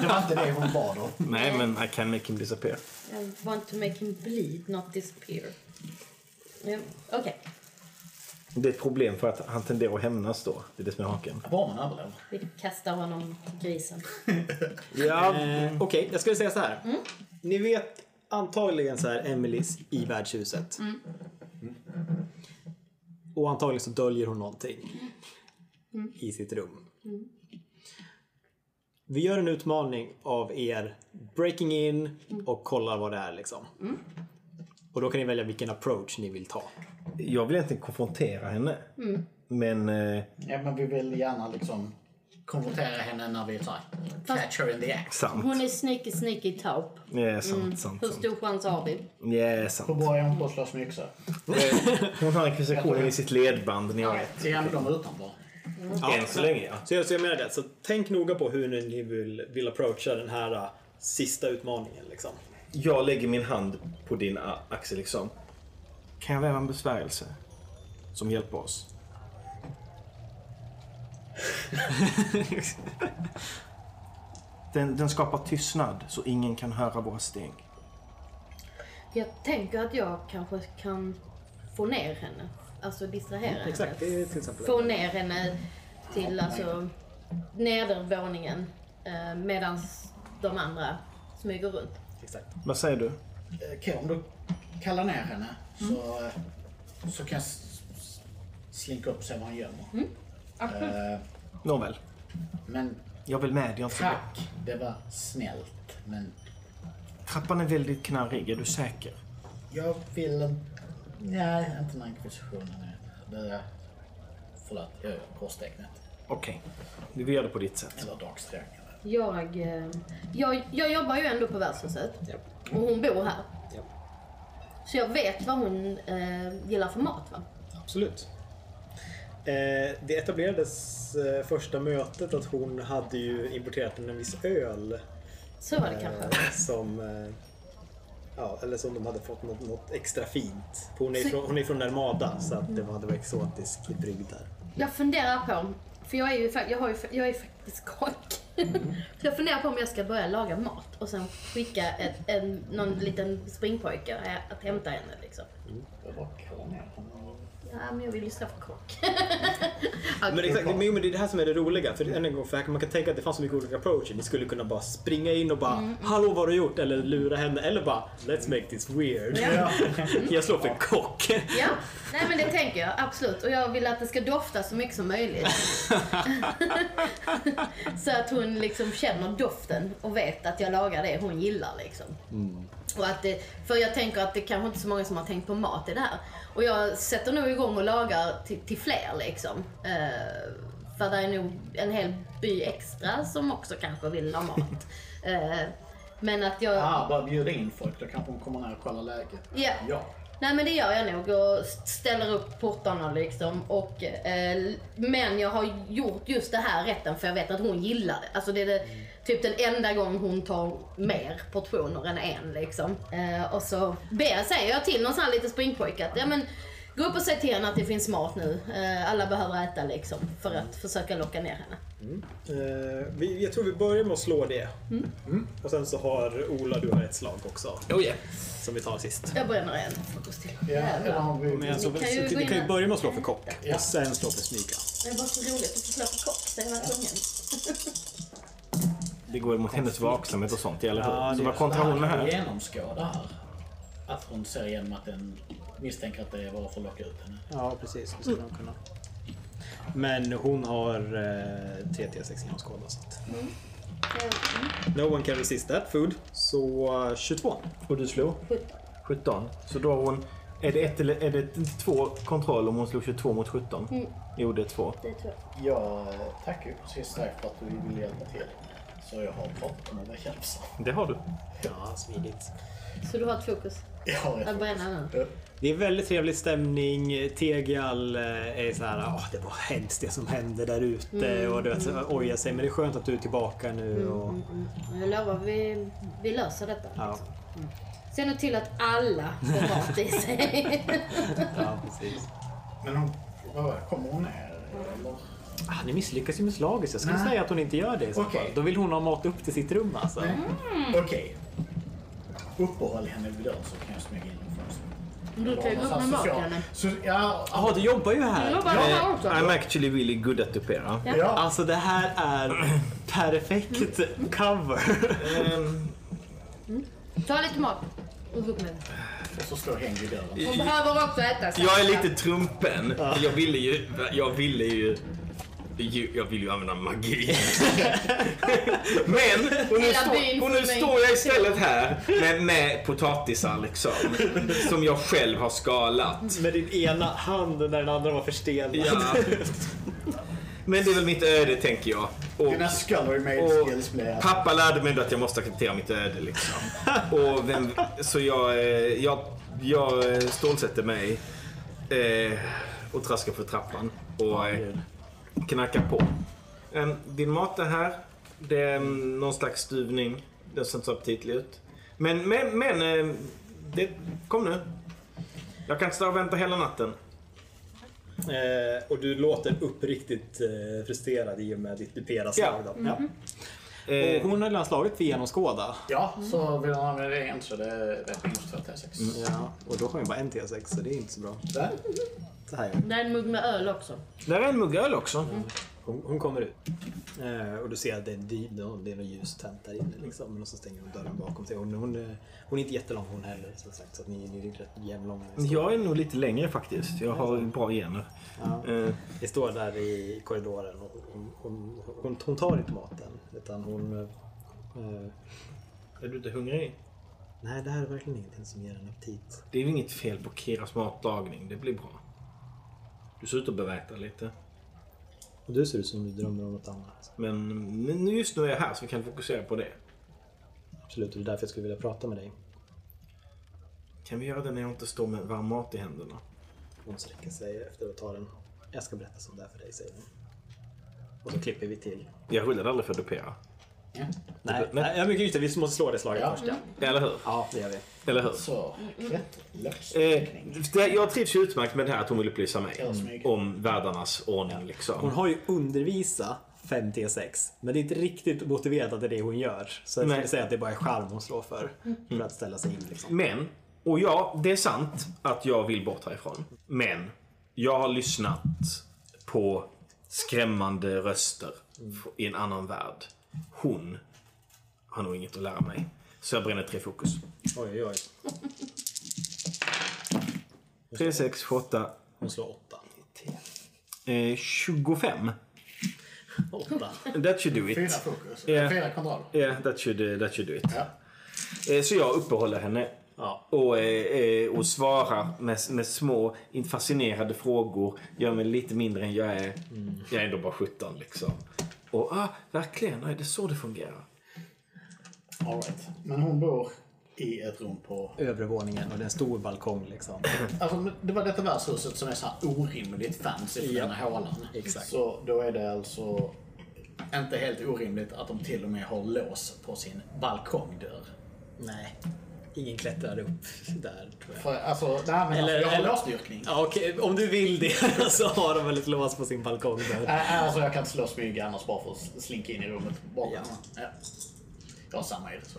[SPEAKER 2] Det var inte det hon bad om.
[SPEAKER 1] Nej,
[SPEAKER 3] Eh.
[SPEAKER 1] men I can make him disappear.
[SPEAKER 4] I want to make him bleed, not disappear. Ja, Okej.
[SPEAKER 1] Det är ett problem för att han tenderar att hämnas då. Det är det som är haken.
[SPEAKER 2] Bara man överlever.
[SPEAKER 4] Vi kastar honom till grisen.
[SPEAKER 1] Ja,
[SPEAKER 3] Eh, Okej, jag skulle säga så här. Ni vet antagligen så här Emelies i värdshuset. Och antagligen så döljer hon någonting i sitt rum. Vi gör en utmaning av er breaking in och kollar vad det är liksom. Och då kan ni välja vilken approach ni vill ta.
[SPEAKER 1] jag vill egentligen konfrontera henne.
[SPEAKER 3] Mm.
[SPEAKER 1] Men eh,
[SPEAKER 2] Ja, men vi vill gärna liksom konfrontera henne när vi tar catch her in the act.
[SPEAKER 1] sant.
[SPEAKER 4] Hon är sneaky sneaky taup.
[SPEAKER 1] Ja, sant,
[SPEAKER 3] Mm.
[SPEAKER 1] sant,
[SPEAKER 4] Hur
[SPEAKER 1] sant.
[SPEAKER 4] stor chans har vi?
[SPEAKER 1] Ja,
[SPEAKER 2] Hur
[SPEAKER 1] sant.
[SPEAKER 2] bra är hon på att slåss med yxa?
[SPEAKER 1] Hon har inkvisitionen i sitt ledband, ni har rätt.
[SPEAKER 2] Det är de utanför.
[SPEAKER 1] Än så länge, ja.
[SPEAKER 3] Så jag, så jag menar det. Så tänk noga på hur ni vill, vill approacha den här eh, sista utmaningen liksom.
[SPEAKER 1] Jag lägger min hand på din a- axel liksom. Kan jag väva en besvärjelse? Som hjälper oss? (laughs) den, den skapar tystnad så ingen kan höra våra steg.
[SPEAKER 4] Jag tänker att jag kanske kan få ner henne. Alltså distrahera
[SPEAKER 3] Mm, Exakt,
[SPEAKER 4] henne.
[SPEAKER 3] det är till exempel.
[SPEAKER 4] Få ner henne till alltså, nedervåningen eh, medan de andra smyger runt.
[SPEAKER 3] Exakt.
[SPEAKER 1] Vad säger du?
[SPEAKER 2] Okej, Eh, om du kallar ner henne så, eh, så kan jag s- s- slinka upp och se vad han gömmer. Eh,
[SPEAKER 1] Nåväl,
[SPEAKER 2] men
[SPEAKER 1] jag vill med. Jag inte...
[SPEAKER 2] tack, det var snällt. Men
[SPEAKER 1] Trappan är väldigt knarrig, är du säker?
[SPEAKER 2] jag vill... en- Nej, inte den här inkvisitionen. nej. Det är... Förlåt, jag gör korstecknet.
[SPEAKER 1] Okej, vi gör det på ditt sätt.
[SPEAKER 2] Eller dagsträningen.
[SPEAKER 4] Jag, eh, jag, jag jobbar ju ändå på värdshuset
[SPEAKER 3] Japp.
[SPEAKER 4] och hon bor här.
[SPEAKER 3] Japp.
[SPEAKER 4] Så jag vet vad hon eh, gillar för mat. Va?
[SPEAKER 3] Absolut. Eh, det etablerades eh, första mötet att hon hade ju importerat en viss öl
[SPEAKER 4] Så var det kanske.
[SPEAKER 3] eh, som eh, Ja, eller som de hade fått något, något extra fint. För Hon är,
[SPEAKER 4] Så-
[SPEAKER 3] från, hon är från Narmada så att det var, det var exotisk brygd där.
[SPEAKER 4] Jag funderar på, för jag är ju, fa- jag har ju, fa- jag är faktiskt kock. (laughs) så jag funderar på om jag ska börja laga mat och sen skicka ett, en, någon liten springpojke eh, att hämta henne. Liksom.
[SPEAKER 2] Jag bara kallar ner henne.
[SPEAKER 4] Ja, men jag vill ju slå för kock.
[SPEAKER 3] Men exakt, men, men det är det här som är det roliga. För än en gång, för här kan- man kan tänka att det fanns så mycket olika approacher. Ni skulle kunna bara springa in och bara “Hallå, vad har du gjort?” eller lura henne. Eller bara “Let's make this weird”.
[SPEAKER 4] Ja.
[SPEAKER 3] Jag slår för kock.
[SPEAKER 4] ja, nej men det tänker jag absolut. Och jag vill att det ska dofta så mycket som möjligt. så att hon liksom känner doften och vet att jag lagar det hon gillar. Liksom. Och att det, för jag tänker att det kanske inte är så många som har tänkt på mat i det här. Och jag sätter nog igång och lagar till, till fler liksom. Eh, för det är nog en hel by extra som också kanske vill ha mat. Eh, men att
[SPEAKER 2] (laughs)
[SPEAKER 4] jag...
[SPEAKER 2] Ah, bara bjuda in folk. Då kanske hon kommer ner och kollar läget.
[SPEAKER 4] Ja.
[SPEAKER 2] Ja.
[SPEAKER 4] Nej men det gör jag nog och st- ställer upp portarna liksom. Och, eh, l- men jag har gjort just det här rätten för jag vet att hon gillar det. Alltså det är det,
[SPEAKER 3] Mm.
[SPEAKER 4] typ den enda gång hon tar mer portioner än en liksom. Eh, och så ber, säger jag till någon sån här liten springpojke att ja, men, gå upp och säg till henne att det finns mat nu. Eh, alla behöver äta liksom för att försöka locka ner henne.
[SPEAKER 3] Eh, vi, jag tror vi börjar med att slå det. Mm. Och sen så har Ola, du har ett slag också. Oh yeah. Som vi tar sist.
[SPEAKER 4] Jag bränner en frukost till.
[SPEAKER 2] Ja, eller
[SPEAKER 4] Jävlar.
[SPEAKER 2] om vi...
[SPEAKER 3] Men alltså,
[SPEAKER 4] Ni
[SPEAKER 3] vi kan
[SPEAKER 4] kan ju gå
[SPEAKER 3] vi
[SPEAKER 4] in
[SPEAKER 3] kan ju
[SPEAKER 4] här.
[SPEAKER 3] börja med att slå för kock.
[SPEAKER 2] Ja.
[SPEAKER 3] Och sen slå för snyga.
[SPEAKER 4] Det var så roligt att få slå på kock, det var tvungen.
[SPEAKER 1] Det går mot hennes vaksamhet och sånt, eller hur?
[SPEAKER 3] Ja,
[SPEAKER 1] så
[SPEAKER 3] det-
[SPEAKER 1] vad kontrar hon med här?
[SPEAKER 2] genomskåda här. Att hon ser igenom att den misstänker att det är bara för att locka ut henne.
[SPEAKER 3] Ja, precis. Det skulle de kunna. Men hon har eh, 3T6 genomskåda. så att-
[SPEAKER 4] Mm.
[SPEAKER 3] No one can resist that food. Så eh, 22.
[SPEAKER 1] Och du slog? 17. Så då har hon... Är det, ett eller, är det två kontroll om hon slog 22 mot 17?
[SPEAKER 4] Mm.
[SPEAKER 1] Jo, det är två.
[SPEAKER 4] Det tror jag.
[SPEAKER 2] Jag tackar ju precis dig för att du vill hjälpa till. Så jag har pratat med dig tjafsar.
[SPEAKER 1] Det har du.
[SPEAKER 3] Ja, smidigt.
[SPEAKER 4] Så du har ett fokus?
[SPEAKER 2] Jag har
[SPEAKER 4] Att
[SPEAKER 2] ett
[SPEAKER 4] bränna nu?
[SPEAKER 3] Det är väldigt trevlig stämning. Tegal eh, är så här, "Åh, det var hemskt det som hände där ute och du vet, så ojar sig. Men det är skönt att du är tillbaka nu. Och,
[SPEAKER 4] Jag lovar, vi, vi löser detta.
[SPEAKER 3] ja,
[SPEAKER 4] Se nu till att alla får mat i sig.
[SPEAKER 3] ja, precis.
[SPEAKER 2] Men hon, vad, kommer hon ner eller?
[SPEAKER 3] Ah, ni misslyckas ju med slaget så jag skulle
[SPEAKER 2] Nej.
[SPEAKER 3] säga att hon inte gör det i så
[SPEAKER 2] Okej.
[SPEAKER 3] fall. Då vill hon ha mat upp till sitt rum alltså.
[SPEAKER 2] Okej. Uppehåll henne vid dörren så kan jag smyga in den först.
[SPEAKER 4] (laughs) Du kan ju gå upp med
[SPEAKER 2] Någonstans
[SPEAKER 4] mat
[SPEAKER 2] så-
[SPEAKER 4] henne.
[SPEAKER 2] Så, ja,
[SPEAKER 3] Jaha, du jobbar ju
[SPEAKER 4] Du
[SPEAKER 3] här.
[SPEAKER 4] jobbar här också.
[SPEAKER 7] I'm actually really good at Tupera.
[SPEAKER 4] Ja.
[SPEAKER 2] ja.
[SPEAKER 3] Alltså det här är (clears throat) perfekt cover.
[SPEAKER 4] Ta lite mat och gå upp med det.
[SPEAKER 2] Och så står häng vid dörren.
[SPEAKER 4] Hon behöver också äta. så-
[SPEAKER 7] Jag är lite trumpen. Jag ville ju... Jag ville ju... ju- Jag vill ju använda magi. Men och nu,
[SPEAKER 4] Hela
[SPEAKER 7] står,
[SPEAKER 4] byn
[SPEAKER 7] och nu
[SPEAKER 4] för mig.
[SPEAKER 7] står jag istället här med, med potatisar liksom. Som jag själv har skalat.
[SPEAKER 3] Med din ena hand när den andra var förstenad.
[SPEAKER 7] Ja. Men det är väl mitt öde tänker jag. Och
[SPEAKER 2] Dina skullery made
[SPEAKER 7] Och
[SPEAKER 2] skills blir att
[SPEAKER 7] pappa lärde mig då att jag måste acceptera mitt öde liksom.
[SPEAKER 2] (laughs)
[SPEAKER 7] Och vem, så jag, eh, jag, jag eh, stålsätter mig eh, och traskar för trappan och eh, knackar på. Em, Din mat är här. Det är mm, någon slags stuvning. Den ser inte så aptitlig ut. Men, men, men eh, det, kom nu. Jag kan inte stå och vänta hela natten.
[SPEAKER 3] Eh, och du låter uppriktigt eh, frustrerad i och med ditt dupera-slag. då. Ja.
[SPEAKER 7] Eh,
[SPEAKER 3] Och hon har redan slagit för genomskåda.
[SPEAKER 2] Ja, så vill han använda det igen så det är det är minus 2 T6.
[SPEAKER 3] Ja. Och då har hon bara en T6 så det är inte så bra.
[SPEAKER 2] Där.
[SPEAKER 3] Så här.
[SPEAKER 4] Det är en mugg med öl också.
[SPEAKER 1] Där är en mugg öl också.
[SPEAKER 3] Mm. Hon, hon kommer ut. Eh, och du ser att det är, dy- det är något ljus tänt där inne. Liksom. Och så stänger hon dörren bakom sig. Hon, hon, eh, hon är inte jättelång hon heller. Som sagt, så att ni, ni är rätt jämnlånga.
[SPEAKER 5] Mm.
[SPEAKER 3] Ni står- Mm.
[SPEAKER 1] Jag är nog lite längre faktiskt. Jag har bra gener.
[SPEAKER 3] Ja.
[SPEAKER 1] Eh,
[SPEAKER 3] Ni står där i korridoren och hon, hon, hon, hon tar inte maten. Utan hon... Eh,
[SPEAKER 1] Är du inte hungrig?
[SPEAKER 3] nej, det här är verkligen ingenting som ger en aptit.
[SPEAKER 1] Det är ju inget fel på Kiras matlagning. Det blir bra. Du ser ut att beväta lite.
[SPEAKER 3] Och du ser ut som du drömmer om något annat.
[SPEAKER 1] Men, men just nu är jag här så vi kan fokusera på det.
[SPEAKER 3] Absolut, och det är därför jag skulle vilja prata med dig.
[SPEAKER 1] Kan vi göra det när jag inte står med varm mat i händerna?
[SPEAKER 3] Hon sträcker sig efter att ta den. Jag ska berätta sånt där för dig, säger hon. Och så klipper vi till.
[SPEAKER 1] Jag rullade aldrig för dupera.
[SPEAKER 3] Nej, nej, jag mycket just det. Vi måste slå det slaget
[SPEAKER 2] Ja.
[SPEAKER 3] först. Ja.
[SPEAKER 1] Eller hur?
[SPEAKER 3] ja, det gör vi.
[SPEAKER 1] Eller hur?
[SPEAKER 2] Så,
[SPEAKER 4] Mm,
[SPEAKER 2] klättlöss.
[SPEAKER 1] Eh, det, jag trivs ju utmärkt med det här att hon vill upplysa mig
[SPEAKER 2] Ja, smyg.
[SPEAKER 1] om världarnas ordning. Liksom.
[SPEAKER 3] Hon har ju undervisa 5T6, men det är inte riktigt motiverat att det är det hon gör. Så jag
[SPEAKER 1] Nej.
[SPEAKER 3] skulle säga att det är bara är charm hon slår för, för att ställa sig in. Liksom.
[SPEAKER 1] Men, och ja, det är sant att jag vill bort härifrån. Men, jag har lyssnat på skrämmande röster f- i en annan värld. Hon har nog inget att lära mig. Så jag bränner tre fokus.
[SPEAKER 3] Oj, oj, oj.
[SPEAKER 1] 3, 6, 8,
[SPEAKER 3] Hon slår 8.
[SPEAKER 1] eh, 25.
[SPEAKER 3] 8.
[SPEAKER 1] That should do it.
[SPEAKER 2] Fyra fokus.
[SPEAKER 1] Ja.
[SPEAKER 2] Fyra kontroller.
[SPEAKER 1] Yeah, that should, eh, that should do it.
[SPEAKER 2] Ja.
[SPEAKER 1] Eh, Så jag uppehåller henne
[SPEAKER 3] Ja.
[SPEAKER 1] och, eh, eh, och svarar med, med små inte fascinerade frågor. Gör mig lite mindre än jag är. Jag är ändå bara 17 liksom. Och ah, verkligen, är det så det fungerar?
[SPEAKER 2] All right. Men hon bor i ett rum på...
[SPEAKER 3] Övre våningen och det är en stor balkong liksom.
[SPEAKER 2] Alltså, det var detta värdshuset som är så här orimligt fancy för den här hålan.
[SPEAKER 3] Exakt.
[SPEAKER 2] Så då är det alltså inte helt orimligt att de till och med har lås på sin balkongdörr.
[SPEAKER 3] Nej, ingen klättrar upp där tror jag.
[SPEAKER 2] För, alltså, nej, men
[SPEAKER 3] Eller-
[SPEAKER 2] alltså, jag har
[SPEAKER 3] eller-
[SPEAKER 2] låsdyrkning.
[SPEAKER 3] Ja, okej, om du vill det (laughs) så har de väl ett lås på sin balkong där.
[SPEAKER 2] Äh, alltså, jag kan inte slå smyg annars bara för att slinka in i rummet bakom.
[SPEAKER 3] Ja.
[SPEAKER 2] Ja. Jag har samma idé. Så.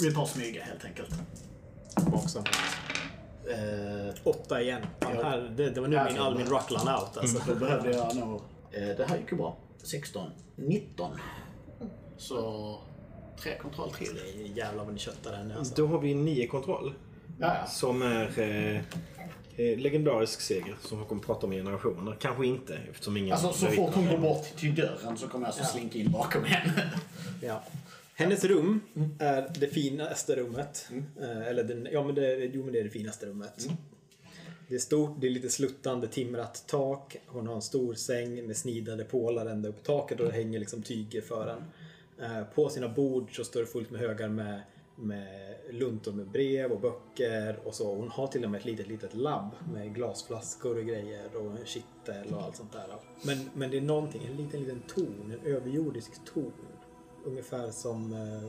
[SPEAKER 2] Vi tar smyga helt enkelt.
[SPEAKER 3] Också. Eh, åtta igen. Fan, här, det, det var nu min, all min ruck ran out alltså.
[SPEAKER 1] Mm.
[SPEAKER 2] Då behövde jag nog... Eh, det här gick ju bra. 16, 19. Så tre kontroll till.
[SPEAKER 3] Det är Jävlar vad ni köttar här nu alltså.
[SPEAKER 1] Då har vi nio kontroll
[SPEAKER 2] Ja, ja.
[SPEAKER 1] som är eh,
[SPEAKER 7] Eh, legendarisk seger som hon kommer prata om i generationer. Kanske inte eftersom ingen...
[SPEAKER 2] Alltså så
[SPEAKER 7] bevittnar
[SPEAKER 2] fort hon
[SPEAKER 7] det.
[SPEAKER 2] går bort till dörren så kommer jag så slinka in bakom henne.
[SPEAKER 3] Ja. Hennes rum är det finaste rummet. Eh, Eller den, ja, men det, jo, men det är det finaste rummet. Det är stort, det är lite sluttande timrat tak. Hon har en stor säng med snidade pålar ända upp i taket och det hänger liksom tyger för den. Eh, På sina bord så står det fullt med högar med, med luntor med brev och böcker och så. Hon har till och med ett litet, litet labb med glasflaskor och grejer och en kittel och allt sånt där. Men, men det är någonting, en liten, liten ton, en överjordisk ton. Ungefär som eh,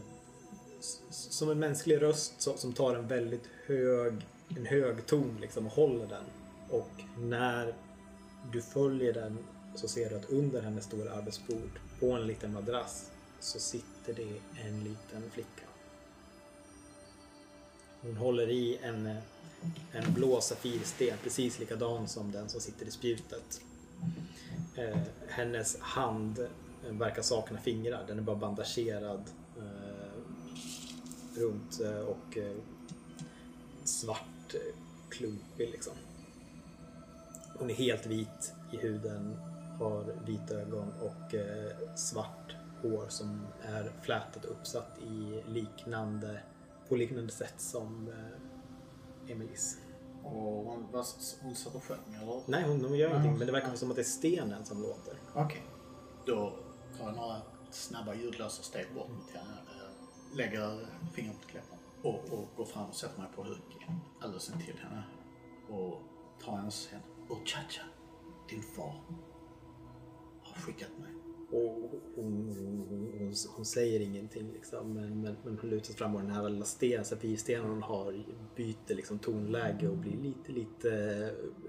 [SPEAKER 3] s- som en mänsklig röst som, som tar en väldigt hög, en hög ton liksom och håller den. Och när du följer den så ser du att under hennes stora arbetsbord på en liten madrass så sitter det en liten flicka. Hon håller i en, eh, en blå safirsten precis likadan som den som sitter i spjutet. Eh, hennes hand eh, verkar sakna fingrar. Den är bara bandagerad eh, runt eh, och eh, svart eh, klumpig liksom. Hon är helt vit i huden, har vita ögon och eh, svart hår som är flätat och uppsatt i liknande, på liknande sätt som eh, Emelies.
[SPEAKER 2] Och hon, vad, hon satt och sjöng eller?
[SPEAKER 3] Nej, hon, hon gör ingenting,
[SPEAKER 2] Ja.
[SPEAKER 3] men det verkar som att det är stenen som låter.
[SPEAKER 2] Okej. Då tar jag några snabba ljudlösa steg bort mot henne. eh, Lägger fingret på kläppen och, och går fram och sätter mig på huk alldeles intill henne. Och tar hennes händ. Och Chacha, din far har skickat mig.
[SPEAKER 3] Och hon, hon, hon, hon säger ingenting liksom, men, men, men hon lutar fram och den här lilla sten, sapirstenen hon har byter liksom tonläge och blir lite, lite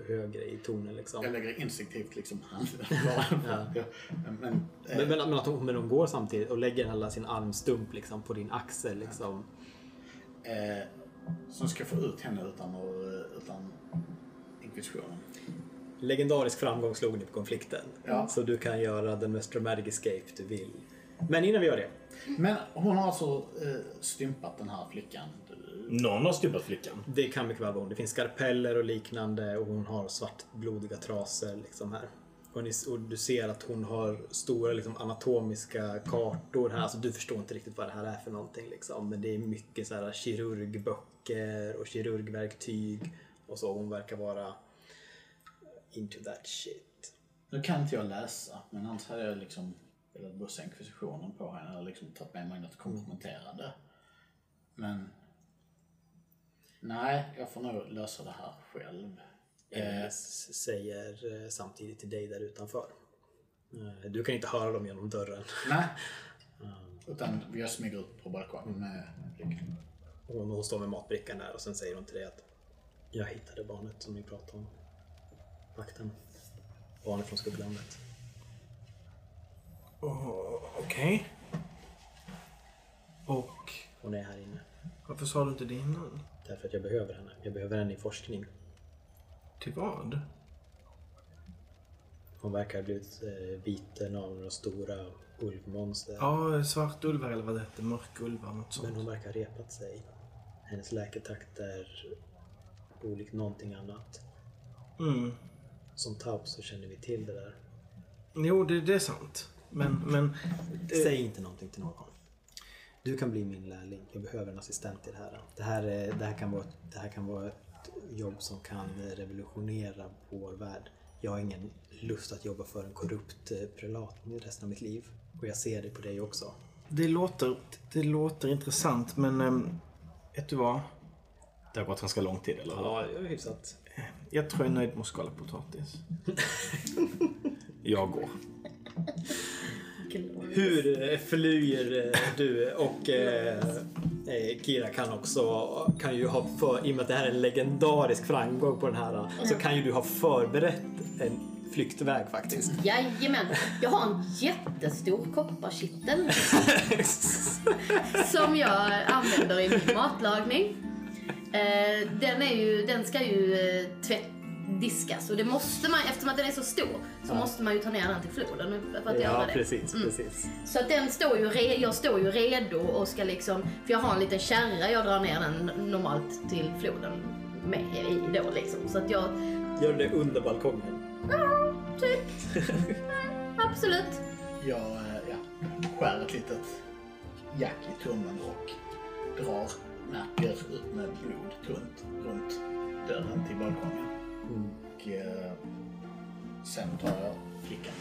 [SPEAKER 3] högre i tonen liksom.
[SPEAKER 2] Jag lägger instinktivt liksom handen bara. (laughs) ja. Men, eh,
[SPEAKER 3] Men, men, men, att hon, men hon går samtidigt och lägger hela sin armstump liksom på din axel liksom.
[SPEAKER 2] eh, som ska få ut henne utan, att- eh, utan inkvisitionen.
[SPEAKER 3] Legendarisk framgång slog ni på konflikten.
[SPEAKER 2] Ja.
[SPEAKER 3] Så du kan göra den mest dramatic escape du vill. Men innan vi gör det.
[SPEAKER 2] Men hon har alltså eh, stympat den här flickan.
[SPEAKER 7] Någon har stympat flickan.
[SPEAKER 3] Det kan mycket väl vara hon. Det finns skarpeller och liknande och hon har svartblodiga trasor liksom här. Och, ni, och du ser att hon har stora liksom, anatomiska kartor här. Alltså, du förstår inte riktigt vad det här är för någonting. Liksom. Men det är mycket så här, kirurgböcker och kirurgverktyg. Och så hon verkar vara into that shit.
[SPEAKER 2] Nu kan inte jag läsa, men annars hade jag liksom velat bussa inkvisitionen på henne eller liksom tagit med mig något komprometterande. Men... Nej, jag får nog lösa det här själv.
[SPEAKER 3] Eh, s- säger eh, samtidigt till dig där utanför. Eh, du kan inte höra dem genom dörren.
[SPEAKER 2] Nej. Utan jag smyger ut på balkongen med flickan.
[SPEAKER 3] Hon, hon står med matbrickan där och sen säger hon till dig att jag hittade barnet som ni pratade om. Vakten. Barnet från skugglandet.
[SPEAKER 1] Oh,
[SPEAKER 5] Okej. Och
[SPEAKER 3] Hon är här inne.
[SPEAKER 5] varför sa du inte det innan?
[SPEAKER 3] Därför att jag behöver henne. Jag behöver henne i forskning.
[SPEAKER 5] Till vad?
[SPEAKER 3] Hon verkar ha blivit eh, biten av några stora ulvmonster.
[SPEAKER 5] Ja, svartulvar eller vad det hette. Mörkulvar, något
[SPEAKER 3] Men
[SPEAKER 5] sånt.
[SPEAKER 3] hon verkar ha repat sig. Hennes läketakter är olik någonting annat.
[SPEAKER 5] Mm.
[SPEAKER 3] Som Taub så känner vi till det där.
[SPEAKER 5] Jo, det, det är sant. Men, men...
[SPEAKER 3] Säg inte någonting till någon. Du kan bli min lärling. Jag behöver en assistent till det här. Det här, är- det här, kan, vara, det här kan vara ett jobb som kan revolutionera vår värld. Jag har ingen lust att jobba för en korrupt eh, prelat resten av mitt liv. Och jag ser det på dig också.
[SPEAKER 5] Det låter, det låter intressant, men... ehm, vet du vad?
[SPEAKER 7] Det har gått ganska lång tid, eller hur?
[SPEAKER 3] Ja, jag är hyfsat.
[SPEAKER 5] Jag tror jag är nöjd med att skala potatis.
[SPEAKER 7] Jag går.
[SPEAKER 3] Hur eh, flyr eh, du och eh, eh, Kira kan också, kan ju ha för, i och med att det här är en legendarisk framgång på den här, eh, så kan ju du ha förberett en flyktväg faktiskt.
[SPEAKER 4] Jajamän, jag har en jättestor kopparkittel som jag använder i min matlagning. Eh, Den, är ju, den ska ju eh, tvätt, diskas och det måste man, eftersom att den är så stor så måste man ju ta ner den till floden för att
[SPEAKER 3] Ja,
[SPEAKER 4] göra det.
[SPEAKER 3] precis, precis.
[SPEAKER 4] Så att den står ju, re- jag står ju redo och ska liksom, för jag har en liten kärra jag drar ner den normalt till floden med i. då liksom. Så att jag,
[SPEAKER 5] Gör det under balkongen.
[SPEAKER 4] ja, typ. Mm, absolut.
[SPEAKER 2] Jag eh, ja, skär ett litet jack i tummen och drar, märker ut med blod tunt runt dörren till balkongen.
[SPEAKER 5] Mm.
[SPEAKER 2] Och eh, sen tar jag flickan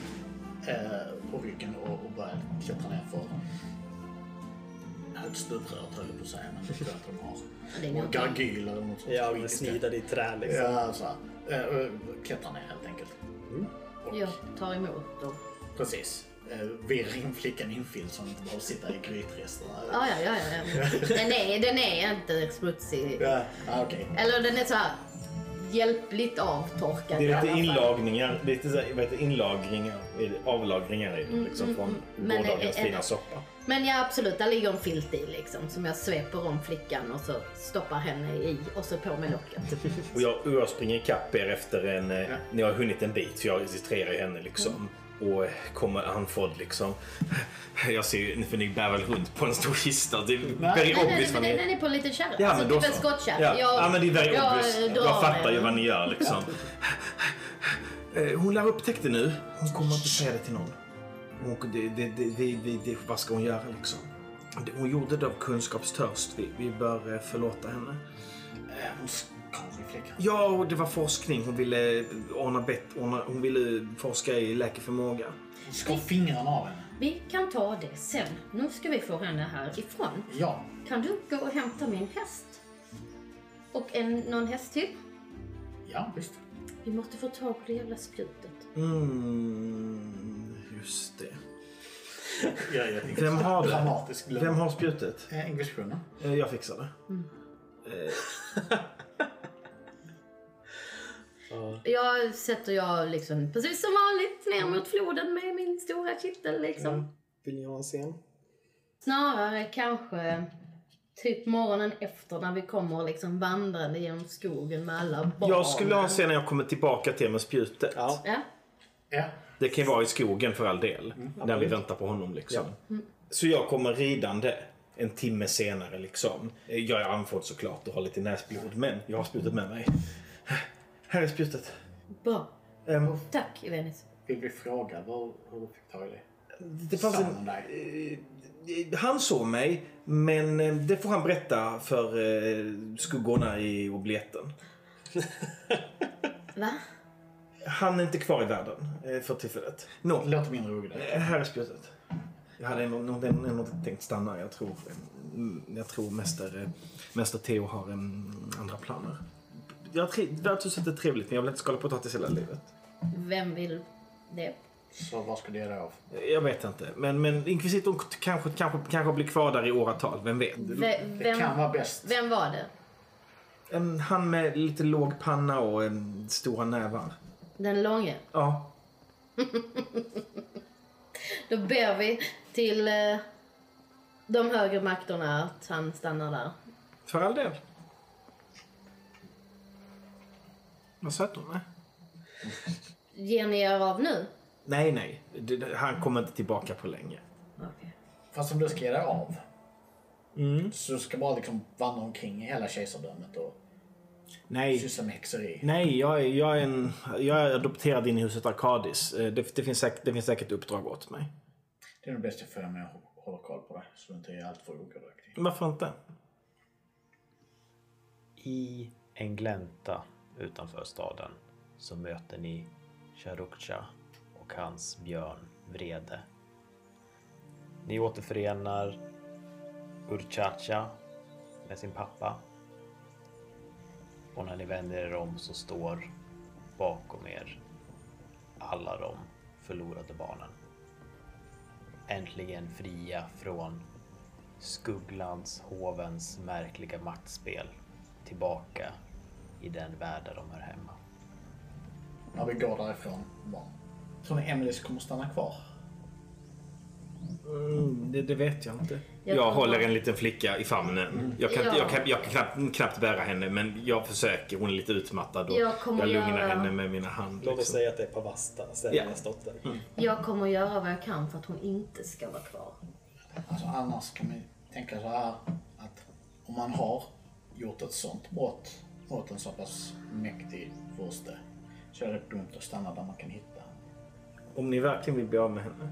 [SPEAKER 2] eh, på ryggen och, och börjar klättra ner för högstupröret höll jag på att säga, men det tror jag inte de har.
[SPEAKER 4] Det är
[SPEAKER 2] Och
[SPEAKER 4] nog-
[SPEAKER 2] gargyl eller något sånt.
[SPEAKER 5] Ja,
[SPEAKER 2] skit i det.
[SPEAKER 5] men snidad i trä liksom.
[SPEAKER 2] Ja, så här. Eh, och Klättrar ner helt enkelt. Och-
[SPEAKER 4] Jag tar emot dem.
[SPEAKER 2] Precis. Eh, Virrar in flickan infills som bara sitter i grytresterna.
[SPEAKER 4] Ja, ja, ja, ja. Den är, den är inte smutsig.
[SPEAKER 2] Ja, ah, okej.
[SPEAKER 4] Eller den är så här hjälpligt avtorkad.
[SPEAKER 1] Det
[SPEAKER 4] i
[SPEAKER 1] är
[SPEAKER 4] alla
[SPEAKER 1] lite
[SPEAKER 4] fall.
[SPEAKER 1] inlagningar, lite så här, vad heter det, inlagringar, i- avlagringar i det liksom från
[SPEAKER 4] Mm, Men eh, är-
[SPEAKER 1] gårdagens
[SPEAKER 4] är-
[SPEAKER 1] fina soppa.
[SPEAKER 4] Men ja, absolut. Där ligger en filt i liksom. Som jag sveper om flickan och så stoppar henne i och så på med locket.
[SPEAKER 1] Och jag, och jag springer ikapp er efter en, ja. när jag har hunnit en bit, för jag registrerar ju henne liksom.
[SPEAKER 4] Mm.
[SPEAKER 1] Och eh, kommer andfådd liksom. Jag ser ju, för ni bär väl runt på en stor kista. Det är very
[SPEAKER 4] Nej, nej,
[SPEAKER 1] obvious
[SPEAKER 4] nej,
[SPEAKER 1] vad
[SPEAKER 4] nej,
[SPEAKER 1] ni...
[SPEAKER 4] den är på Alltså, typ en liten kärra.
[SPEAKER 1] Ja,
[SPEAKER 4] så
[SPEAKER 1] men
[SPEAKER 4] det
[SPEAKER 1] då
[SPEAKER 4] är väl
[SPEAKER 1] så.
[SPEAKER 4] skottkärra.
[SPEAKER 1] Ja.
[SPEAKER 4] Jag-
[SPEAKER 1] ja, men det är very
[SPEAKER 4] jag,
[SPEAKER 1] obvious.
[SPEAKER 4] eh,
[SPEAKER 1] Jag,
[SPEAKER 4] drar
[SPEAKER 1] fattar
[SPEAKER 4] med
[SPEAKER 1] ju
[SPEAKER 4] den.
[SPEAKER 1] vad ni gör liksom. Eh, Hon lär upptäckt det nu. Hon kommer inte säga det till någon. Hon, det, det, det, vi, vi, det, vad ska hon göra liksom? Det- Hon gjorde det av kunskapstörst. Vi, vi bör eh, förlåta henne.
[SPEAKER 2] Eh, Hon skar i flickan.
[SPEAKER 1] Ja, och det var forskning. Hon ville eh, ordna bett, ordna, hon ville eh, forska i läkeförmåga.
[SPEAKER 2] Hon skar fingrarna av henne.
[SPEAKER 4] Vi kan ta det sen. Nu ska vi få henne härifrån.
[SPEAKER 2] Ja.
[SPEAKER 4] Kan du gå och hämta min häst? Och en, någon häst till?
[SPEAKER 2] Ja, visst.
[SPEAKER 4] Vi måste få tag på det jävla spjutet.
[SPEAKER 1] Mm, just det.
[SPEAKER 2] Ja, ja, det är
[SPEAKER 1] Vem har det?
[SPEAKER 2] Dramatisk glöm.
[SPEAKER 1] Vem har spjutet?
[SPEAKER 2] Eh, Engelskbrunnen.
[SPEAKER 1] Eh, Jag fixar det.
[SPEAKER 4] Jag sätter jag liksom precis som vanligt ner mot floden med min stora kittel liksom.
[SPEAKER 1] Mm.
[SPEAKER 5] Vill ni ha en scen?
[SPEAKER 4] Snarare kanske typ morgonen efter när vi kommer liksom vandrande genom skogen med alla barn.
[SPEAKER 1] Jag skulle ha en scen när jag kommer tillbaka till med spjutet.
[SPEAKER 5] Ja.
[SPEAKER 4] Ja.
[SPEAKER 2] Ja.
[SPEAKER 1] Det kan ju vara i skogen för all del. När vi väntar på honom liksom. Så jag kommer ridande en timme senare liksom. Eh, Jag är andfådd såklart och har lite näsblod. Men jag har spjutet med mig. Här är spjutet.
[SPEAKER 4] Bra.
[SPEAKER 1] Ehm,
[SPEAKER 4] Tack, Evenis.
[SPEAKER 2] Vill vi fråga var, hur du fick tag i det?
[SPEAKER 1] Det fanns
[SPEAKER 2] Sa han
[SPEAKER 1] en, eh, han såg mig, men eh, det får han berätta för eh, skuggorna i obleten.
[SPEAKER 4] Va?
[SPEAKER 1] Han är inte kvar i världen eh, för tillfället. Nå,
[SPEAKER 2] Låter mindre orädd.
[SPEAKER 1] eh, här är spjutet. Jag hade nog- nog nog- nog inte tänkt stanna. Jag tror, mm, jag tror mäster, eh, mäster Theo har mm, andra planer. Jag tri- Värdshuset är trevligt, men jag vill inte skala potatis hela livet.
[SPEAKER 4] Vem vill det?
[SPEAKER 2] Så vad ska det göra av?
[SPEAKER 1] Jag vet inte. Men, men inkvisitorn k- kanske, kanske, kanske blir kvar där i åratal. Vem vet?
[SPEAKER 4] Ve-
[SPEAKER 2] Det
[SPEAKER 4] vem,
[SPEAKER 2] kan vara bäst.
[SPEAKER 4] vem var det?
[SPEAKER 1] En, han med lite låg panna och em, stora nävar.
[SPEAKER 4] Den långe?
[SPEAKER 1] Ja.
[SPEAKER 4] Då ber vi till eh, de högre makterna att han stannar där.
[SPEAKER 1] För all del. Vad söt hon är.
[SPEAKER 4] Ger ni er av nu?
[SPEAKER 1] Nej, nej. Det- det- Han kommer inte tillbaka på länge.
[SPEAKER 4] Okej.
[SPEAKER 2] Fast om du ska göra av.
[SPEAKER 1] Mm.
[SPEAKER 2] Så du ska bara liksom vandra omkring i hela kejsardömet och
[SPEAKER 1] Nej,
[SPEAKER 2] syssla med häxeri.
[SPEAKER 1] nej jag, är, jag, är en, jag är adopterad in i huset Arkadis. Eh, Det, det, finns säkert, det finns säkert uppdrag åt mig.
[SPEAKER 2] Det är nog bäst jag får med att hålla koll på dig så du inte är alltför ogudaktig.
[SPEAKER 1] Varför inte?
[SPEAKER 3] I en glänta utanför staden så möter ni Charukcha och hans björn Vrede. Ni återförenar Urchacha med sin pappa. Och när ni vänder er om så står bakom er alla de förlorade barnen. Äntligen fria från Skugglands hovens märkliga maktspel tillbaka i den värld där de hör hemma.
[SPEAKER 2] När vi går därifrån. Bara. Tror ni Emelies kommer stanna kvar?
[SPEAKER 1] Mm, det, det vet jag inte.
[SPEAKER 4] Jag
[SPEAKER 1] Jag,
[SPEAKER 4] tror
[SPEAKER 1] håller
[SPEAKER 4] bara-
[SPEAKER 1] en liten flicka i famnen. Jag kan,
[SPEAKER 4] Ja.
[SPEAKER 1] jag kan, jag kan knappt, knappt bära henne, men jag försöker. Hon är lite utmattad och
[SPEAKER 4] Jag
[SPEAKER 1] jag,
[SPEAKER 4] kommer
[SPEAKER 1] lugnar
[SPEAKER 4] göra-
[SPEAKER 1] henne med mina hand.
[SPEAKER 5] Låt oss
[SPEAKER 1] liksom.
[SPEAKER 5] säga att det är Pavasta, Seljas dotter.
[SPEAKER 4] Jag kommer göra vad jag kan för att hon inte ska vara kvar.
[SPEAKER 2] Alltså annars kan man ju tänka så här att om man har gjort ett sånt brott åt en så pass mäktig furste. Så är det dumt att stanna där man kan hitta.
[SPEAKER 1] Om ni verkligen vill bli av med henne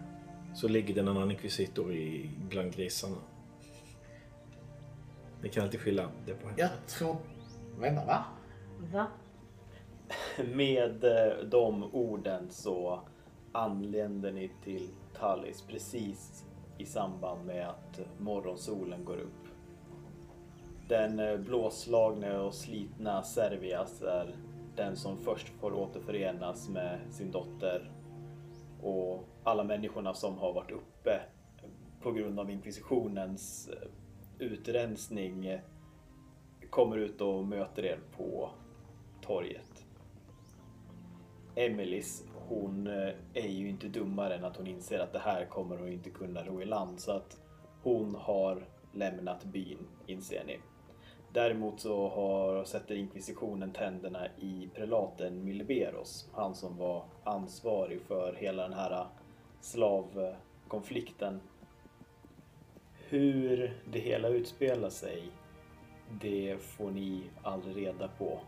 [SPEAKER 1] så ligger den annan inkvisitor i bland grisarna. Ni kan alltid skylla det på henne.
[SPEAKER 2] Jag tror... Vänta, va?
[SPEAKER 4] Va?
[SPEAKER 5] Med eh, de orden så anländer ni till Tallis precis i samband med att morgonsolen går upp. Den eh, blåslagne och slitna Servias är den som först får återförenas med sin dotter och alla människorna som har varit uppe på grund av inkvisitionens eh, utrensning eh, kommer ut och möter er på torget. Emelies, hon eh, är ju inte dummare än att hon inser att det här kommer hon inte kunna ro i land så att hon har lämnat byn, inser ni. Däremot så har, sätter inkvisitionen tänderna i prelaten Milberos, han som var ansvarig för hela den här slavkonflikten. Hur det hela utspelar sig, det får ni aldrig reda på.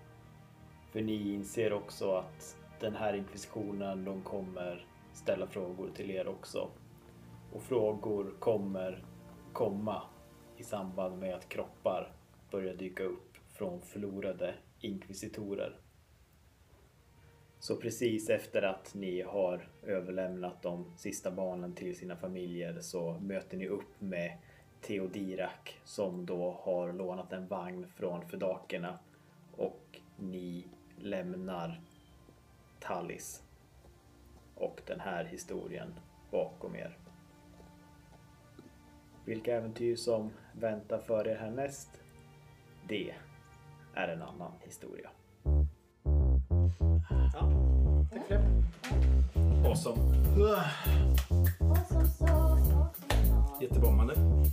[SPEAKER 5] För ni inser också att den här inkvisitionen, de kommer ställa frågor till er också. Och frågor kommer komma i samband med att kroppar börjar dyka upp från förlorade inkvisitorer. Så precis efter att ni har överlämnat de sista barnen till sina familjer så möter ni upp med Theodirak som då har lånat en vagn från Fedakerna och ni lämnar Tallis och den här historien bakom er. Vilka äventyr som väntar för er härnäst, det är en annan historia.
[SPEAKER 9] Awesome. Jättebombande.